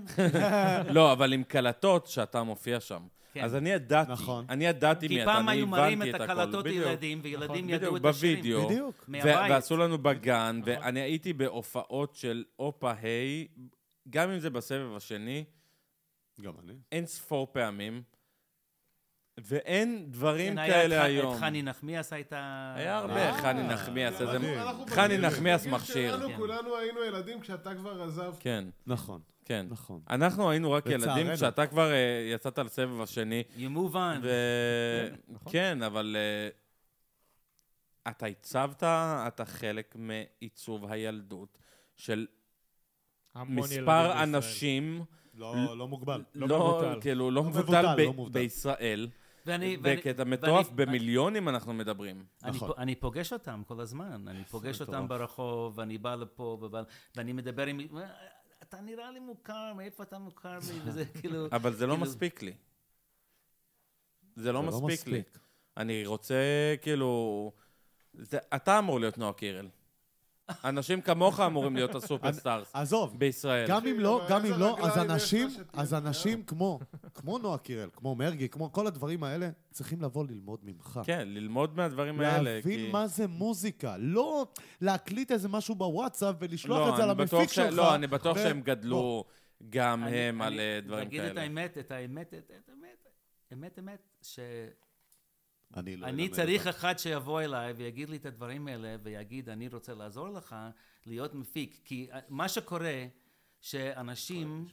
S2: לא, אבל עם קלטות שאתה מופיע שם.
S5: כן.
S2: אז אני ידעתי,
S4: נכון.
S2: אני ידעתי
S5: כי
S2: מי אתה,
S5: פעם
S2: אני
S5: היו מראים את
S2: הבנתי את הכל.
S5: הקלטות
S2: בדיוק.
S5: לילדים, וילדים ידעו
S2: בדיוק,
S5: את השירים.
S2: בווידאו.
S4: בדיוק.
S2: ו-
S5: מהבית. נכון.
S2: ועשו לנו בגן, ואני הייתי בהופעות של אופה היי, גם אם זה בסבב השני,
S8: גם אני.
S2: אין ספור פעמים, ואין דברים
S5: כן, היה את
S2: כאלה
S5: ח-
S2: היום.
S5: את חני נחמיאס הייתה...
S2: היה
S8: אה,
S2: הרבה חני נחמיאס, איזה...
S7: אנחנו
S2: חני
S7: בגיל-
S2: נחמיאס
S7: בגיל
S2: מכשיר.
S7: שלנו
S5: כן.
S7: כולנו היינו ילדים כשאתה כבר עזבת.
S2: כן,
S4: נכון,
S2: כן.
S4: נכון.
S2: אנחנו היינו רק
S4: לצערנו.
S2: ילדים כשאתה כבר אה, יצאת לסבב השני,
S5: You move on.
S2: ו...
S4: נכון.
S2: כן, אבל אה, אתה הצבת, אתה חלק מעיצוב הילדות של
S3: המון ילדים
S2: מספר
S3: בישראל.
S2: אנשים,
S4: לא, לא מוגבל.
S3: לא
S2: לא,
S3: מבוטל.
S2: כאילו, לא מבוטל
S4: מבוטל,
S2: ב-
S4: לא מבוטל.
S2: בישראל,
S5: ואני... ואני-
S2: בקטע מטורף,
S5: ואני-
S2: במיליונים אנחנו מדברים.
S5: אני,
S4: נכון.
S5: פו- אני פוגש אותם כל הזמן, אני פוגש אותם ברחוב, ואני בא לפה, ובא, ואני מדבר עם... אתה נראה לי מוכר, מאיפה אתה מוכר לי? וזה כאילו...
S2: אבל זה לא
S5: כאילו-
S2: מספיק לי. זה לא
S4: זה לא
S2: מספיק לי.
S4: מספיק.
S2: אני רוצה, כאילו... זה- אתה אמור להיות נועה קירל. אנשים כמוך אמורים להיות הסופרסטארס
S4: עזוב,
S2: בישראל.
S4: גם אם לא, גם אם לא, אז
S7: איזה
S4: אנשים,
S7: רגליים יש לך
S4: אז
S7: שתהיה
S4: אנשים כמו, כמו נועה קירל, כמו מרגי, כמו כל הדברים האלה, צריכים לבוא ללמוד ממך.
S2: כן, ללמוד מהדברים האלה. כי-
S4: להבין מה זה מוזיקה, לא להקליט איזה משהו בוואטסאפ ולשלוח
S2: לא,
S4: את זה
S2: אני
S4: על
S2: בטוח
S4: המפיק
S2: ש-
S4: שלך.
S2: לא, אני בטוח
S4: ו-
S2: שהם גדלו גם
S5: אני-
S2: הם על
S5: אני-
S2: אה, דברים
S5: להגיד את
S2: כאלה.
S5: האמת, את האמת, את את האמת, אמת אמת, שאני
S8: אני לא אלמד
S5: צריך
S8: אותך.
S5: אחד שיבוא אליי ויגיד לי את הדברים האלה, ויגיד, אני רוצה לעזור לך להיות מפיק. כי אה, מה שקורה,
S8: לא
S5: שאנשים,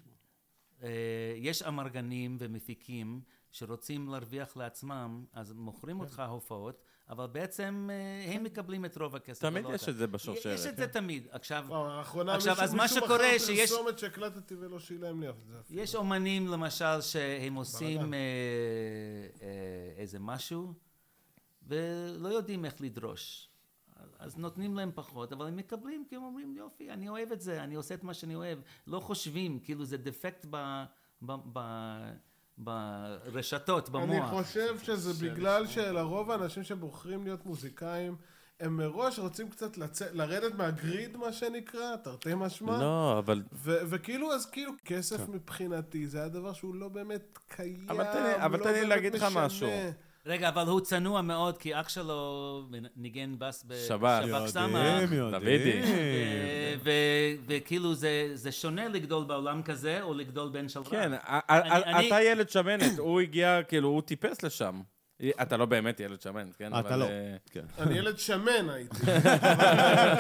S5: אה, יש אמרגנים ומפיקים שרוצים להרוויח לעצמם, אז
S8: כן.
S5: מוכרים אותך הופעות, אבל בעצם אה, הם מקבלים את רוב הכסף.
S2: תמיד
S5: ולא
S2: יש
S5: אתה. לא
S2: את זה בשרשרת. כן.
S5: יש את זה תמיד. עכשיו,
S7: וואו, האחרונה
S5: עכשיו,
S7: מישהו
S5: אז מה
S7: מישהו
S5: שקורה
S7: מכר
S5: שיש-
S7: פרסומת שהקלטתי ולא שילם לי אבל זה אפילו.
S5: יש אומנים למשל שהם עושים
S7: בלאגן.
S5: אה, אה, איזה משהו ולא יודעים איך לדרוש. אז נותנים להם פחות, אבל הם מקבלים כי הם אומרים יופי, אני אוהב את זה, אני עושה את מה שאני אוהב. לא חושבים, כאילו זה דפקט ב, ב, ב, ברשתות,
S7: אני
S5: במוח.
S7: חושב שזה בגלל שלרוב האנשים שבוחרים להיות מוזיקאים, הם מראש רוצים קצת לצאת- לרדת מהגריד, מה שנקרא, תרתי משמע.
S2: לא, אבל...
S7: ו- וכאילו, אז כאילו, כסף מבחינתי, זה הדבר שהוא לא באמת קיים,
S2: אבל תן לי- אבל
S7: לא
S2: תן לי
S7: באמת
S2: להגיד לך
S7: משנה.
S2: משהו.
S5: רגע, אבל הוא צנוע מאוד, כי אח שלו ניגן בס
S2: שבת.
S5: בשב"כ סמך.
S4: יודעים, יודעים.
S2: דוידי.
S5: אה, ו- וכאילו זה, זה שונה לגדול בעולם כזה, או לגדול בין שלווה.
S2: כן, א- א-
S5: אני-
S2: אתה ילד שמנת, הוא הגיע, כאילו, הוא טיפס לשם. אתה לא באמת ילד שמנת, כן?
S4: אתה
S2: אבל,
S4: לא.
S2: אה,
S7: אני ילד שמן הייתי.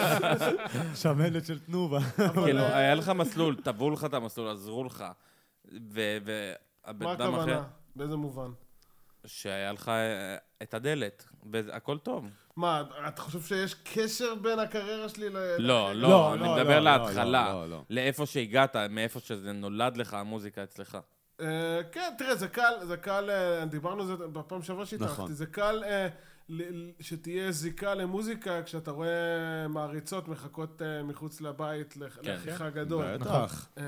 S4: שמנת של תנובה.
S2: כאילו, היה לך מסלול, טבעו לך את המסלול, עזרו לך. ו- והבן
S7: מה
S2: אדם אחר,
S7: הכוונה? באיזה מובן?
S2: שהיה לך אה, את הדלת, והכל טוב.
S7: מה, אתה חושב שיש קשר בין הקריירה שלי ל...
S2: לא,
S4: לא,
S2: לא, אני
S4: לא,
S2: מדבר
S4: לא,
S2: להתחלה,
S8: לא, לא, לא.
S2: לאיפה שהגעת, מאיפה שזה נולד לך המוזיקה אצלך.
S7: אה, כן, תראה, זה קל, זה קל, אה, דיברנו על זה בפעם שעברה שהתארחתי,
S8: נכון.
S7: זה קל אה, ל- ל- שתהיה זיקה למוזיקה כשאתה רואה מעריצות מחכות אה, מחוץ לבית לח-
S2: כן.
S7: לאחיך הגדול.
S8: בטח.
S7: אה,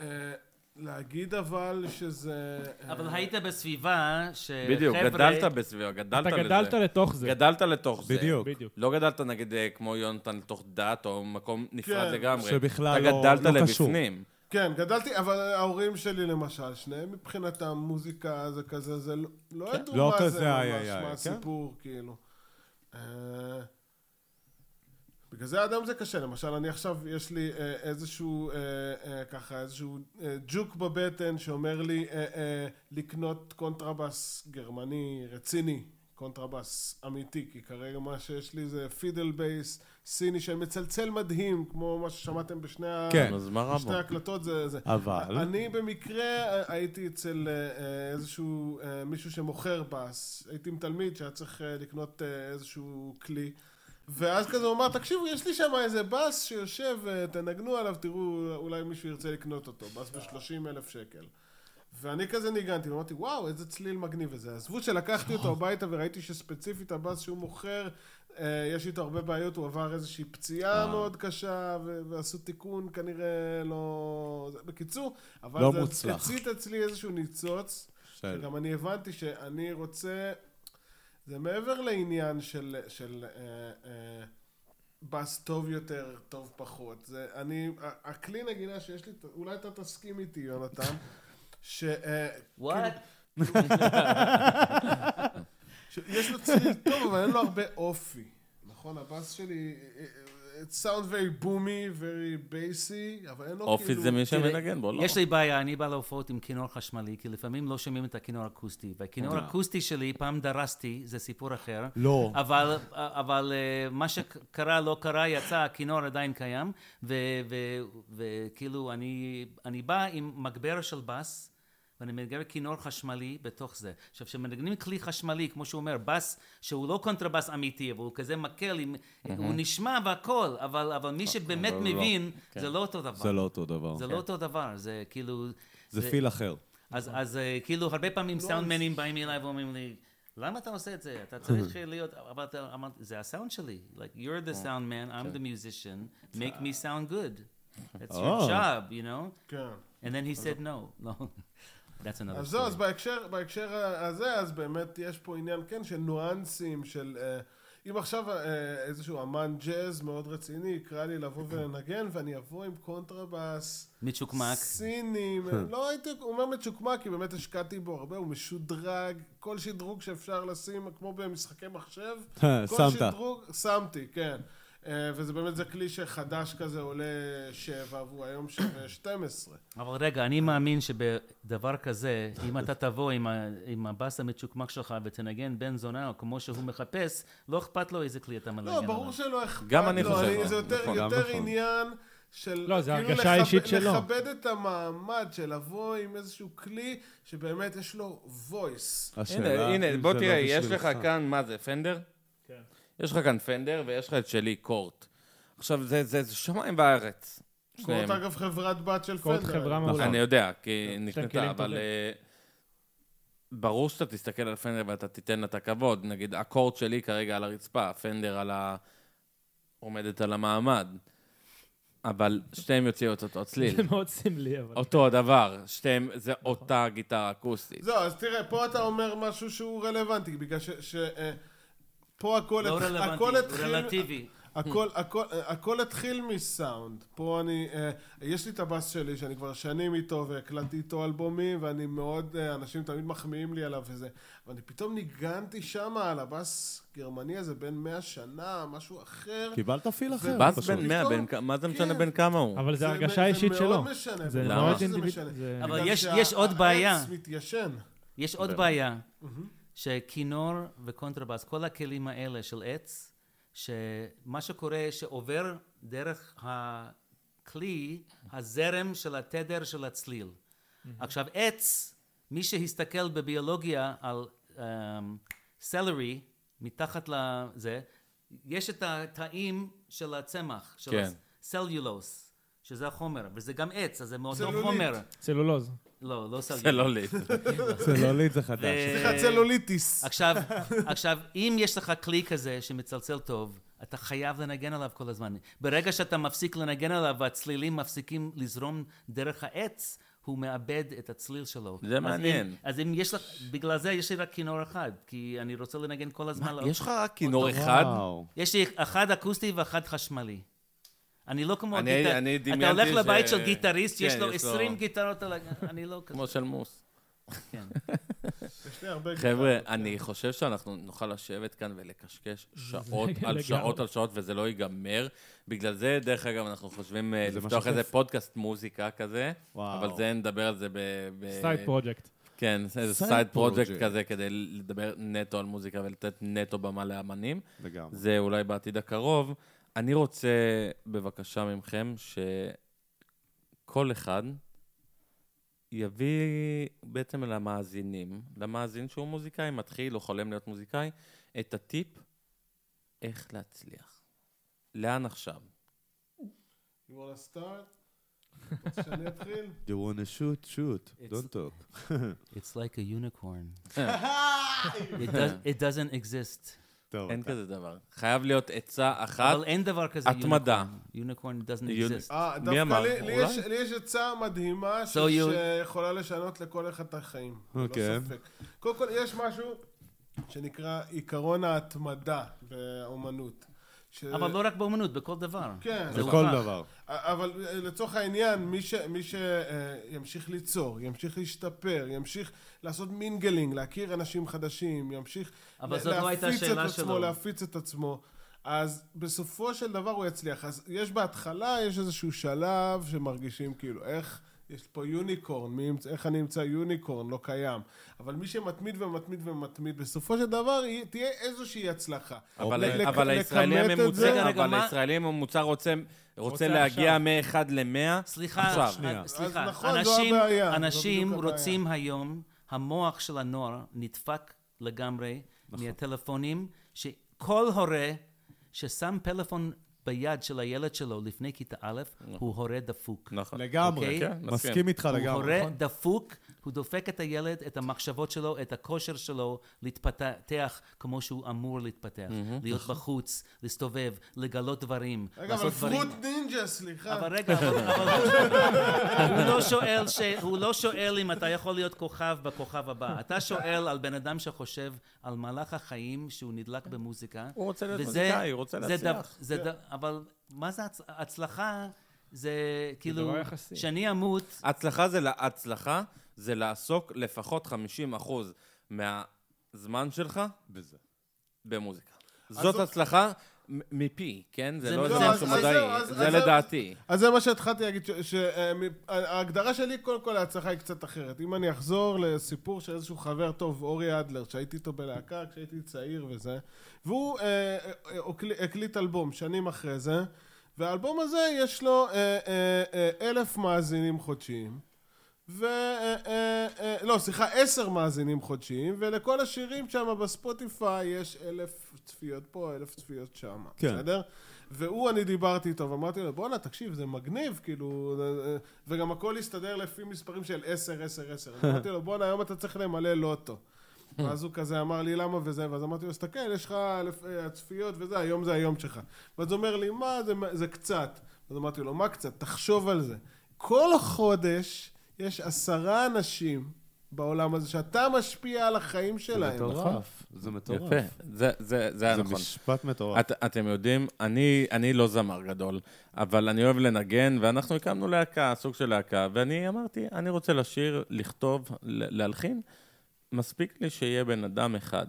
S7: אה, להגיד אבל שזה... אה,
S5: אבל היית בסביבה שחבר'ה...
S2: בדיוק, גדלת בסביבה, גדלת
S3: אתה
S2: לזה.
S3: גדלת לתוך זה.
S2: גדלת לתוך זה.
S4: בדיוק.
S3: בדיוק.
S2: לא גדלת נגיד אה, כמו יונתן לתוך דת או מקום נפרד
S7: כן,
S2: לגמרי.
S4: שבכלל
S2: אתה
S4: לא-
S2: גדלת
S4: לא קשור.
S2: לבפנים.
S7: כן, גדלתי, אבל ההורים שלי למשל, שניהם מבחינתם מוזיקה זה כזה, זה לא- לא ידעו
S4: לא
S7: מה
S4: כזה,
S7: זה
S4: איי,
S7: ממש,
S4: איי, איי,
S7: מה
S4: כן.
S7: הסיפור, כאילו. אה, בגלל זה אדם זה קשה, למשל, אני עכשיו, יש לי אה, איזשהו, אה, אה, ככה, איזשהו אה, ג'וק בבטן שאומר לי אה, אה, לקנות קונטרבאס גרמני רציני, קונטרבאס אמיתי, כי כרגע מה שיש לי זה פידל בייס סיני שמצלצל מדהים, כמו מה ששמעתם בשני ה...
S4: כן.
S2: אז מה רע בו?
S7: שתי הקלטות זה... זה.
S4: אבל-
S7: אני במקרה אה, הייתי אצל אה, אה, איזשהו אה, מישהו שמוכר בס, הייתי עם תלמיד שהיה צריך אה, לקנות אה, איזשהו כלי. ואז כזה הוא אמר, תקשיבו, יש לי שם איזה בס שיושב, אה, תנגנו עליו, תראו, אולי מישהו ירצה לקנות אותו, בס ב-30 אלף שקל. ואני כזה ניגנתי, ואמרתי, וואו, איזה צליל מגניב הזה. עזבו שלקחתי
S4: נכון.
S7: אותו הביתה וראיתי שספציפית הבאס שהוא מוכר, אה, יש איתו הרבה בעיות, הוא עבר איזושהי פציעה
S4: אה.
S7: מאוד קשה, ו- ועשו תיקון כנראה לא... זה- בקיצור, אבל
S4: לא
S7: זה
S4: מוצלח.
S7: הצית אצלי איזשהו ניצוץ, שגם אני הבנתי שאני רוצה... זה מעבר לעניין של... של אה, אה, בס טוב יותר, טוב פחות. זה, אני, ה- הכלי נגינה שיש לי, אולי אתה תסכים איתי, יונתן, ש... אה,
S5: וואט?
S7: יש לו צליל טוב, אבל אין לו הרבה אופי. נכון, הבאס שלי, it sound very boomy, very bassy, אבל אין לו
S2: אופי
S7: כאילו...
S2: זה מי
S5: תראה,
S2: שמנגן בו, לא?
S5: יש לי בעיה, אני בא להופעות עם כינור חשמלי, כי לפעמים לא שומעים את הכינור האקוסטי.
S2: אוקיי.
S5: והכינור האקוסטי שלי, פעם דרסתי, זה סיפור אחר.
S4: לא.
S5: אבל, אבל אה, מה שקרה לא קרה, יצא, הכינור עדיין קיים, ו- ו- וכאילו אני, אני בא עם מגבר של בס, ואני מנגן כינור חשמלי בתוך זה. עכשיו, כשמנגנים כלי חשמלי, כמו שהוא אומר, בס שהוא לא קונטרבס אמיתי, אבל הוא כזה מקל, עם, הוא נשמע והכל, אבל, אבל מי שבאמת
S2: אבל לא.
S5: מבין,
S2: כן.
S5: זה לא אותו דבר.
S4: זה לא אותו דבר.
S5: זה לא אותו דבר, זה כאילו...
S4: זה פיל אחר.
S7: נכון.
S5: אז, אז אה, כאילו, הרבה
S7: לא
S5: פעמים סאונדמנים באים אליי ואומרים לי, למה אתה עושה את זה? אתה צריך להיות... אבל אתה אמרת, זה הסאונד שלי. Like, you're
S7: כן.
S5: the sound man, I'm the musician, make me sound good. That's your
S4: Oh.
S5: job, you know?
S7: אה. כן. לא.
S5: And then he said no. No. That's another
S7: אז לא, זהו, אז
S5: story.
S7: בהקשר, בהקשר הזה, אז באמת יש פה עניין, כן, של ניואנסים, של... אה, אם עכשיו אה, איזשהו אמן ג'אז מאוד רציני יקרא לי לבוא ולנגן, ואני אבוא עם קונטרבאס,
S5: מצ'וקמק.
S7: סינים, אה, לא הייתי אומר מצ'וקמק, כי באמת השקעתי בו הרבה, הוא משודרג, כל שדרוג שאפשר לשים, כמו במשחקי מחשב, כל
S4: שמת.
S7: שדרוג, שמתי, כן. אה, וזה באמת, זה כלי שחדש כזה עולה שבע, והוא היום שווה 12.
S5: אבל רגע, אני מאמין שבדבר כזה, אם אתה תבוא עם ה- עם הבאס המצ'וקמק שלך ותנגן בן זונה, או כמו שהוא מחפש, לא אכפת לו איזה כלי אתה מנגן
S7: לא,
S5: עליו.
S7: ברור שלא אכפת
S2: גם אני
S7: לו,
S2: חושב ככה.
S7: זה יותר,
S2: נכון,
S7: יותר
S4: נכון.
S7: עניין של...
S3: לא, זה
S7: כאילו
S3: הרגשה האישית שלו.
S7: לכבד את המעמד של לבוא עם איזשהו כלי שבאמת יש לו voice.
S2: הנה, הנה, בוא תראה, יש לך כאן, מה זה, פנדר? כן. יש לך כאן פנדר ויש לך את שלי, קורט. עכשיו, זה- זה זה שמיים וארץ. שניהם. נכון.
S7: קורט אגב חברת בת של פנדר.
S3: קורט חברה מעולה. כן.
S2: אני יודע, כי
S3: כלים
S2: נקנתה, אבל
S3: טובים.
S2: אה, ברור שאתה תסתכל על פנדר ואתה תיתן לה את הכבוד. נגיד, הקורט שלי כרגע על הרצפה, פנדר על ה... עומדת על המעמד. אבל שתיהם יוציאו את אותו צליל.
S3: זה מאוד סמלי, אבל... נכון.
S2: אותו הדבר, שתיהם, זה אותה גיטרה אקוסטית.
S7: זהו, אז תראה, פה אתה אומר משהו שהוא רלוונטי, בגלל ש... ש אה, פה הכל,
S5: לא
S7: התח-
S5: רלוונטי,
S7: הכל
S5: הוא
S7: התחיל...
S5: רלטיבי.
S7: הכל, הכל, הכל התחיל מסאונד. פה אני, אה, יש לי את הבאס שלי שאני כבר שנים איתו והקלטתי איתו אלבומים ואני מאוד, אה, אנשים תמיד מחמיאים לי עליו וזה. אבל אני פתאום ניגנתי שמה על הבאס גרמני הזה בן 100 שנה, משהו אחר.
S4: קיבלת פיל אחר.
S2: בס
S4: פשוט.
S2: בן 100, בן כ- מה זה משנה
S7: כן.
S2: בן כמה הוא?
S3: אבל זה
S7: זה
S3: הרגשה האישית שלו.
S7: מאוד משנה.
S3: זה
S2: למה?
S3: מאוד
S7: שזה
S3: אינדיבידואלי.
S7: משנה.
S3: זה-
S5: אבל
S7: בגלל
S5: יש-
S7: שה-
S5: יש עוד בעיה.
S7: העץ מתיישן.
S5: יש עוד בעיה, שכינור וקונטרבאס, כל הכלים האלה של עץ, שמה שקורה שעובר דרך הכלי, הזרם של התדר של הצליל. עכשיו עץ, מי שהסתכל בביולוגיה על אמ, סלרי, מתחת לזה, יש את התאים של הצמח, של
S2: כן.
S5: הסלולוס, שזה החומר, וזה גם עץ, אז זה מאותו
S7: צלולית.
S5: חומר.
S3: צלולוז.
S5: לא, לא
S2: זה
S5: סלולוס.
S2: לא לי.
S4: צלולית זה חדש.
S7: סליחה, צלוליטיס.
S5: עכשיו, עכשיו, אם יש לך כלי כזה שמצלצל טוב, אתה חייב לנגן עליו כל הזמן. ברגע שאתה מפסיק לנגן עליו והצלילים מפסיקים לזרום דרך העץ, הוא מאבד את הצליל שלו.
S2: זה
S5: אז
S2: מעניין.
S5: אם, אז אם יש לך, בגלל זה יש לי רק כינור אחד, כי אני רוצה לנגן כל הזמן. על-
S2: יש לך רק כינור אחד?
S4: וואו.
S5: יש לי אחד אקוסטי ואחד חשמלי. אני לא כמו
S2: אני-
S5: הגיטר...
S2: אני
S5: אתה
S2: דמיינתי
S5: הולך לבית
S2: ש-
S5: של גיטריסט, יש
S2: כן,
S5: לו
S2: יש לו-
S5: 20 גיטרות על ה... אני לא כזה.
S2: כמו של מוס.
S5: כן.
S7: יש לי הרבה
S2: חבר'ה, אני חושב שאנחנו נוכל לשבת כאן ולקשקש שעות על
S3: לגמרי.
S2: שעות על שעות, וזה לא ייגמר. בגלל זה, דרך אגב, אנחנו חושבים אה, לפתוח איזה פודקאסט מוזיקה כזה,
S4: וואו.
S2: אבל זה נדבר על זה ב... ב-
S3: סייד פרוג'קט.
S2: כן, איזה
S4: Side
S2: סייד פרוג'קט
S4: project.
S2: כזה, כדי לדבר נטו על מוזיקה ולתת נטו במה לאמנים.
S4: לגמרי.
S2: זה אולי בעתיד הקרוב. אני רוצה, בבקשה ממכם, שכל אחד יביא בעצם למאזינים, למאזין שהוא מוזיקאי, מתחיל או חולם להיות מוזיקאי, את הטיפ איך להצליח. לאן עכשיו?
S7: You wanna start? רוצה שאני אתחיל?
S4: You wanna shoot, shoot, don't talk.
S5: It's like a unicorn. it, does, it doesn't exist.
S4: טוב,
S2: אין
S4: אתה-
S2: כזה דבר. חייב להיות עצה אחת.
S5: אבל אין דבר כזה
S2: התמדה.
S5: יוניקורן. doesn't
S2: יוני-
S5: exist.
S7: אה,
S2: מי
S7: דווקא
S2: אמר?
S7: לי- לי
S2: אולי?
S7: יש- לי יש עצה מדהימה ש-
S5: you-
S7: שיכולה לשנות לכל אחד את החיים. ללא
S4: אוקיי.
S7: ספק. קודם כל, יש משהו שנקרא עיקרון ההתמדה באומנות. ש-
S5: אבל לא רק באומנות, בכל דבר.
S7: כן.
S5: זה
S8: בכל
S5: הוכח.
S8: דבר.
S7: אבל אה, לצורך העניין, מי ש- מי שימשיך ליצור, ימשיך להשתפר, ימשיך לעשות מינגלינג, להכיר אנשים חדשים, ימשיך
S5: אבל
S7: לה-
S5: זאת לא הייתה
S7: להפיץ את
S5: השאלה
S7: עצמו,
S5: שלו.
S7: להפיץ את עצמו, אז בסופו של דבר הוא יצליח. אז יש בהתחלה, יש איזשהו שלב שמרגישים כאילו, איך... יש פה יוניקורן, מי ימצא, איך אני אמצא יוניקורן? לא קיים. אבל מי שמתמיד ומתמיד ומתמיד, בסופו של דבר היא- תהיה איזושהי הצלחה.
S2: אבל,
S7: לק-
S2: אבל
S7: לק-
S2: הישראלי
S7: לכמת אוקיי. את זה-
S2: הממוצע,
S5: רגע, רגע,
S2: אבל
S5: מה-
S2: הישראלי הממוצע רוצה, רוצה
S3: רוצה
S2: להגיע
S3: עכשיו.
S2: מ-1 ל-100.
S5: סליחה,
S2: עכשיו.
S5: שנייה. סליחה.
S7: אז נכון, זו
S5: אנשים-
S7: הבעיה, זו
S5: אנשים
S7: בדיוק הבעיה.
S5: רוצים היום, המוח של הנוער נדפק לגמרי
S7: נכון.
S5: מהטלפונים, שכל הורה ששם פלאפון ביד של הילד שלו לפני כיתה א',
S7: נכון.
S5: הוא הורה דפוק.
S2: נכון.
S4: לגמרי.
S5: אוקיי?
S2: כן,
S4: מסכים איתך
S5: הוא
S4: לגמרי. נכון.
S5: הורה דפוק, הוא דופק את הילד, את המחשבות שלו, את הכושר שלו להתפתח כמו שהוא אמור להתפתח. להיות
S7: נכון.
S5: בחוץ, להסתובב, לגלות דברים,
S7: רגע, אבל
S5: לעשות דברים.
S7: פרוט נינג'ה, סליחה.
S5: אבל רגע, אבל אבל הוא לא שואל ש... הוא לא שואל אם אתה יכול להיות כוכב בכוכב הבא. אתה שואל על בן אדם שחושב על מהלך החיים שהוא נדלק במוזיקה.
S2: הוא רוצה להיות
S5: וזה-
S2: מוזיקאי, הוא רוצה
S5: זה
S2: להצליח. כן.
S5: דו- זה
S7: כן.
S5: דו- אבל מה זה הצ- הצלחה? זה כאילו,
S3: דבר יחסי.
S5: שאני אמות,
S2: הצלחה זה, לה- הצלחה זה לעסוק לפחות 50% מהזמן שלך
S8: בזה.
S2: במוזיקה.
S7: אז
S2: זאת
S7: זאת-
S2: הצלחה מ- מפי, כן? זה
S5: זה
S2: לא
S5: מפי.
S2: איזה
S5: לא,
S2: משהו
S7: אז- אז זהו,
S2: מדעי,
S7: אז-
S2: זה
S7: אז זהו.
S2: לדעתי.
S7: אז זה מה שהתחלתי להגיד, שההגדרה שלי, קודם כל ההצלחה היא קצת אחרת. אם אני אחזור לסיפור של איזשהו חבר טוב, אורי אדלר, שהייתי איתו בלהקה כשהייתי צעיר וזה, והוא אה, אה, הוקל- הקליט אלבום שנים אחרי זה, והאלבום הזה יש לו אה, אה, אה, אלף מאזינים חודשיים. ו... אה, אה, אה, לא, סליחה, עשר מאזינים חודשיים, ולכל השירים שם בספוטיפיי יש אלף צפיות פה, אלף צפיות שם,
S4: כן.
S7: בסדר? והוא, אני דיברתי איתו, ואמרתי לו, בואנה, תקשיב, זה מגניב, כאילו... אה, אה, וגם הכל הסתדר לפי מספרים של עשר, עשר, עשר. אז אמרתי לו, בואנה, היום אתה צריך למלא לוטו. ואז הוא כזה אמר לי, למה וזה? ואז אמרתי לו, תסתכל, יש לך אלף, אה, הצפיות וזה, היום זה היום שלך. ואז הוא אומר לי, מה, זה, זה קצת. אז אמרתי לו, מה קצת? תחשוב על זה. כל חודש יש עשרה אנשים בעולם הזה שאתה משפיע על החיים שלהם.
S4: נכון.
S8: מטורף. זה מטורף.
S2: יפה, זה- זה זה היה
S8: זה
S2: נכון.
S8: משפט מטורף.
S2: את, אתם יודעים, אני, אני לא זמר גדול, אבל אני אוהב לנגן, ואנחנו הקמנו להקה, סוג של להקה, ואני אמרתי, אני רוצה לשיר, לכתוב, ל- להלחין. מספיק לי שיהיה בן אדם אחד,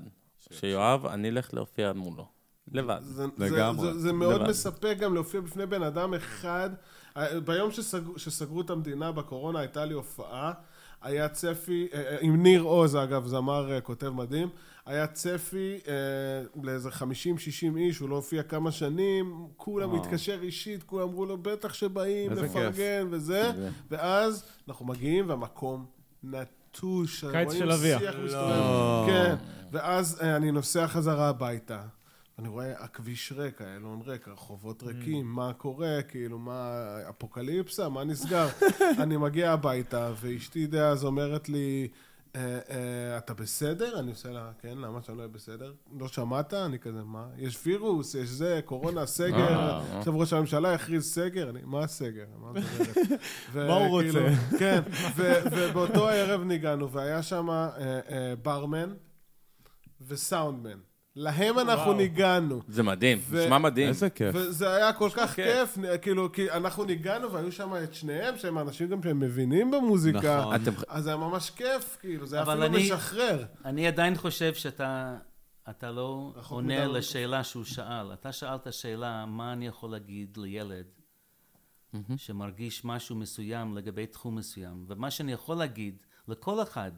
S2: שיואב, אני אלך להופיע מולו. לבד.
S7: זה,
S8: לגמרי.
S7: זה, זה, זה מאוד
S2: לבד.
S7: מספק גם להופיע בפני בן אדם אחד. אה, ביום שסגרו, שסגרו את המדינה בקורונה, הייתה לי הופעה. היה צפי, אה, אה, עם ניר עוז, אגב, זמר אה, כותב מדהים, היה צפי אה, לאיזה 50-60 איש, הוא לא הופיע כמה שנים, כולם התקשר אישית, כולם אמרו לו, בטח שבאים,
S8: איזה כיף."
S7: נפרגן וזה, ואז אנחנו מגיעים והמקום נטוש.
S3: קיץ
S7: רואים
S3: של אביה.
S7: שיח מסתובב. כן, ואז אה, אני נוסע חזרה הביתה. אני רואה הכביש ריק, איילון ריק,
S4: Mm.
S7: הרחובות ריקים, מה קורה, כאילו, מה, אפוקליפסה, מה נסגר? אני מגיע הביתה, ואשתי דאז אומרת לי, אה, אה, אתה בסדר? אני עושה לה, כן, למה שאני לא אהיה בסדר? לא שמעת? אני כזה, מה? יש וירוס, יש זה, קורונה, סגר, עכשיו ראש הממשלה הכריז סגר, אני, מה הסגר? מה את אומרת?
S4: מה הוא רוצה?
S7: וכאילו, כן, ו- ובאותו הערב ניגענו, והיה שם אה, אה, ברמן וסאונדמן. להם אנחנו ניגענו.
S2: זה מדהים,
S7: ו-
S2: נשמע מדהים.
S8: איזה כיף.
S7: וזה היה כל כך
S2: כיף.
S7: כיף, נ- כאילו, כי אנחנו ניגענו והיו שם את שניהם, שהם אנשים גם שהם מבינים במוזיקה.
S4: נכון.
S2: אתם-
S7: אז זה היה ממש כיף, כאילו, זה היה
S5: אבל
S7: אפילו
S5: אני-
S7: משחרר.
S5: אני עדיין חושב שאתה אתה לא
S7: רחוק
S5: עונה
S7: מדי.
S5: לשאלה שהוא שאל. אתה שאלת שאלה, מה אני יכול להגיד לילד שמרגיש משהו מסוים לגבי תחום מסוים? ומה שאני יכול להגיד לכל אחד,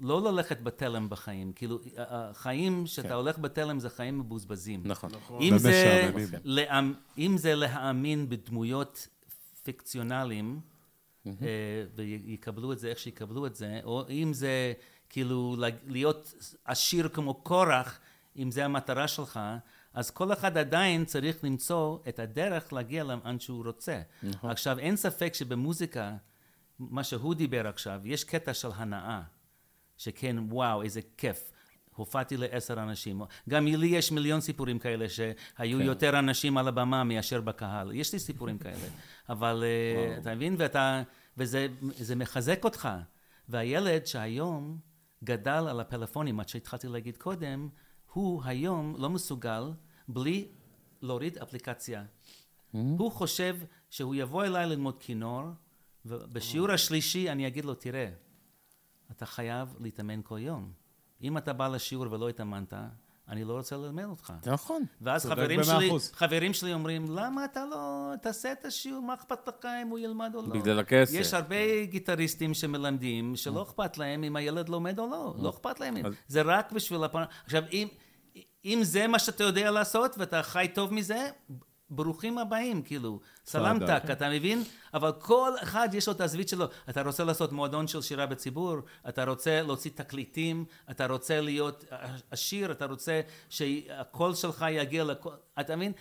S5: שלא ללכת בתלם בחיים. כאילו, החיים שאתה הולך בתלם זה חיים מבוזבזים.
S2: נכון.
S5: אם זה,
S8: ומשעממים.
S5: להאמ- אם זה להאמין בדמויות פיקציונליים, אה, ויקבלו את זה איך שיקבלו את זה, או אם זה כאילו לה- להיות עשיר כמו קורח, אם זה המטרה שלך, אז כל אחד עדיין צריך למצוא את הדרך להגיע לאן שהוא רוצה. עכשיו, אין ספק שבמוזיקה, מה שהוא דיבר עכשיו, יש קטע של הנאה, שכן, וואו, איזה כיף. הופעתי לעשר אנשים. גם לי יש מיליון סיפורים כאלה שהיו כן. יותר אנשים על הבמה מאשר בקהל. יש לי סיפורים כאלה. אבל אה, אתה מבין? ואתה, וזה זה מחזק אותך. והילד שהיום גדל על הפלאפונים, מה שהתחלתי להגיד קודם, הוא היום לא מסוגל בלי להוריד אפליקציה.
S4: Hmm?
S5: הוא חושב שהוא יבוא אליי ללמוד כינור,
S4: Oh.
S5: ובשיעור השלישי אני אגיד לו, תראה, אתה חייב להתאמן כל יום. אם אתה בא לשיעור ולא התאמנת, אני לא רוצה ללמד אותך.
S10: נכון.
S5: ואז
S4: צודק
S5: חברים
S4: במאה
S5: שלי,
S4: אחוז.
S5: חברים שלי אומרים, למה אתה לא תעשה את השיעור, מה אכפת לך אם הוא ילמד או לא?
S2: בגלל הכסף.
S5: יש הרבה גיטריסטים שמלמדים, שלא אכפת להם אם הילד לומד או לא, לא אכפת להם.
S2: אז-
S5: זה רק בשביל הפ... עכשיו, אם, אם זה מה שאתה יודע לעשות ואתה חי טוב מזה, ברוכים הבאים, כאילו. סלמתק, אתה מבין? אבל כל אחד יש לו את הזווית שלו. אתה רוצה לעשות מועדון של שירה בציבור, אתה רוצה להוציא תקליטים, אתה רוצה להיות עשיר, אתה רוצה שהקול שלך יגיע לכל... אתה מבין?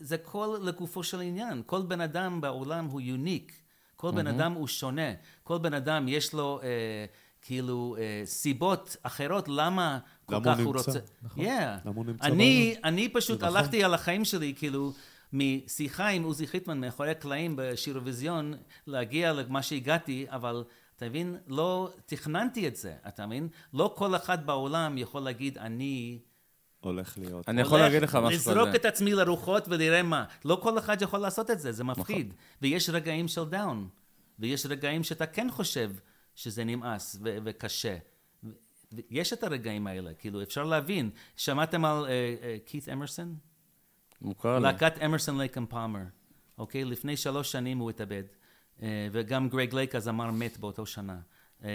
S5: זה כל לגופו של עניין. כל בן אדם בעולם הוא יוניק. כל בן אדם הוא שונה. כל בן אדם יש לו... אה, כאילו אה, סיבות אחרות למה כל
S8: למה
S5: כך
S8: הוא
S5: הוא
S8: נמצא?
S5: רוצה.
S8: נכון.
S5: Yeah.
S8: למה הוא נמצא נכון.
S5: אני, אני פשוט הלכתי על החיים שלי, כאילו, משיחה עם עוזי חיטמן מאחורי הקלעים בשירוויזיון, להגיע למה שהגעתי, אבל אתה מבין, לא תכננתי את זה, אתה מבין? לא כל אחד בעולם יכול להגיד, אני...
S4: הולך להיות.
S2: אני יכול
S5: הולך
S2: להגיד לך משהו
S5: לזרוק
S2: כזה.
S5: את עצמי לרוחות ונראה מה. לא כל אחד יכול לעשות את זה, זה
S2: נכון.
S5: מפחיד. ויש רגעים של דאון. ויש רגעים שאתה כן חושב שזה נמאס ו- וקשה. ו- ו- יש את הרגעים האלה, כאילו, אפשר להבין. שמעתם על אה, כית אמרסון?
S2: מוכר לי.
S5: להקת אמרסון לייק אנד פאמר, אוקיי? לפני שלוש שנים הוא התאבד. אה, וגם גרג לייק הזמר מת באותו שנה. אה,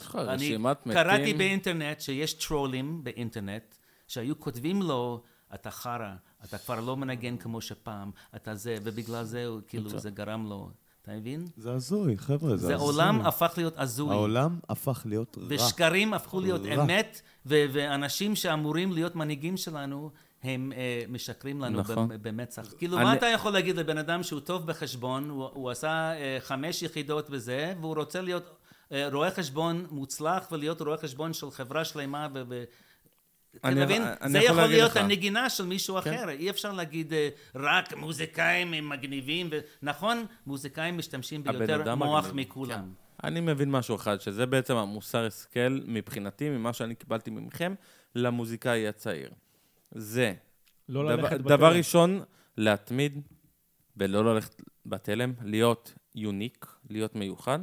S2: לך רשימת מתים?
S5: קראתי באינטרנט שיש טרולים באינטרנט שהיו כותבים לו, אתה חרא, אתה כבר לא מנגן כמו שפעם, אתה זה, ובגלל זה, הוא- כאילו, זה גרם לו, אתה מבין?
S4: זה הזוי, חבר'ה, זה
S5: זה
S4: הזוי.
S5: עולם הפך להיות הזוי.
S4: העולם הפך להיות רע.
S5: ושקרים הפכו להיות
S4: רע.
S5: אמת, ו- ואנשים שאמורים להיות מנהיגים שלנו, הם אה, משקרים לנו
S2: נכון.
S5: במ- במצח. כאילו,
S2: אני-
S5: מה אתה יכול להגיד לבן אדם שהוא טוב בחשבון, הוא- הוא עשה אה, חמש יחידות בזה, והוא רוצה להיות אה, רואה חשבון מוצלח ולהיות רואה חשבון של חברה שלמה ו... ו- אתה
S2: אני-
S5: מבין?
S2: אני
S5: זה
S2: יכול
S5: יכול
S2: להגיד
S5: להיות
S2: לך.
S5: הנגינה של מישהו אחר. אי אפשר להגיד אה, רק מוזיקאים הם מגניבים. ו- נכון, מוזיקאים משתמשים
S2: הבן
S5: ביותר
S2: אדם
S5: מוח
S2: מגניב,
S5: מכולם.
S2: אני מבין משהו אחד, שזה בעצם המוסר השכל מבחינתי, ממה שאני קיבלתי ממכם, למוזיקאי הצעיר. זה,
S3: לא
S2: דבר-
S3: ללכת
S2: דבר ראשון, להתמיד ולא ללכת בתלם, להיות יוניק, להיות מיוחד.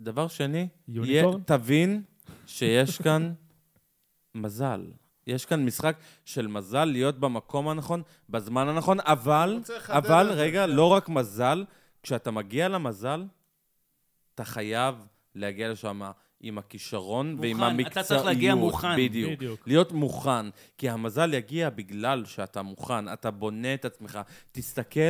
S2: דבר שני, יהיה,
S3: יוניקורן?
S2: תבין שיש כאן מזל. יש כאן משחק של מזל להיות במקום הנכון, בזמן הנכון, אבל,
S7: רוצה לחדד
S2: אבל,
S7: את זה,
S2: רגע, לא רק מזל, כשאתה מגיע למזל, אתה חייב להגיע לשם עם הכישרון ועם
S5: מוכן,
S2: המקצועיות.
S5: אתה צריך להגיע מוכן.
S2: בדיוק.
S3: בדיוק.
S2: להיות מוכן, כי המזל יגיע בגלל שאתה מוכן, אתה בונה את עצמך. תסתכל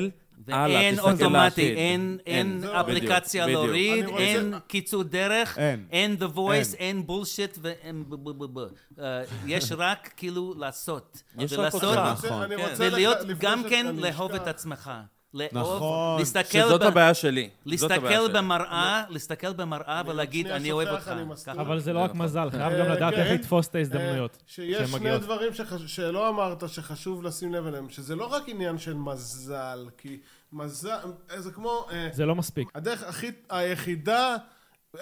S2: הלאה,
S5: אין
S2: תסתכל לעתיד.
S5: אוטומטי, אין, אין
S2: זהו,
S5: אפליקציה
S2: בדיוק, בדיוק.
S5: להוריד,
S7: אני רוצה-
S5: אין קיצור דרך,
S4: אין.
S5: אין The Voice, אין בולשיט, ואין ב- ב- ב- ב- אה, יש רק כאילו לעשות.
S2: יש רק
S5: ולעשות-
S2: אותך.
S4: נכון.
S7: אני
S2: כן.
S7: רוצה לח-
S5: ולהיות
S7: לפני
S5: גם
S7: שאתה
S5: כן
S7: נשכח.
S5: לאהוב את עצמך. לאהוב,
S4: נכון.
S5: להסתכל
S2: שזאת
S5: ב-
S2: הבעיה שלי. זאת הבעיה
S5: להסתכל
S2: שלי.
S5: במראה, להסתכל במראה ולהגיד,
S7: שנייה,
S5: אני אוהב
S7: שוכח,
S5: אותך.
S7: אני מסכים.
S3: אבל זה לא רק מזל, חייב
S7: אה,
S3: גם לדעת
S7: כן.
S3: איך לתפוס את ההזדמנויות
S7: אה,
S3: כשהן
S7: שיש שני
S3: מגיעות.
S7: דברים שחש- שלא אמרת שחשוב לשים לב אליהם, שזה לא רק עניין של מזל, כי מזל, אה, זה כמו... אה,
S3: זה לא מספיק.
S7: הדרך הכי, היחידה,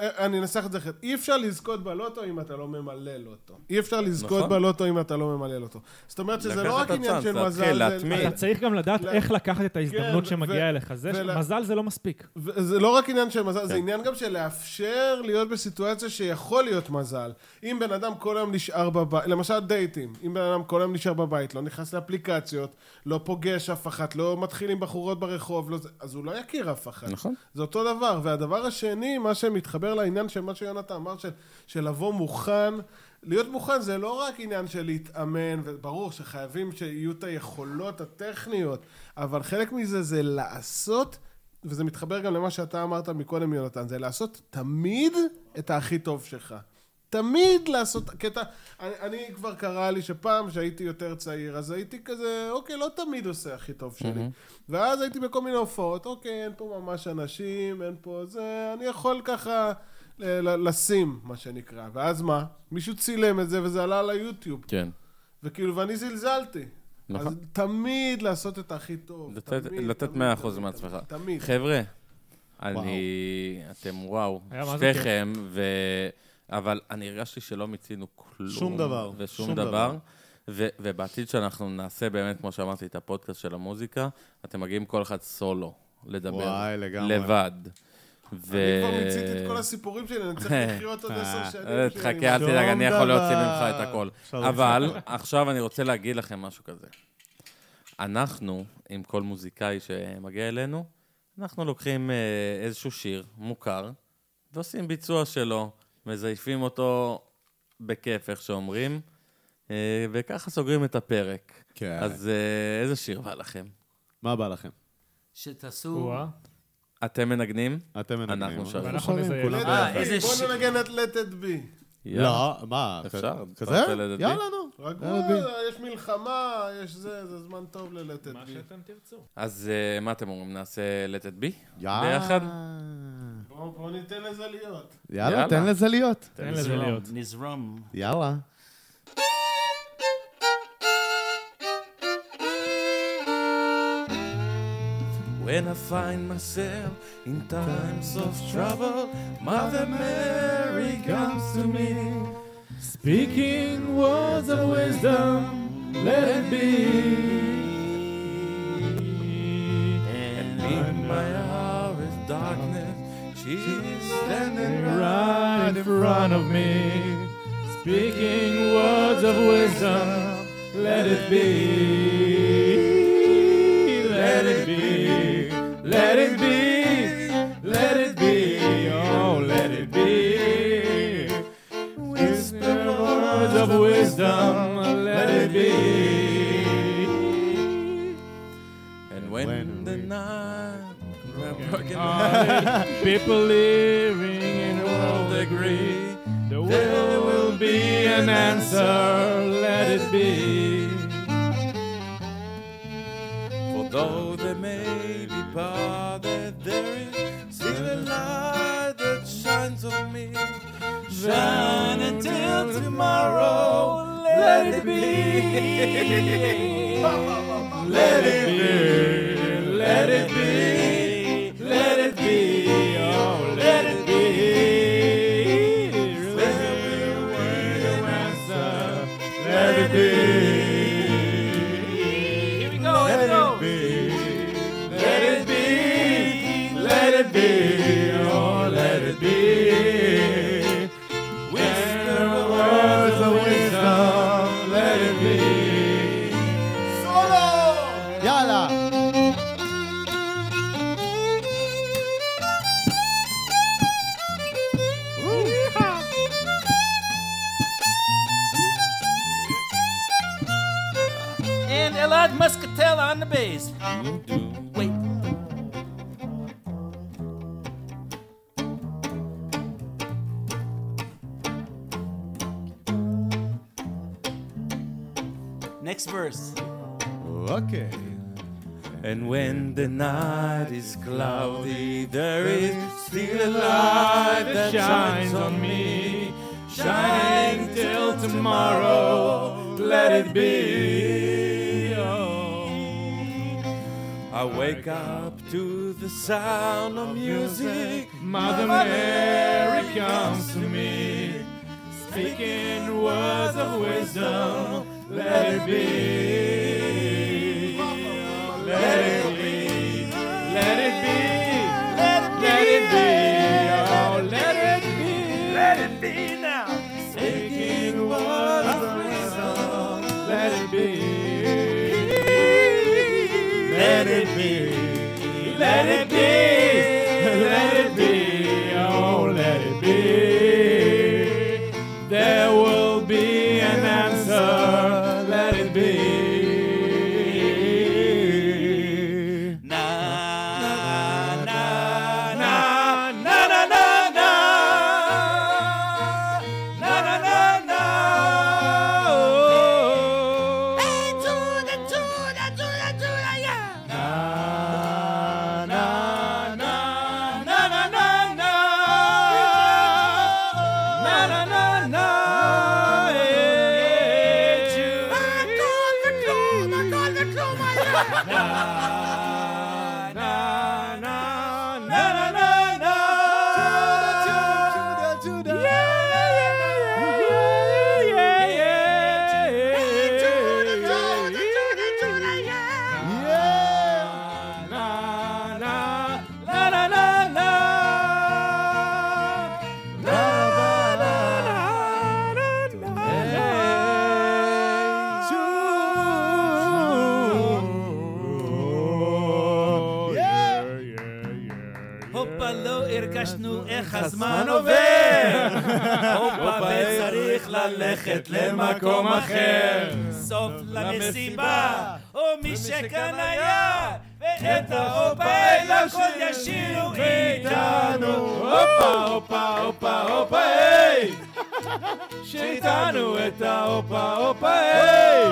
S7: אה, אני אנסח את זה אחרת, אי אפשר לזכות בלוטו אם אתה לא ממלל אותו. אי אפשר לזכות
S2: נכון.
S7: בלוטו אם אתה לא ממלל אותו. זאת אומרת שזה
S2: לקחת
S7: לא רק
S2: את
S7: עניין
S2: הצ'אנס,
S7: של
S2: להתחיל,
S7: מזל, זה-
S2: להתמיד.
S3: אתה צריך גם לדעת
S7: ל-
S3: איך לקחת את ההזדמנות
S7: ו-
S3: שמגיעה
S7: ו-
S3: אליך. זה ש-
S7: ול-
S3: מזל זה לא מספיק.
S7: וזה לא רק עניין של
S2: כן.
S7: מזל, זה עניין גם של לאפשר להיות בסיטואציה שיכול להיות מזל. אם בן אדם כל היום נשאר בבית, למשל דייטים, אם בן אדם כל היום נשאר בבית, לא נכנס לאפליקציות, לא פוגש אף אחת, לא מתחיל עם בחורות ברחוב, לא... זה- אז הוא לא יכיר אף אחת.
S2: נכון.
S7: זה אותו דבר. והדבר השני, מה שמתחבר לעניין של מה שיונתן אמר, של, של לבוא מוכן, להיות מוכן זה לא רק עניין של להתאמן, וברור שחייבים שיהיו את היכולות הטכניות, אבל חלק מזה זה לעשות, וזה מתחבר גם למה שאתה אמרת מקודם, יונתן, זה לעשות תמיד את הכי טוב שלך. תמיד לעשות קטע, אני, אני כבר קרה לי שפעם שהייתי יותר צעיר, אז הייתי כזה, אוקיי, לא תמיד עושה הכי טוב שלי. Mm-hmm. ואז הייתי בכל מיני הופעות, אוקיי, אין פה ממש אנשים, אין פה זה, אני יכול ככה ל- ל- לשים, מה שנקרא. ואז מה? מישהו צילם את זה וזה עלה ליוטיוב.
S2: כן.
S7: וכאילו, ואני זלזלתי.
S2: נכון.
S7: נכון. אז תמיד לעשות את הכי טוב.
S2: לתת-
S7: תמיד,
S2: לתת
S7: תמיד,
S2: 100%
S7: תמיד,
S2: מעצמך.
S7: תמיד.
S2: חבר'ה, אני... אתם וואו.
S3: היה מה זה
S2: שתיכם, ו... אבל אני הרגשתי שלא מיצינו כלום.
S4: שום דבר,
S2: ושום
S4: שום
S2: דבר.
S4: דבר.
S2: ו- ובעתיד שאנחנו נעשה באמת, כמו שאמרתי, את הפודקאסט של המוזיקה, אתם מגיעים כל אחד סולו לדבר.
S4: וואי, לגמרי.
S2: לבד. ו...
S7: אני כבר מיציתי את כל הסיפורים שלי, אני צריך לחיות עוד עשר
S2: אה,
S7: שנים. שאני-
S2: תחכה, אל
S4: שום
S2: תדאג, אני יכול להוציא
S4: דבר.
S2: ממך את הכל.
S4: אפשר להוציא
S2: אבל
S4: הכל.
S2: עכשיו אני רוצה להגיד לכם משהו כזה. אנחנו, עם כל מוזיקאי שמגיע אלינו, אנחנו לוקחים אה, איזשהו שיר מוכר, ועושים ביצוע שלו, מזייפים אותו בכיף, איך שאומרים, אה, וככה סוגרים את הפרק.
S4: כן.
S2: אז אה, איזה שיר בא לכם?
S4: מה בא לכם?
S8: שתעשו...
S1: או-אה.
S2: אתם מנגנים?
S4: אתם מנגנים.
S2: אנחנו שרים.
S1: ואנחנו נזייף.
S7: Let it
S8: אה,
S7: be,
S8: איזה ש-
S7: לא בוא ננגן את Let it be.
S4: לא, מה?
S2: אפשר?
S4: כזה?
S2: אתה רוצה לדעת לי?
S4: יאללה, נו.
S7: רגוע,
S4: Let it
S7: אה, יש מלחמה, יש זה, זה זמן טוב ל-Let it be.
S2: אז אה, מה אתם אומרים? נעשה let it be?
S4: יאללה.
S2: ביחד?
S7: בוא בוא ניתן לזה להיות.
S4: אה. יאללה,
S2: יאללה.
S4: תן לזה להיות.
S1: תן לזה להיות.
S8: נזרום.
S4: יאללה.
S2: When I find myself in times of trouble, Mother Mary comes to me.
S1: Speaking words of wisdom, let it be.
S2: And in my hour of darkness, she is standing
S1: Right in front of me, speaking words of wisdom, let it be. Let it be. Let it be. Let it be. Oh, let it be. Whisper words of wisdom, let it be.
S2: And when,
S4: When
S2: the
S4: we-
S2: night broken
S1: Are people living in a
S2: world
S1: world agree?
S2: agree,
S1: There will be an answer, let it be.
S2: for though they may be parted, there is still a light that shines on me. Shine until tomorrow, let it be. Let it be, let it be, let it be, oh, let it be. There will be an answer, let it be. Here we go, let it be, let it be, let it be, oh, let it be. Whisper words of wisdom, let it be.
S4: יאללה.
S8: And Elad Muscatel on the bass. Wait. Next verse.
S4: אוקיי.
S2: And when the night is cloudy, there is still a light that shines on me. Shining till tomorrow, let it be. Oh. I wake up to the sound of music.
S1: Mother Mary comes to me, speaking words of wisdom. Let it be. Let it be. Let it be. Let it be. Oh, let it be. Let it be now. Speaking words of wisdom. Let it be. Let it be. Let it be. Let it be. Oh, let it be. There will be an answer. Let it be. Na na na na na na na. Oh. הופה, לא הרגשנו איך הזמן עובר! הופה,
S5: לא
S1: וצריך ללכת למקום אחר! סוף למסיבה,
S5: לא
S1: או מי שכאן היה! ואת ההופה אל הכל ישירו איתנו! הופה, הופה, הופה, הופה, היי! שאיתנו את ההופה, הופה, היי!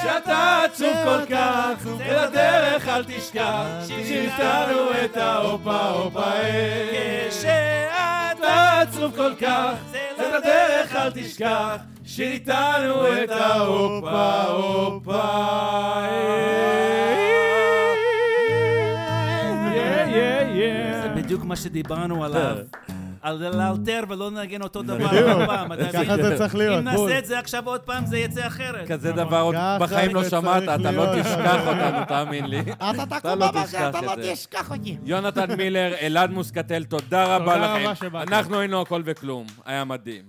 S1: כשאתה עצוב כל כך, זה לדרך אל תשכח, שאיתנו את ההופה הופה אה. כשאתה עצוב כל כך, זה לדרך אל תשכח, שאיתנו את ההופה הופה זה בדיוק מה שדיברנו עליו. על לאלתר ולא נגן אותו דבר עוד פעם, אתה
S5: ככה זה צריך להיות.
S1: אם נעשה את זה עכשיו עוד פעם, זה יצא אחרת.
S2: כזה
S11: נכון.
S2: דבר עוד
S5: ככה
S2: בחיים לא
S5: זה
S2: שמעת,
S5: צריך
S2: אתה לא
S5: להיות.
S2: תשכח אותנו, תאמין לי.
S12: אתה
S2: אתה
S12: תקום
S2: לא
S12: בבוקר,
S2: תשכח
S12: אתה
S2: את זה.
S12: לא תשכח אותי.
S2: יונתן מילר, אלעד מוסקטל, תודה רבה
S11: תודה רבה
S2: לכם.
S11: שבאתם.
S2: אנחנו היינו הכל וכלום, היה מדהים.